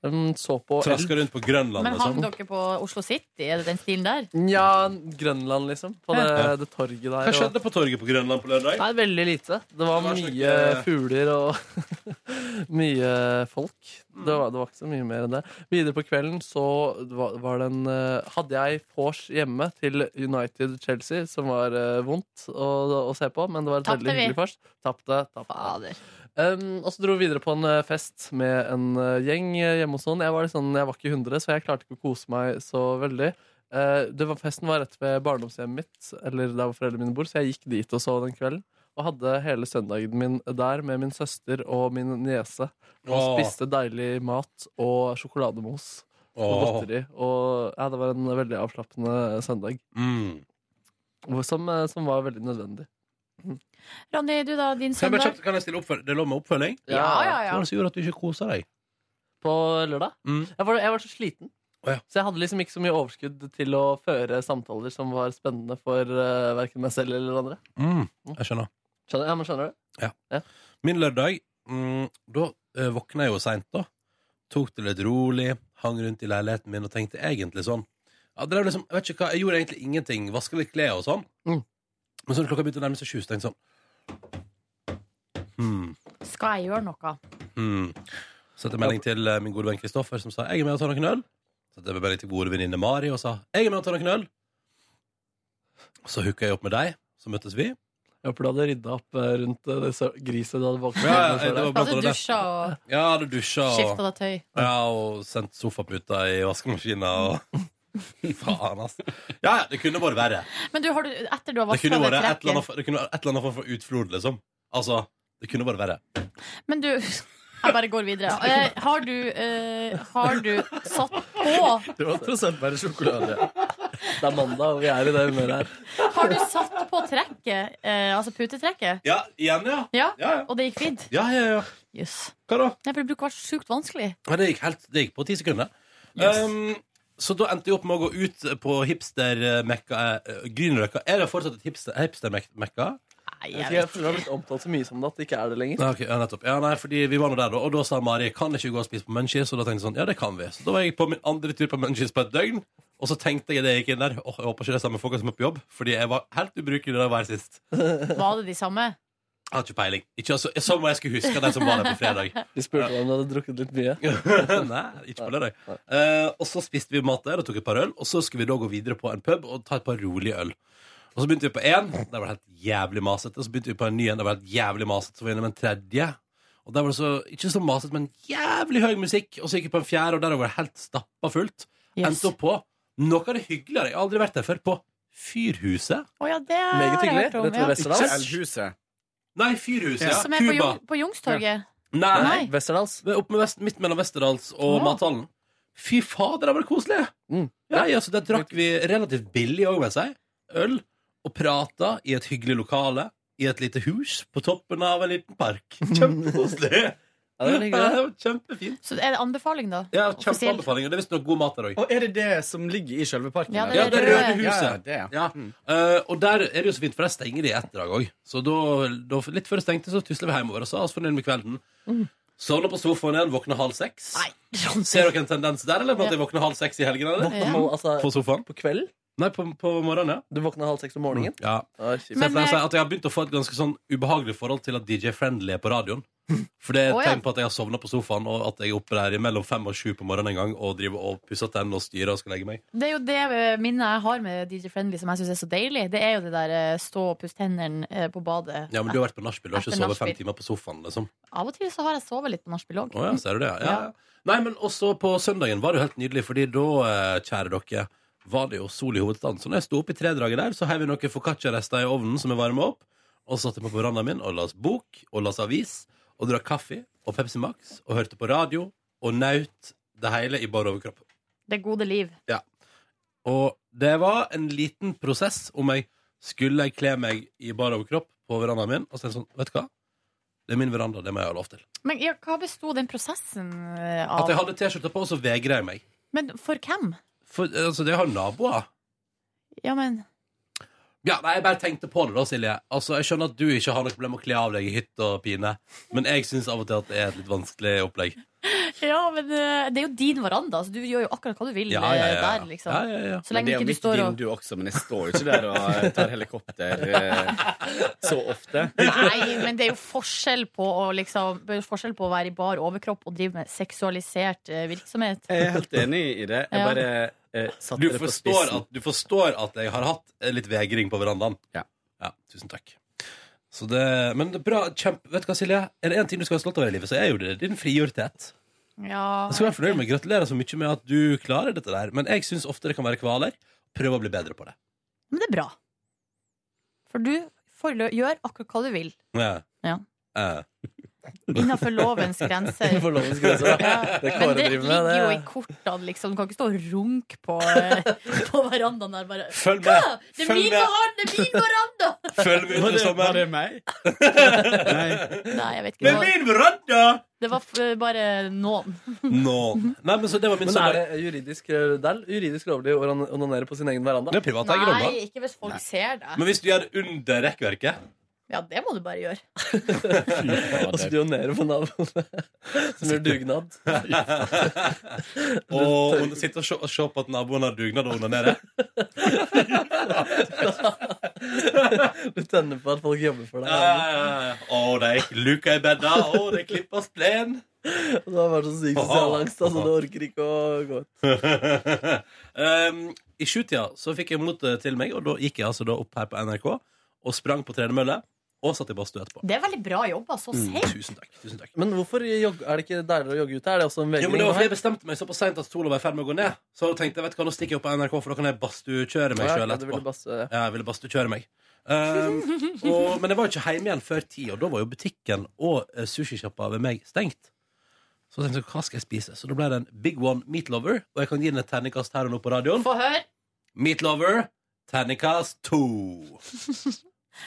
Speaker 3: Ehm, så på
Speaker 1: Traska rundt på Grønland liksom.
Speaker 2: Men hang dere på Oslo City? Er det den stilen der?
Speaker 3: Nja, Grønland, liksom. På det,
Speaker 1: Ja.
Speaker 3: det torget der.
Speaker 1: Hva skjedde på torget på Grønland på lørdag?
Speaker 3: Nei, veldig lite. Det var,
Speaker 1: Det var
Speaker 3: mye
Speaker 1: slik, eh,
Speaker 3: fugler og mye folk. Det var, det var ikke så mye mer enn det. Videre på kvelden så var, var det en eh, Hadde jeg vors hjemme til United Chelsea, som var eh, vondt å, å se på, men det var et
Speaker 2: Tapte
Speaker 3: veldig
Speaker 2: vi.
Speaker 3: hyggelig vors. Tapte. tapte. Um, og så dro vi videre på en eh, fest med en eh, gjeng eh, hjemme hos noen. Jeg var, litt sånn, jeg var ikke 100, så jeg klarte ikke å kose meg så veldig. Eh, det var, festen var rett ved barndomshjemmet mitt, eller der hvor foreldrene mine bor, så jeg gikk dit og så den kvelden. Og hadde hele søndagen min der med min søster og min niese. Og
Speaker 1: Åh.
Speaker 3: spiste deilig mat og sjokolademos og
Speaker 1: Åh.
Speaker 3: godteri. Og ja, det var en veldig avslappende søndag.
Speaker 1: Mm.
Speaker 3: Hvor- Som, eh, som var veldig nødvendig.
Speaker 2: Ronny, du da, din
Speaker 1: Kan jeg, bare
Speaker 2: søndag?
Speaker 1: kjapt- kan jeg stille oppfølging? Det er lov med oppfølging?
Speaker 3: Ja, ja, ja.
Speaker 1: Hva var det som gjorde at du ikke kosa deg? Mm.
Speaker 3: På lørdag? Jeg, var, jeg var så sliten. Så jeg hadde liksom ikke så mye overskudd til å føre samtaler som var spennende for uh, verken meg selv eller andre.
Speaker 1: Mm. Jeg skjønner.
Speaker 3: Skjønner, ja, men skjønner du?
Speaker 1: Ja. Min lørdag, mm, da eh, våkna jeg jo seint, da. Tok det litt rolig, hang rundt i leiligheten min og tenkte egentlig sånn. Ja, det er liksom, jeg, vet ikke hva, jeg gjorde egentlig ingenting. Vaska litt klær og sånn.
Speaker 3: Mm.
Speaker 1: Men så når klokka begynte å nærme seg sju, så tenkte jeg sånn hmm.
Speaker 2: Skal jeg gjøre noe?
Speaker 1: Mm. Sendte melding til eh, min gode venn Kristoffer, som sa 'jeg er med og tar noen øl'. Sendte jeg melding til gode venninne Mari og sa 'jeg er med og tar noen øl'. Så hooka jeg opp med deg, så møttes vi.
Speaker 3: Jeg håper du hadde rydda opp eh, rundt eh, det sø- griset du hadde bakt.
Speaker 1: Ja, ja, det var blant
Speaker 2: Altså,
Speaker 1: annet
Speaker 2: dusja og
Speaker 1: Ja, du dusja og
Speaker 2: skifta deg tøy.
Speaker 1: Ja, og sendt sofaputa i vaskemaskina og Faen, altså. Ja, ja, det kunne vært verre.
Speaker 2: Men du, har du, etter du har
Speaker 1: Det
Speaker 2: vaska
Speaker 1: kunne
Speaker 2: det
Speaker 1: vært et eller annet
Speaker 2: trekket
Speaker 1: for- det kunne vært et eller annet form for utflod, liksom. Altså, det kunne vært verre.
Speaker 2: Men du Jeg bare går videre. Eh, har du eh, Har du satt på
Speaker 13: Det var tross alt bare sjokolade.
Speaker 3: Det er mandag, og vi er i det humøret her.
Speaker 2: Har du satt på trekket? Eh, altså putetrekket?
Speaker 1: Ja, igjen, ja.
Speaker 2: Ja,
Speaker 1: Ja, ja.
Speaker 2: Og det gikk fint?
Speaker 1: Ja, ja, ja. Hva da?
Speaker 2: Nei, for Det bruker å være sjukt vanskelig.
Speaker 1: Ja, det gikk, helt, det gikk på ti sekunder. Um, så da endte jeg opp med å gå ut på hipster-mekka eh, Grünerløkka. Er det fortsatt et hipster- hipster-mekka?
Speaker 3: Jeg, vet ikke, jeg føler det har blitt omtalt så mye som det at det ikke er det lenger.
Speaker 1: Ja, ok, ja, nettopp. Ja, nei, fordi vi var nå der, da. Og da sa Mari kan ikke gå og spise på Munchies. Og da tenkte jeg sånn, ja, det kan vi. Så da var jeg på min andre tur på Munchies på et døgn. Og så tenkte jeg det jeg gikk inn der. Åh, jeg håper ikke det er samme folka som er på jobb. Fordi jeg var helt ubrukelig der hver sist.
Speaker 2: Var det de samme?
Speaker 1: Jeg har ikke peiling. Ikke, altså, som om jeg skulle huske de som var der på fredag.
Speaker 3: De spurte om du hadde drukket litt mye.
Speaker 1: Sånn, Nei, ikke på lørdag. Eh, og så spiste vi mat der og tok et par øl. Og så skulle vi da gå videre på en pub og ta et par rolige øl. Og så begynte vi på én. Der var det helt jævlig masete. Så begynte vi på en ny en. Der var det helt jævlig masete. Så var vi innom en tredje. Og der var det så, ikke så masete, men jævlig høy musikk. Og så gikk vi på en fjerde, og der var det helt stappa fullt. Endte opp på noe av det hyggeligere. Jeg har aldri vært der før. På Fyrhuset.
Speaker 2: Å ja, det har
Speaker 1: Meget
Speaker 2: jeg
Speaker 1: hyggelig.
Speaker 2: hørt om.
Speaker 1: Rett ved Vesterdals.
Speaker 2: Ikke-
Speaker 13: Elhuset.
Speaker 1: Nei, Fyrhuset. Ja.
Speaker 2: Som er på,
Speaker 1: Cuba.
Speaker 2: Jung, på Youngstorget.
Speaker 1: Nei.
Speaker 2: Nei.
Speaker 3: Vesterdals.
Speaker 1: Opp med vest, midt mellom Vesterdals og
Speaker 2: Ja.
Speaker 1: Mathallen. Fy fader, det var koselig! Ja, ja, så Der drakk vi relativt billig òg, med seg. Øl. Og prata i et hyggelig lokale. I et lite hus på toppen av en liten park. Kjempekoselig!
Speaker 3: Ja, det var hyggelig.
Speaker 1: var kjempefint.
Speaker 2: Så er det anbefaling, da?
Speaker 1: Ja,
Speaker 2: Offisiell.
Speaker 1: Kjempeanbefaling. Og det er visstnok god mat der òg.
Speaker 13: Og er det det som ligger i selve parken?
Speaker 2: Ja,
Speaker 13: eller?
Speaker 1: Ja, det røde
Speaker 13: Ja,
Speaker 1: huset.
Speaker 13: det er.
Speaker 1: Ja. Eh, og der er det jo så fint, for der stenger de i ett drag òg. Så da, da, litt før det stengte, så tusla vi hjemover og sa oss fornøyd med kvelden. Sovna på sofaen igjen, våkna halv seks. Ser dere en tendens der, eller? At jeg våkner halv seks i helgen? Eller?
Speaker 3: Våkna halv- altså-
Speaker 1: på sofaen?
Speaker 3: På kveld?
Speaker 1: Nei, på, på morgenen, ja.
Speaker 3: Du våkna halv seks om morgenen?
Speaker 1: Ja.
Speaker 3: Så
Speaker 1: jeg pleier å si at jeg har begynt å få et ganske sånn ubehagelig forhold til at DJ Friendly er på radioen. For det er et
Speaker 3: Å, ja.
Speaker 1: tegn på at jeg har sovna på sofaen, og at jeg er oppe der mellom fem og sju på morgenen en gang og driver og pusser tennene og styrer og skal legge meg.
Speaker 2: Det er jo det eh, minnet jeg har med DJ Friendly som jeg syns er så deilig. Det er jo det der eh, stå og pusse tennene eh, på badet.
Speaker 1: Ja, men du har vært på nachspiel, du har ikke
Speaker 2: Etter
Speaker 1: sovet fem
Speaker 2: nachspiel.
Speaker 1: timer på sofaen, liksom.
Speaker 2: Av og til så har jeg sovet litt på nachspiel òg.
Speaker 1: Å ja, ser du det? Ja. ja. Nei, men også på søndagen var det jo helt nydelig, fordi da, eh, kjære dere, var det jo sol i hovedstaden. Så når jeg sto opp i tredraget der, så heiv vi noen foccaccia-rester i ovnen som jeg varma opp, og så satte jeg meg på verandaen min og las bok og las avis og drakk kaffe og Pepsi Max og hørte på radio og naut det hele i bar overkropp.
Speaker 2: Det gode liv.
Speaker 1: Ja. Og det var en liten prosess om jeg skulle kle meg i bar overkropp på verandaen min, og så er det sånn, vet du hva? Det er min veranda, det må jeg ha lov til.
Speaker 2: Men ja, hva besto den prosessen eh, av?
Speaker 1: At jeg hadde T-skjorta på, og så vegrer jeg meg.
Speaker 2: Men for hvem?
Speaker 1: For, altså, det har naboer.
Speaker 2: Ja, men
Speaker 1: Ja, nei, jeg bare tenkte på det da, Silje. Altså, Jeg skjønner at du ikke har noe problem med å kle av deg i hytt og pine, men jeg syns av og til at det er et litt vanskelig opplegg.
Speaker 2: Ja, men eh, det er jo din veranda, så du gjør jo akkurat hva du vil
Speaker 1: Ja, ja, ja,
Speaker 2: eh,
Speaker 1: ja.
Speaker 2: der, liksom.
Speaker 1: Ja, ja, ja.
Speaker 2: Så
Speaker 13: Men det
Speaker 2: lenge
Speaker 13: er jo
Speaker 2: ikke du
Speaker 13: mitt
Speaker 2: står og
Speaker 13: vindu også, men jeg står jo ikke der og eh, tar helikopter eh, så ofte.
Speaker 2: Nei, men det er jo forskjell på å, liksom, det er jo forskjell på å være i bar overkropp og drive med seksualisert eh, virksomhet.
Speaker 13: Jeg er helt enig i det. Jeg
Speaker 2: Ja.
Speaker 13: bare eh, satte
Speaker 1: Du
Speaker 13: det på
Speaker 1: forstår,
Speaker 13: spissen.
Speaker 1: at, du forstår at jeg har hatt eh, litt vegring på verandaen?
Speaker 13: Ja.
Speaker 1: tusen takk. Så det, men det er bra. Kjempe, vet du hva, Silje? Er det én ting du skal ha slått over i livet, så er jo det din frigjorthet.
Speaker 2: Ja,
Speaker 1: Jeg skal være fornøyd med Gratulerer så mye med at du klarer dette der, men jeg syns ofte det kan være kvaler. Prøv å bli bedre på det.
Speaker 2: Men det er bra. For du får, lø- gjør akkurat hva du vil.
Speaker 1: Ja.
Speaker 2: Ja.
Speaker 1: Eh.
Speaker 2: Innenfor lovens grenser.
Speaker 3: Innenfor lovens grenser, ja. Det
Speaker 2: Men
Speaker 3: Kåre
Speaker 2: det
Speaker 3: driver med,
Speaker 2: ligger
Speaker 3: det
Speaker 2: jo
Speaker 3: er-
Speaker 2: i kortene, liksom. Du kan ikke stå og runke på, eh, på verandaen der bare
Speaker 1: Følg med.
Speaker 2: Hva? Det er
Speaker 1: Følg
Speaker 2: min
Speaker 1: med.
Speaker 2: veranda! Det er min veranda!
Speaker 1: Følg med
Speaker 13: Var
Speaker 1: utover
Speaker 13: det-
Speaker 1: sommeren.
Speaker 13: Var det meg?
Speaker 2: Nei, jeg vet ikke.
Speaker 1: Men
Speaker 2: Det var,
Speaker 1: min veranda!
Speaker 2: det var eh, bare noen.
Speaker 1: Nå. Nei, men så det var min
Speaker 3: Men
Speaker 1: søndag.
Speaker 3: er det juridisk, eh, det er juridisk lovlig å onan- onanere på sin egen veranda?
Speaker 1: Det er privat eiendom, da.
Speaker 2: ikke hvis folk ser deg.
Speaker 1: Men hvis du gjør det under rekkverket
Speaker 2: Ja, det må du bare gjøre.
Speaker 3: Og så pionerer på naboen som gjør dugnad.
Speaker 1: og hun sitter og se- og ser på at naboen har dugnad og onanerer
Speaker 3: Du tenner på at folk jobber for deg.
Speaker 1: ja, ja, ja. Å, det er luka i bedda, å, det klippes plen.
Speaker 3: Det har vært så sykt sosial angst, altså. Det orker ikke å gå ut.
Speaker 1: um, I sjutida så fikk jeg motet til meg, og da gikk jeg altså da opp her på NRK og sprang på tredemølle og satt i badstue etterpå.
Speaker 2: Det er veldig bra jobba så
Speaker 1: Mm,
Speaker 2: sent.
Speaker 1: tusen takk. Tusen takk.
Speaker 3: Men hvorfor jogg, er det ikke deiligere å jogge ute? Er det også en
Speaker 1: Jo, men det
Speaker 3: vegring?
Speaker 1: var fordi jeg bestemte meg såpass seint at sola var i ferd med å gå ned. Så tenkte jeg vet du hva, nå stikker jeg opp på NRK, for da kan jeg badstuekjøre meg
Speaker 3: Ja,
Speaker 1: sjøl
Speaker 3: ja, du ville
Speaker 1: etterpå. Ja, jeg ville badstuekjøre meg. Um, og, men jeg var jo ikke hjemme igjen før ti, og da var jo butikken og eh, sushisjappa ved meg stengt. Så tenkte jeg hva skal jeg spise? Så da ble det en Big One Meat Lover, og jeg kan gi den et terningkast her og nå på radioen.
Speaker 2: Få høre.
Speaker 1: Meat Lover, terningkast to.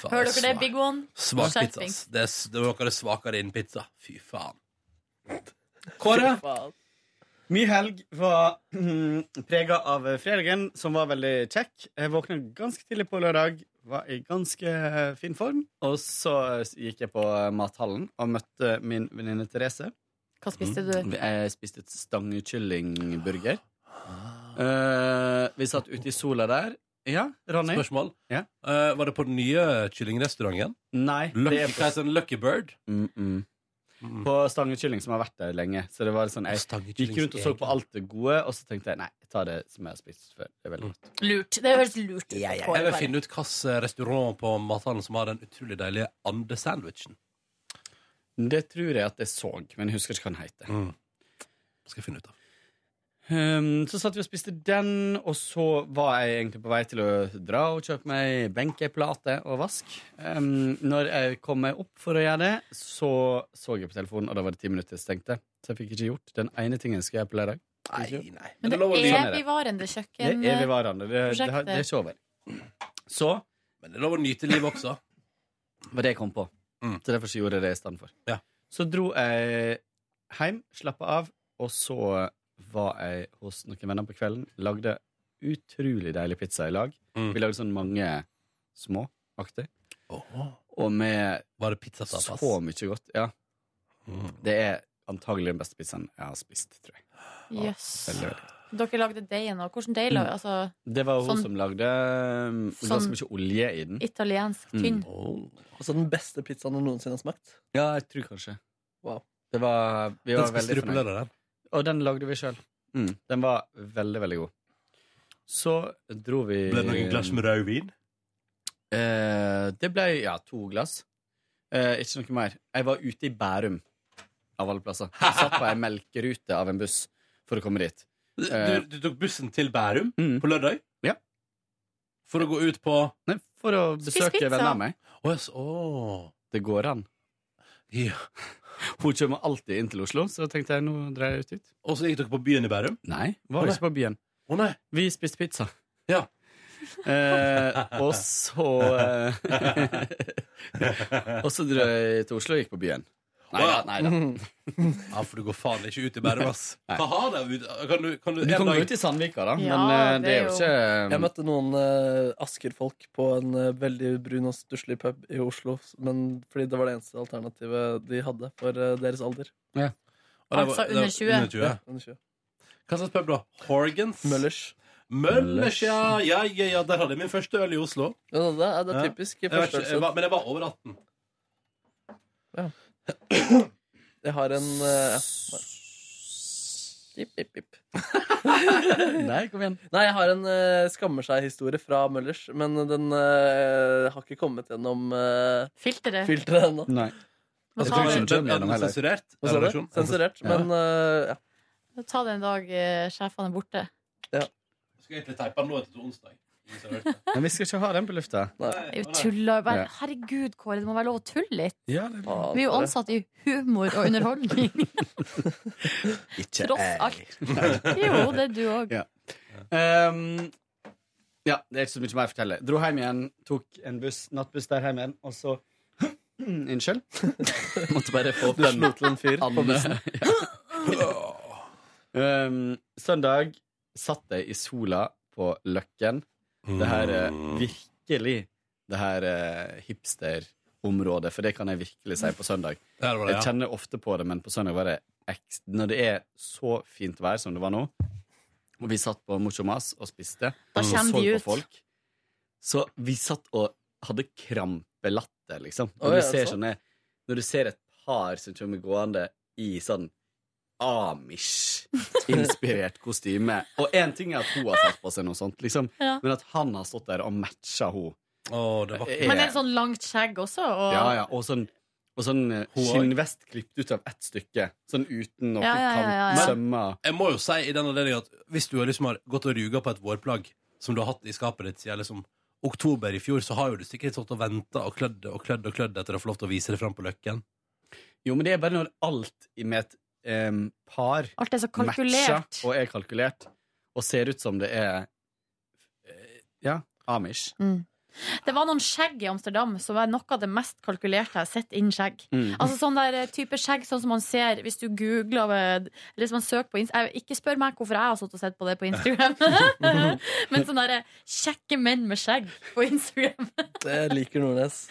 Speaker 1: Faen,
Speaker 2: Hører dere det,
Speaker 1: svak-
Speaker 2: Big One?
Speaker 1: Svak pizza. ass. Det er, s- det er noe av det svakere innen pizza. Fy faen. Kåre?
Speaker 13: Min helg var mm, prega av fredagen, som var veldig kjekk. Jeg våkna ganske tidlig på lørdag, var i ganske eh, fin form. Og så eh, gikk jeg på mathallen og møtte min venninne Therese.
Speaker 2: Hva spiste
Speaker 13: Mm.
Speaker 2: du?
Speaker 13: Jeg spiste et stangekyllingburger. Eh, vi satt ute i sola der. Ja, Ronny?
Speaker 1: Spørsmål? Eh, var det på den nye kyllingrestauranten?
Speaker 13: Nei.
Speaker 1: Lucky,
Speaker 13: det er på- Mm,
Speaker 1: hva heter den? Lucky Bird?
Speaker 13: På Stangekylling, som har vært der lenge. Så det var litt sånn, jeg gikk rundt og så på alt det gode, og så tenkte jeg nei, jeg tar det som jeg har spist før. Det er veldig godt.
Speaker 2: Lurt. Det høres lurt ut. Kåre,
Speaker 1: Jeg vil
Speaker 2: bare.
Speaker 1: finne ut hvilken restaurant på mathallen som har den utrolig deilige andesandwichen.
Speaker 13: Det tror jeg at jeg så, men jeg husker ikke hva den heter.
Speaker 1: Skal jeg finne ut av.
Speaker 13: Um, så satt vi og spiste den, og så var jeg egentlig på vei til å dra og kjøpe meg benkeplate og vask. Um, når jeg kom meg opp for å gjøre det, så så jeg på telefonen, og da var det ti minutter jeg stengte. Så jeg fikk ikke gjort den ene tingen jeg skulle gjøre på lørdag.
Speaker 1: Nei, nei.
Speaker 2: Men det er evigvarende
Speaker 13: Det
Speaker 2: kjøkken.
Speaker 13: er evigvarende. Det, det, har-
Speaker 2: prosjektet.
Speaker 13: det er ikke over. Så
Speaker 1: Men det er lov å nyte livet også.
Speaker 13: var det jeg kom på. Så derfor så gjorde jeg det i stedet for. Så dro jeg hjem, slappa av, og så var jeg hos noen venner på kvelden. Lagde utrolig deilig pizza i lag.
Speaker 3: Mm.
Speaker 13: Vi lagde sånn mange små aktig. Og med
Speaker 1: Var det pizza Mm.
Speaker 13: så mye godt. Ja. Det er antagelig den beste pizzaen jeg har spist, tror jeg.
Speaker 2: Jøss.
Speaker 13: Veldig, veldig godt.
Speaker 2: Eh, Dere lagde deigen, og hvordan deig? la-
Speaker 13: Mm.
Speaker 2: Altså
Speaker 13: Det var hun
Speaker 2: Sånn-
Speaker 13: som lagde um, ganske
Speaker 2: Sånn-
Speaker 13: mye olje i den.
Speaker 2: italiensk
Speaker 13: Mm.
Speaker 2: tynn.
Speaker 3: Altså den beste pizzaen jeg noensinne har smakt.
Speaker 13: Ja, jeg tror kanskje.
Speaker 3: Wow.
Speaker 13: Det var, vi
Speaker 3: Den
Speaker 13: var
Speaker 3: spiste
Speaker 13: veldig
Speaker 3: du på
Speaker 13: fornøyd.
Speaker 3: lørdag, den?
Speaker 13: Og den lagde vi sjøl. Mm. Den var veldig, veldig god. Så dro vi
Speaker 1: Ble det noen glass med rødvin?
Speaker 13: Eh, det ble ja, to glass. Eh, ikke noe mer. Jeg var ute i Bærum, av alle plasser. Jeg satt på ei melkerute av en buss for å komme dit. eh,
Speaker 1: Du, du tok bussen til Bærum
Speaker 13: mm.
Speaker 1: på lørdag?
Speaker 13: Ja.
Speaker 1: For å gå ut på
Speaker 13: Nei, for å besøke venner av meg.
Speaker 1: Å, yes. Å.
Speaker 13: Det går an. Hun kommer alltid inn til Oslo, så tenkte jeg nå drar jeg ut dit.
Speaker 1: Og så gikk dere på byen i Bærum?
Speaker 13: Nei, var
Speaker 1: Å,
Speaker 13: ikke på byen. Vi spiste pizza.
Speaker 1: Ja.
Speaker 13: Eh, og så eh, Og så dro jeg til Oslo og gikk på byen. Nei da. Nei, da.
Speaker 1: Ja, for du går faen ikke ut i Bærum, ass.
Speaker 13: Nei.
Speaker 1: Hva har det? ut- Kan du, kan du,
Speaker 13: Du
Speaker 1: en
Speaker 13: kan
Speaker 1: dag-
Speaker 13: gå ut i Sandvika, da,
Speaker 1: Ja,
Speaker 13: men eh, det er jo ikke
Speaker 3: Jeg møtte noen eh, Asker-folk på en eh, veldig brun og stusslig pub i Oslo. Men fordi det var det eneste alternativet de hadde for eh, deres alder.
Speaker 13: Ja.
Speaker 1: Og det var- Altså det var under 20. under 20.
Speaker 3: Ja, under 20.
Speaker 1: Hva slags pub, da? Horgans? Møllers.
Speaker 3: Møllers.
Speaker 1: ja. Ja, ja, ja. Der hadde jeg min første øl i Oslo.
Speaker 3: Ja, det, er, det er typisk. i
Speaker 1: Jeg var
Speaker 3: første
Speaker 1: ikke- jeg
Speaker 3: øl.
Speaker 1: var, men jeg var over 18.
Speaker 3: Jeg har en eh, ja. Jipp, jipp, jipp.
Speaker 13: Nei, kom igjen.
Speaker 3: Nei, jeg har en eh, skammer seg-historie fra Møllers, men den eh, har ikke kommet gjennom eh,
Speaker 2: Filteret.
Speaker 3: filteret ennå.
Speaker 13: Nei.
Speaker 2: Jeg tror ikke den kommer gjennom
Speaker 1: heller. Sensurert?
Speaker 3: Hva sa du?
Speaker 1: Redaksjon?
Speaker 3: Sensurert,
Speaker 1: Ja.
Speaker 3: men eh, ja.
Speaker 2: Ta det en dag eh, sjefene er borte.
Speaker 1: Skal egentlig teipe den nå etter onsdag. Ingen som har hørt det.
Speaker 13: Men vi skal ikke ha den på lufta.
Speaker 2: Jeg tuller jo bare.
Speaker 13: Ja.
Speaker 2: Herregud, Kåre, det må være lov å tulle litt.
Speaker 13: Ja, det
Speaker 2: Vi er jo ansatt i humor og underholdning.
Speaker 13: Ikke
Speaker 2: Tross
Speaker 13: jeg.
Speaker 2: alt.
Speaker 13: Nei.
Speaker 2: Jo, det er du òg.
Speaker 13: Ja. Ehm, ja, det er ikke så mye mer å fortelle. Dro hjem igjen, tok en buss, nattbuss der hjem igjen, og så Unnskyld. Måtte bare få opp
Speaker 3: Du slo til en fyr på
Speaker 13: Anne.
Speaker 3: bussen.
Speaker 13: Ja. Ehm, søndag satt jeg i sola på Løkken. Det her eh, er
Speaker 1: Mm.
Speaker 13: virkelig det her eh, hipsterområdet, for det kan jeg virkelig si på søndag.
Speaker 1: Der var det,
Speaker 13: Jeg
Speaker 1: ja.
Speaker 13: kjenner ofte på det, men på søndag var det ekst... Når det er så fint vær som det var nå, og vi satt på Mucho Mas og
Speaker 2: Da
Speaker 13: spiste, og
Speaker 2: kommer
Speaker 13: så
Speaker 2: de
Speaker 13: på
Speaker 2: ut.
Speaker 13: folk, så vi satt og hadde krampelatter, liksom.
Speaker 3: Oi,
Speaker 13: Når
Speaker 3: er
Speaker 13: du
Speaker 3: det
Speaker 13: ser
Speaker 3: sant?
Speaker 13: sånne Når du ser et par som kommer gående i sånn Amish-inspirert kostyme. Og én ting er at hun har tatt på seg noe sånt, liksom,
Speaker 2: Ja.
Speaker 13: men at han har stått der og matcha henne.
Speaker 2: Men det er sånn langt skjegg også. Og...
Speaker 13: Ja, ja, og sånn, og sånn eh, skinnvest klippet ut av ett stykke. Sånn uten noe
Speaker 2: Ja, ja, ja, ja, ja.
Speaker 13: kantsømmer.
Speaker 1: Jeg må jo si i den anledning at hvis du har liksom har gått og ruga på et vårplagg som du har hatt i skapet ditt siden liksom oktober i fjor, så har jo du sikkert stått og venta og klødd og klødd og klødd etter å få lov til å vise det fram på Løkken.
Speaker 13: Jo, men det er bare når alt i med et em, par
Speaker 2: Alt er så kalkulert.
Speaker 13: matcher og er kalkulert, og ser ut som det er eh, Ja, Amish.
Speaker 2: Mm. Det var noen skjegg i Amsterdam som var noe av det mest kalkulerte jeg har sett innen skjegg.
Speaker 13: Mm.
Speaker 2: Altså sånn der eh, type skjegg sånn som man ser hvis du googler eh, Eller hvis man søker på Instagram Ikke spør meg hvorfor jeg har satt og sett på det på Instagram. Men sånne der, eh, kjekke menn med skjegg på Instagram.
Speaker 3: Det liker Nordnes.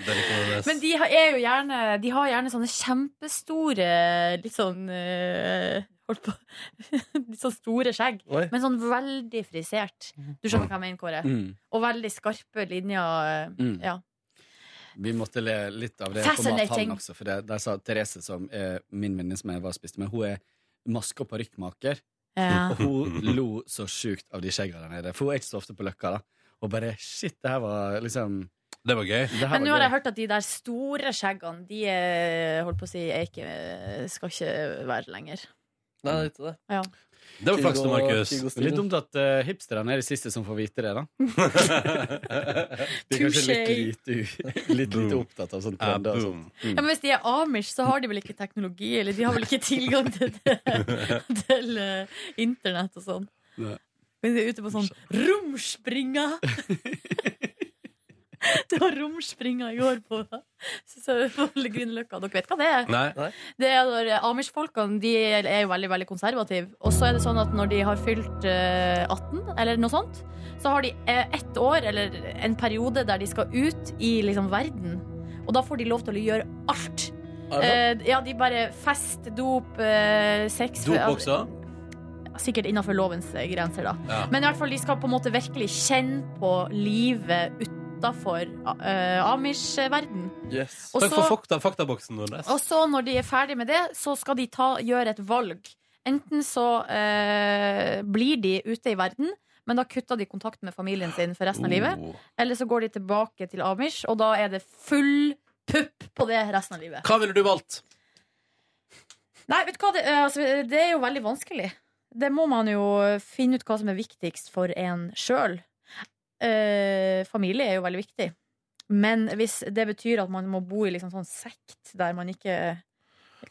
Speaker 2: Men de har, er jo gjerne, de har gjerne sånne kjempestore Litt sånn eh, Holdt på Litt sånn store skjegg,
Speaker 3: Oi.
Speaker 2: men sånn veldig frisert. Du skjønner hva jeg mener, Kåre?
Speaker 13: Mm.
Speaker 2: Og veldig skarpe linjer. eh,
Speaker 13: Mm.
Speaker 2: Ja.
Speaker 13: Vi måtte le litt av det på
Speaker 2: Fascinating.
Speaker 13: mathallen også, for det, der sa Therese, som er min venninne som jeg var og spiste med, hun er maske- og parykkmaker.
Speaker 2: Ja.
Speaker 13: Og hun lo så sjukt av de skjeggene der nede, for hun er ikke så ofte på Løkka, da. Og bare shit, det her var liksom
Speaker 1: Det var gøy.
Speaker 2: Men nå har jeg hørt at de der store skjeggene, de eh, holdt på å si, er ikke, skal ikke være lenger.
Speaker 3: Nei, det er ikke det.
Speaker 2: Ja.
Speaker 1: Det var flaks, da, Markus.
Speaker 13: Litt dumt at eh, hipsterne er de siste som får vite det, da. de er kanskje litt lite, u- litt lite opptatt av sånne
Speaker 1: Ah,
Speaker 13: trender. og
Speaker 1: boom.
Speaker 13: sånt. Mm.
Speaker 2: Ja, men hvis de er amish, så har de vel ikke teknologi, eller de har vel ikke tilgang til, til eh, internett og sånn.
Speaker 13: Nei.
Speaker 2: Men de er ute på sånn romspringa! Det var romspringa i går på, synes jeg, på Grünerløkka. Dere vet hva det er?
Speaker 1: Nei.
Speaker 2: Det er når Amish-folkene de er jo veldig veldig konservative. Og så er det sånn at når de har fylt eh, 18, eller noe sånt, så har de eh, ett år eller en periode der de skal ut i liksom verden. Og da får de lov til å gjøre alt.
Speaker 1: Er det
Speaker 2: Eh, ja, de bare fest, dop, eh, sex
Speaker 1: Dop også?
Speaker 2: Sikkert innenfor lovens eh, grenser, da.
Speaker 1: Ja.
Speaker 2: Men i hvert fall, de skal på en måte virkelig kjenne på livet utafor eh, Amish-verden.
Speaker 1: Yes.
Speaker 2: Og
Speaker 1: Takk
Speaker 2: så-
Speaker 1: for fakta, faktaboksen, Nordnes.
Speaker 2: Og så når de er ferdig med det, så skal de ta, gjøre et valg. Enten så eh, blir de ute i verden, men da kutter de kontakten med familien sin for resten av
Speaker 13: Oh.
Speaker 2: livet. Eller så går de tilbake til Amish, og da er det full pupp på det resten av livet.
Speaker 1: Hva ville du valgt?
Speaker 2: Nei, vet du hva, det, eh, altså, det er jo veldig vanskelig. Det må man jo finne ut hva som er viktigst for en sjøl. Eh, familie er jo veldig viktig. Men hvis det betyr at man må bo i liksom sånn sekt der man ikke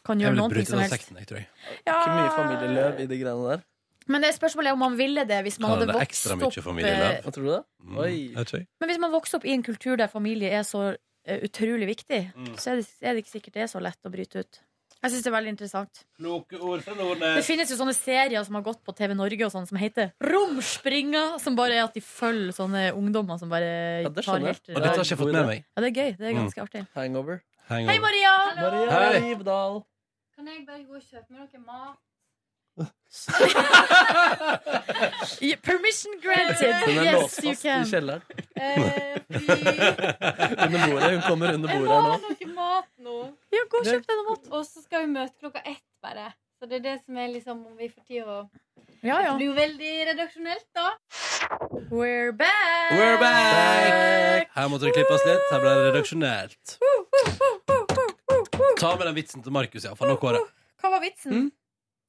Speaker 2: kan gjøre noen ting som helst
Speaker 1: jeg, tror jeg.
Speaker 3: Ikke mye familieløv i de greiene der.
Speaker 2: Men det spørsmålet er om man ville det hvis man
Speaker 3: Kan
Speaker 2: hadde
Speaker 3: det
Speaker 2: vokst
Speaker 3: ekstra mye
Speaker 2: opp eh,
Speaker 3: familieløv? Hva tror du det?
Speaker 1: Mm.
Speaker 3: Oi.
Speaker 2: Men hvis man vokser opp i en kultur der familie er så eh, utrolig viktig,
Speaker 1: Mm.
Speaker 2: så er det, er det ikke sikkert det er så lett å bryte ut. Jeg syns det er veldig interessant.
Speaker 1: Kloke ord fra
Speaker 2: Det
Speaker 1: Nordnes.
Speaker 2: finnes jo sånne serier som har gått på TV Norge og sånn, som heter Romspringa! Som bare er at de følger sånne ungdommer som bare
Speaker 3: det
Speaker 2: tar
Speaker 3: skjønner jeg.
Speaker 2: helt
Speaker 3: Og dette har ikke jeg fått med meg.
Speaker 2: Ja, det er gøy. Det er ganske
Speaker 3: Mm.
Speaker 2: artig.
Speaker 3: Hangover.
Speaker 2: Hei, Maria!
Speaker 3: Maria Rivdal.
Speaker 9: Kan jeg bare gå og kjøpe meg noe mat?
Speaker 2: Yeah, Permission granted!
Speaker 3: Den er
Speaker 2: Yes,
Speaker 3: låst
Speaker 2: you
Speaker 3: fast i
Speaker 2: can.
Speaker 3: kjelleren.
Speaker 2: Eh,
Speaker 3: under bordet. Hun kommer under bordet her nå.
Speaker 9: noe mat nå.
Speaker 2: Ja, gå og
Speaker 3: kjøp
Speaker 2: deg noe mat.
Speaker 9: Og så skal vi møte klokka ett, bare. Så det er det som er liksom om vi får tid å
Speaker 2: Ja, ja.
Speaker 9: Det blir jo veldig redaksjonelt, da.
Speaker 2: We're back!
Speaker 1: We're back! Her måtte det klippes litt. Her ble det redaksjonelt. Ta med den vitsen til Markus, ja. For nå kårer jeg.
Speaker 2: Hva var vitsen?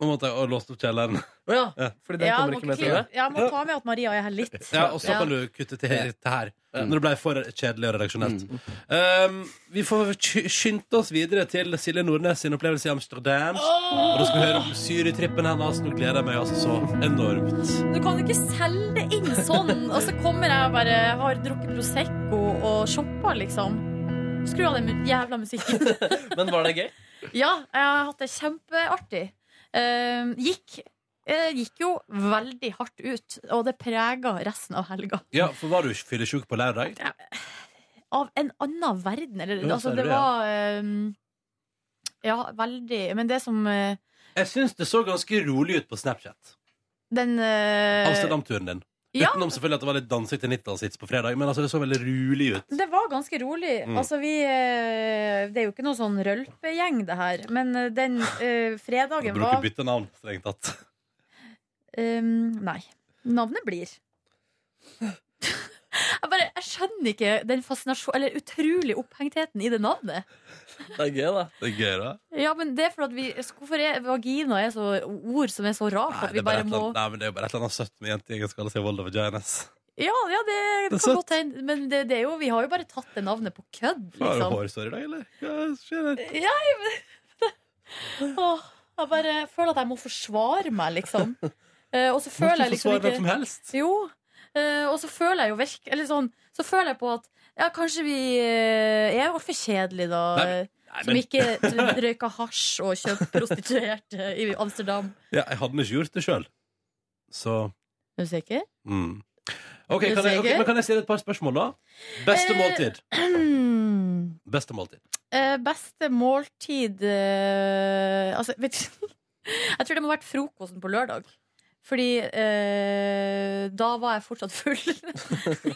Speaker 1: Nå måtte jeg ha låst opp kjelleren. Ja.
Speaker 3: Fordi den
Speaker 2: Ja,
Speaker 3: kommer
Speaker 2: må
Speaker 3: ikke med
Speaker 2: ikke
Speaker 3: til det.
Speaker 2: klippe. Ja, Jeg må ta med at Maria er her litt.
Speaker 1: Ja, og så kan du kutte til her. Til her Når det ble for kjedelig og redaksjonelt. Um, vi får sky- skynde oss videre til Silje Nordnes sin opplevelse i Amsterdam. Og da skal vi høre om syretrippen hennes. Nå gleder jeg meg altså så enormt.
Speaker 2: Du kan jo ikke selge det inn sånn. Og så kommer jeg og bare har drukket Prosecco og shoppa, liksom. Skru av den mu- jævla musikken.
Speaker 3: Men var det gøy?
Speaker 2: Ja, jeg har hatt det kjempeartig. Eh, gikk, eh, gikk jo veldig hardt ut, og det prega resten av helga.
Speaker 1: Ja, for var du fyllesjuk på lørdag?
Speaker 2: Av en annen verden. Eller,
Speaker 1: Ja,
Speaker 2: altså,
Speaker 1: ser
Speaker 2: det
Speaker 1: du det, ja.
Speaker 2: var eh, Ja, veldig Men det som eh,
Speaker 1: Jeg syns det så ganske rolig ut på Snapchat.
Speaker 2: Den eh,
Speaker 1: Amsterdam-turen din.
Speaker 2: Ja.
Speaker 1: Utenom selvfølgelig at det var litt dansing til 90-tallshits på fredag, men altså det så veldig rolig ut.
Speaker 2: Det var ganske rolig.
Speaker 1: Mm.
Speaker 2: Altså, vi eh, Det er jo ikke noe sånn rølpegjeng, det her. Men eh, den eh,
Speaker 1: Du
Speaker 2: fredagen
Speaker 1: burde ikke
Speaker 2: var
Speaker 1: bytte navn, strengt tatt.
Speaker 2: Ehm, Nei. Navnet blir. Jeg bare, jeg skjønner ikke den fascinasjonen Eller utrolig opphengtheten i det navnet.
Speaker 3: Det er gøy, da.
Speaker 1: Det er gøy, da.
Speaker 2: Ja, men det er for at vi Hvorfor er vagina er så ord som er så rart at
Speaker 1: Nei, det
Speaker 2: vi
Speaker 1: er bare
Speaker 2: bare
Speaker 1: et eller
Speaker 2: må
Speaker 1: annet- Nei, men det er jo bare et eller annet søtt med jentegjengen som kaller seg Volda Vaginas.
Speaker 2: Ja, ja, det,
Speaker 1: Det er
Speaker 2: kan
Speaker 1: søtt.
Speaker 2: godt hende. Men det, det er jo, vi har jo bare tatt det navnet på kødd,
Speaker 1: Har du
Speaker 2: liksom.
Speaker 1: hårsår i dag, eller? Hva skjer her?
Speaker 2: Ja, jeg, men- Åh, jeg bare føler at jeg må forsvare meg, liksom. Eh, og så føler
Speaker 1: ikke
Speaker 2: jeg liksom
Speaker 1: forsvare
Speaker 2: ikke
Speaker 1: hvem som helst?
Speaker 2: Jo. Eh, og så føler jeg jo virk, eller sånn, så føler jeg på at ja, kanskje vi eh, er altfor kjedelige, da. eh,
Speaker 1: Nei, men- nei,
Speaker 2: som
Speaker 1: men-
Speaker 2: ikke røyka hasj og kjøpte prostituerte i Amsterdam.
Speaker 1: Ja, jeg hadde nå ikke gjort det sjøl. Så
Speaker 2: Er du sikker?
Speaker 1: mm. OK,
Speaker 2: Er du
Speaker 1: kan jeg, ok,
Speaker 2: sikker?
Speaker 1: men kan jeg stille et par spørsmål, da? Beste
Speaker 2: Eh,
Speaker 1: måltid. Beste måltid.
Speaker 2: Eh, beste måltid eh, Altså, vet du Jeg tror det må ha vært frokosten på lørdag. Fordi eh, da var jeg fortsatt full.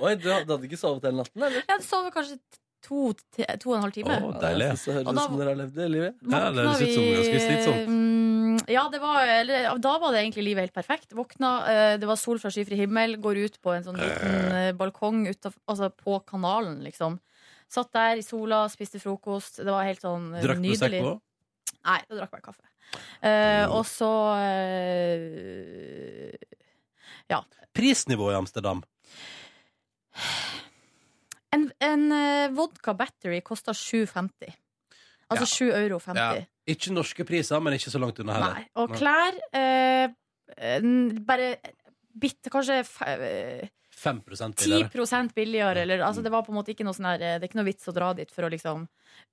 Speaker 3: Oi, du, hadde- du hadde ikke sovet hele natten, eller?
Speaker 2: Jeg sov kanskje to, te- to og en halv time.
Speaker 3: deilig. Så høres
Speaker 2: Og
Speaker 3: ut
Speaker 2: da-
Speaker 3: som dere har levd det livet.
Speaker 2: Ja, det høres ut som ganske slitsomt. mm, Ja, det var, eller, ja, da var det egentlig livet helt perfekt. Våkna, eh, det var sol fra skyfri himmel, går ut på en sånn liten eh, balkong utaf, altså på kanalen, liksom. Satt der i sola, spiste frokost. Det var helt sånn eh,
Speaker 1: Drakk du sekk
Speaker 2: nydelig.
Speaker 1: på?
Speaker 2: Nei, jeg drakk bare kaffe. Eh, og så eh, Ja.
Speaker 1: Prisnivået i Amsterdam.
Speaker 2: En, en eh, vodka battery koster 7,50. Altså 7,50 euro. 50.
Speaker 1: Ja. Ikke norske priser, men ikke så langt unna heller.
Speaker 2: Nei. Og klær eh, en- Bare bitte Kanskje fe- eh,
Speaker 1: 5 billigere.
Speaker 2: 10 billigere. Eller, altså, det var på en måte ikke noe sånn her eh, Det er ikke noe vits å dra dit for å liksom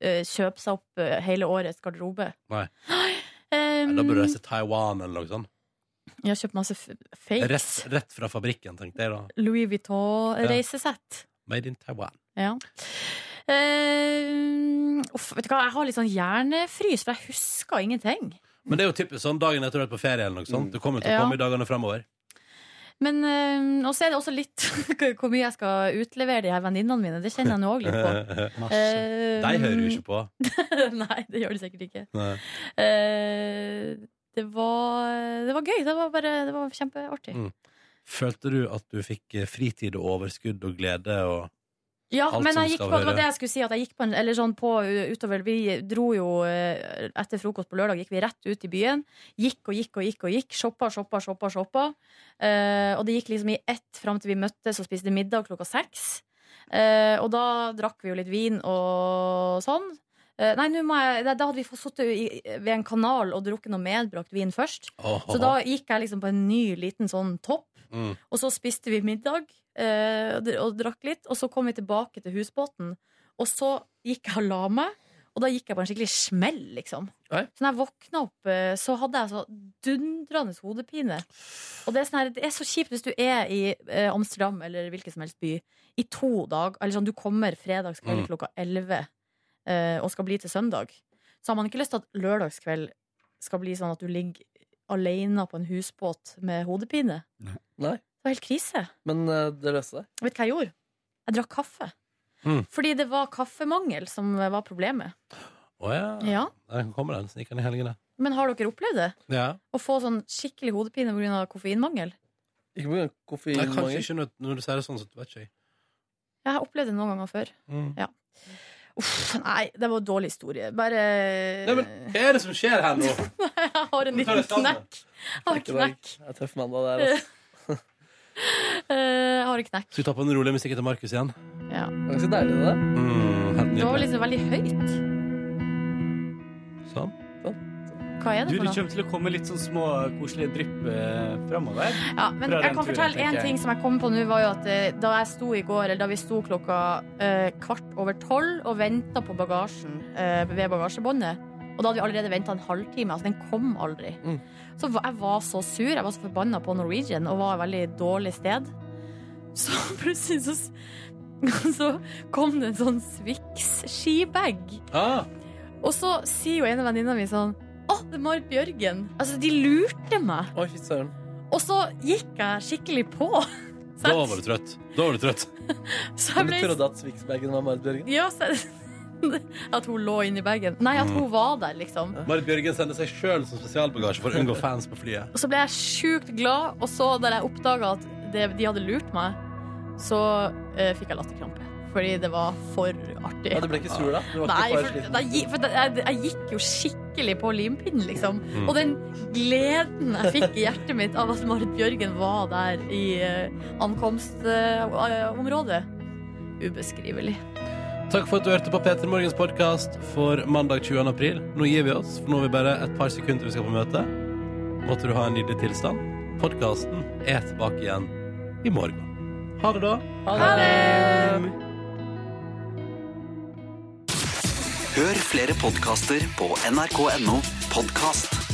Speaker 2: eh, kjøpe seg opp eh, hele årets garderobe.
Speaker 1: Nei.
Speaker 2: Um,
Speaker 1: Da burde du reise til Taiwan eller noe sånt.
Speaker 2: jeg har kjøpt masse f- fakes.
Speaker 1: Rett, rett fra fabrikken, tenkte jeg da.
Speaker 2: Louis Vuitton-reisesett.
Speaker 1: Made in Taiwan.
Speaker 2: Ja. Eh, uff, vet du hva, jeg har litt sånn hjernefrys, for jeg husker ingenting.
Speaker 1: Men det er jo typisk sånn dagen etter du har vært på ferie eller noe sånt. Du kommer til å
Speaker 2: Ja.
Speaker 1: komme i dagene fremover.
Speaker 2: Men eh, Og så er det også litt hvor mye jeg skal utlevere de her venninnene mine. Det kjenner jeg nå òg litt på. Eh,
Speaker 1: De hører jo ikke på.
Speaker 2: Nei, det gjør de sikkert ikke.
Speaker 1: Nei.
Speaker 2: Eh, det, var, det var gøy. Det var, bare, det var kjempeartig.
Speaker 1: Mm. Følte du at du fikk eh, fritid og overskudd og glede og
Speaker 2: Ja,
Speaker 1: alt
Speaker 2: men
Speaker 1: som
Speaker 2: jeg gikk
Speaker 1: skal
Speaker 2: på, det var
Speaker 1: høre?
Speaker 2: det jeg skulle si. At jeg gikk på en, eller sånn på, uh, utover, vi dro jo uh, etter frokost på lørdag, gikk vi rett ut i byen. Gikk og gikk og gikk og gikk. Shoppa, shoppa, shoppa. shoppa. Eh, og det gikk liksom i ett fram til vi møttes og spiste middag klokka seks. Eh, og da drakk vi jo litt vin og sånn. Eh, nei, nå må jeg, da da hadde vi fått sittet i- ved en kanal og drukket noe medbrakt vin først. Så da gikk jeg liksom på en ny liten sånn topp.
Speaker 1: Mm.
Speaker 2: Og så spiste vi middag eh, og dr- og drakk litt, og så kom vi tilbake til husbåten. Og så gikk jeg og la meg, og da gikk jeg på en skikkelig smell, liksom. Så når jeg våkna opp, eh, så hadde jeg så dundrende hodepine. Og det er, sånn her, det er så kjipt hvis du er i eh, Amsterdam eller hvilken som helst by i to dager, eller sånn du kommer fredagskveld
Speaker 14: Mm.
Speaker 2: klokka 11 eh, og skal bli til søndag. Så har man ikke lyst til at lørdagskveld skal bli sånn at du ligger alene på en husbåt med hodepine.
Speaker 3: Nei,
Speaker 2: Det var helt krise.
Speaker 3: men eh, det løste seg.
Speaker 2: Vet du hva jeg gjorde? Jeg drakk kaffe.
Speaker 1: Mm.
Speaker 2: Fordi det var kaffemangel som var problemet.
Speaker 1: Å ja.
Speaker 2: Ja.
Speaker 1: Der kommer den snikende i helgene.
Speaker 2: Men har dere opplevd det?
Speaker 1: Ja.
Speaker 2: Å få sånn skikkelig hodepine pga. koffeinmangel?
Speaker 3: Ikke pga.
Speaker 1: Nei, kanskje
Speaker 3: koffeinmangel.
Speaker 1: ikke når, når du sier det sånn, så vet ikke jeg.
Speaker 2: Jeg har opplevd det noen ganger før. Ja. Uff, nei, det var en dårlig historie. Bare
Speaker 1: Nei, men hva er det som skjer her nå?
Speaker 2: Jeg har en liten knekk. Jeg har
Speaker 3: Det var-
Speaker 2: knekk.
Speaker 3: Jeg er tøff mandag der, altså.
Speaker 2: Eh, Jeg har en knekk.
Speaker 1: Skal vi ta på den rolige musikken til Markus igjen?
Speaker 2: Ja.
Speaker 3: Det var ganske deilig, det der.
Speaker 1: Mm, helt
Speaker 2: Det var
Speaker 1: nydelig.
Speaker 2: liksom veldig høyt.
Speaker 1: Sånn.
Speaker 2: Hva er
Speaker 13: Du,
Speaker 2: det for
Speaker 13: det
Speaker 2: noe?
Speaker 13: kommer til å komme litt sånn små koselige drypp eh, framover.
Speaker 2: Ja, men jeg kan fortelle en ting som jeg kom på nå, var jo at eh, da jeg sto i går, eller da vi sto klokka eh, kvart over tolv og venta på bagasjen eh, ved bagasjebåndet, og da hadde vi allerede venta en halvtime, altså den kom aldri. Så va- jeg var så sur, jeg var så forbanna på Norwegian og var et veldig dårlig sted. Så plutselig så, s- så kom det en sånn Swix-skibag.
Speaker 1: Ah,
Speaker 2: Og så sier jo en av venninna mi sånn Å, det er Marit Bjørgen. Altså, de lurte meg.
Speaker 3: Oi, fy søren.
Speaker 2: Og så gikk jeg skikkelig på.
Speaker 1: Da var du trøtt. Da var du trøtt.
Speaker 2: Så jeg ble-
Speaker 3: Du trodde at Swixbergen var Marit Bjørgen?
Speaker 2: Ja, så, at hun lå inni bagen. Nei, at hun var der, liksom.
Speaker 1: Marit Bjørgen sender seg sjøl som spesialbagasje for å unngå fans på flyet.
Speaker 2: Og så ble jeg sjukt glad, og så da jeg oppdaga at det, de hadde lurt meg, så eh, fikk jeg latterkrampe. Fordi det var for artig.
Speaker 3: Ja, du ble ikke sur da? Du var ikke
Speaker 2: Nei,
Speaker 3: for
Speaker 2: for,
Speaker 3: sliten?
Speaker 2: da gi- for da, jeg, jeg gikk jo skikkelig på limpinnen, liksom.
Speaker 3: Mm.
Speaker 2: Og den gleden jeg fikk i hjertet mitt av at Marit Bjørgen var der i eh, ankomstområdet, ubeskrivelig.
Speaker 1: Takk for at du hørte på Peter Morgens podkast for mandag 20. april. Nå gir vi oss, for nå er vi bare et par sekunder til vi skal på møte. Måtte du ha en nydelig tilstand. Podkasten er tilbake igjen i morgen. Ha det, da.
Speaker 4: Ha
Speaker 1: det.
Speaker 11: Hør flere podkaster på nrk.no podkast.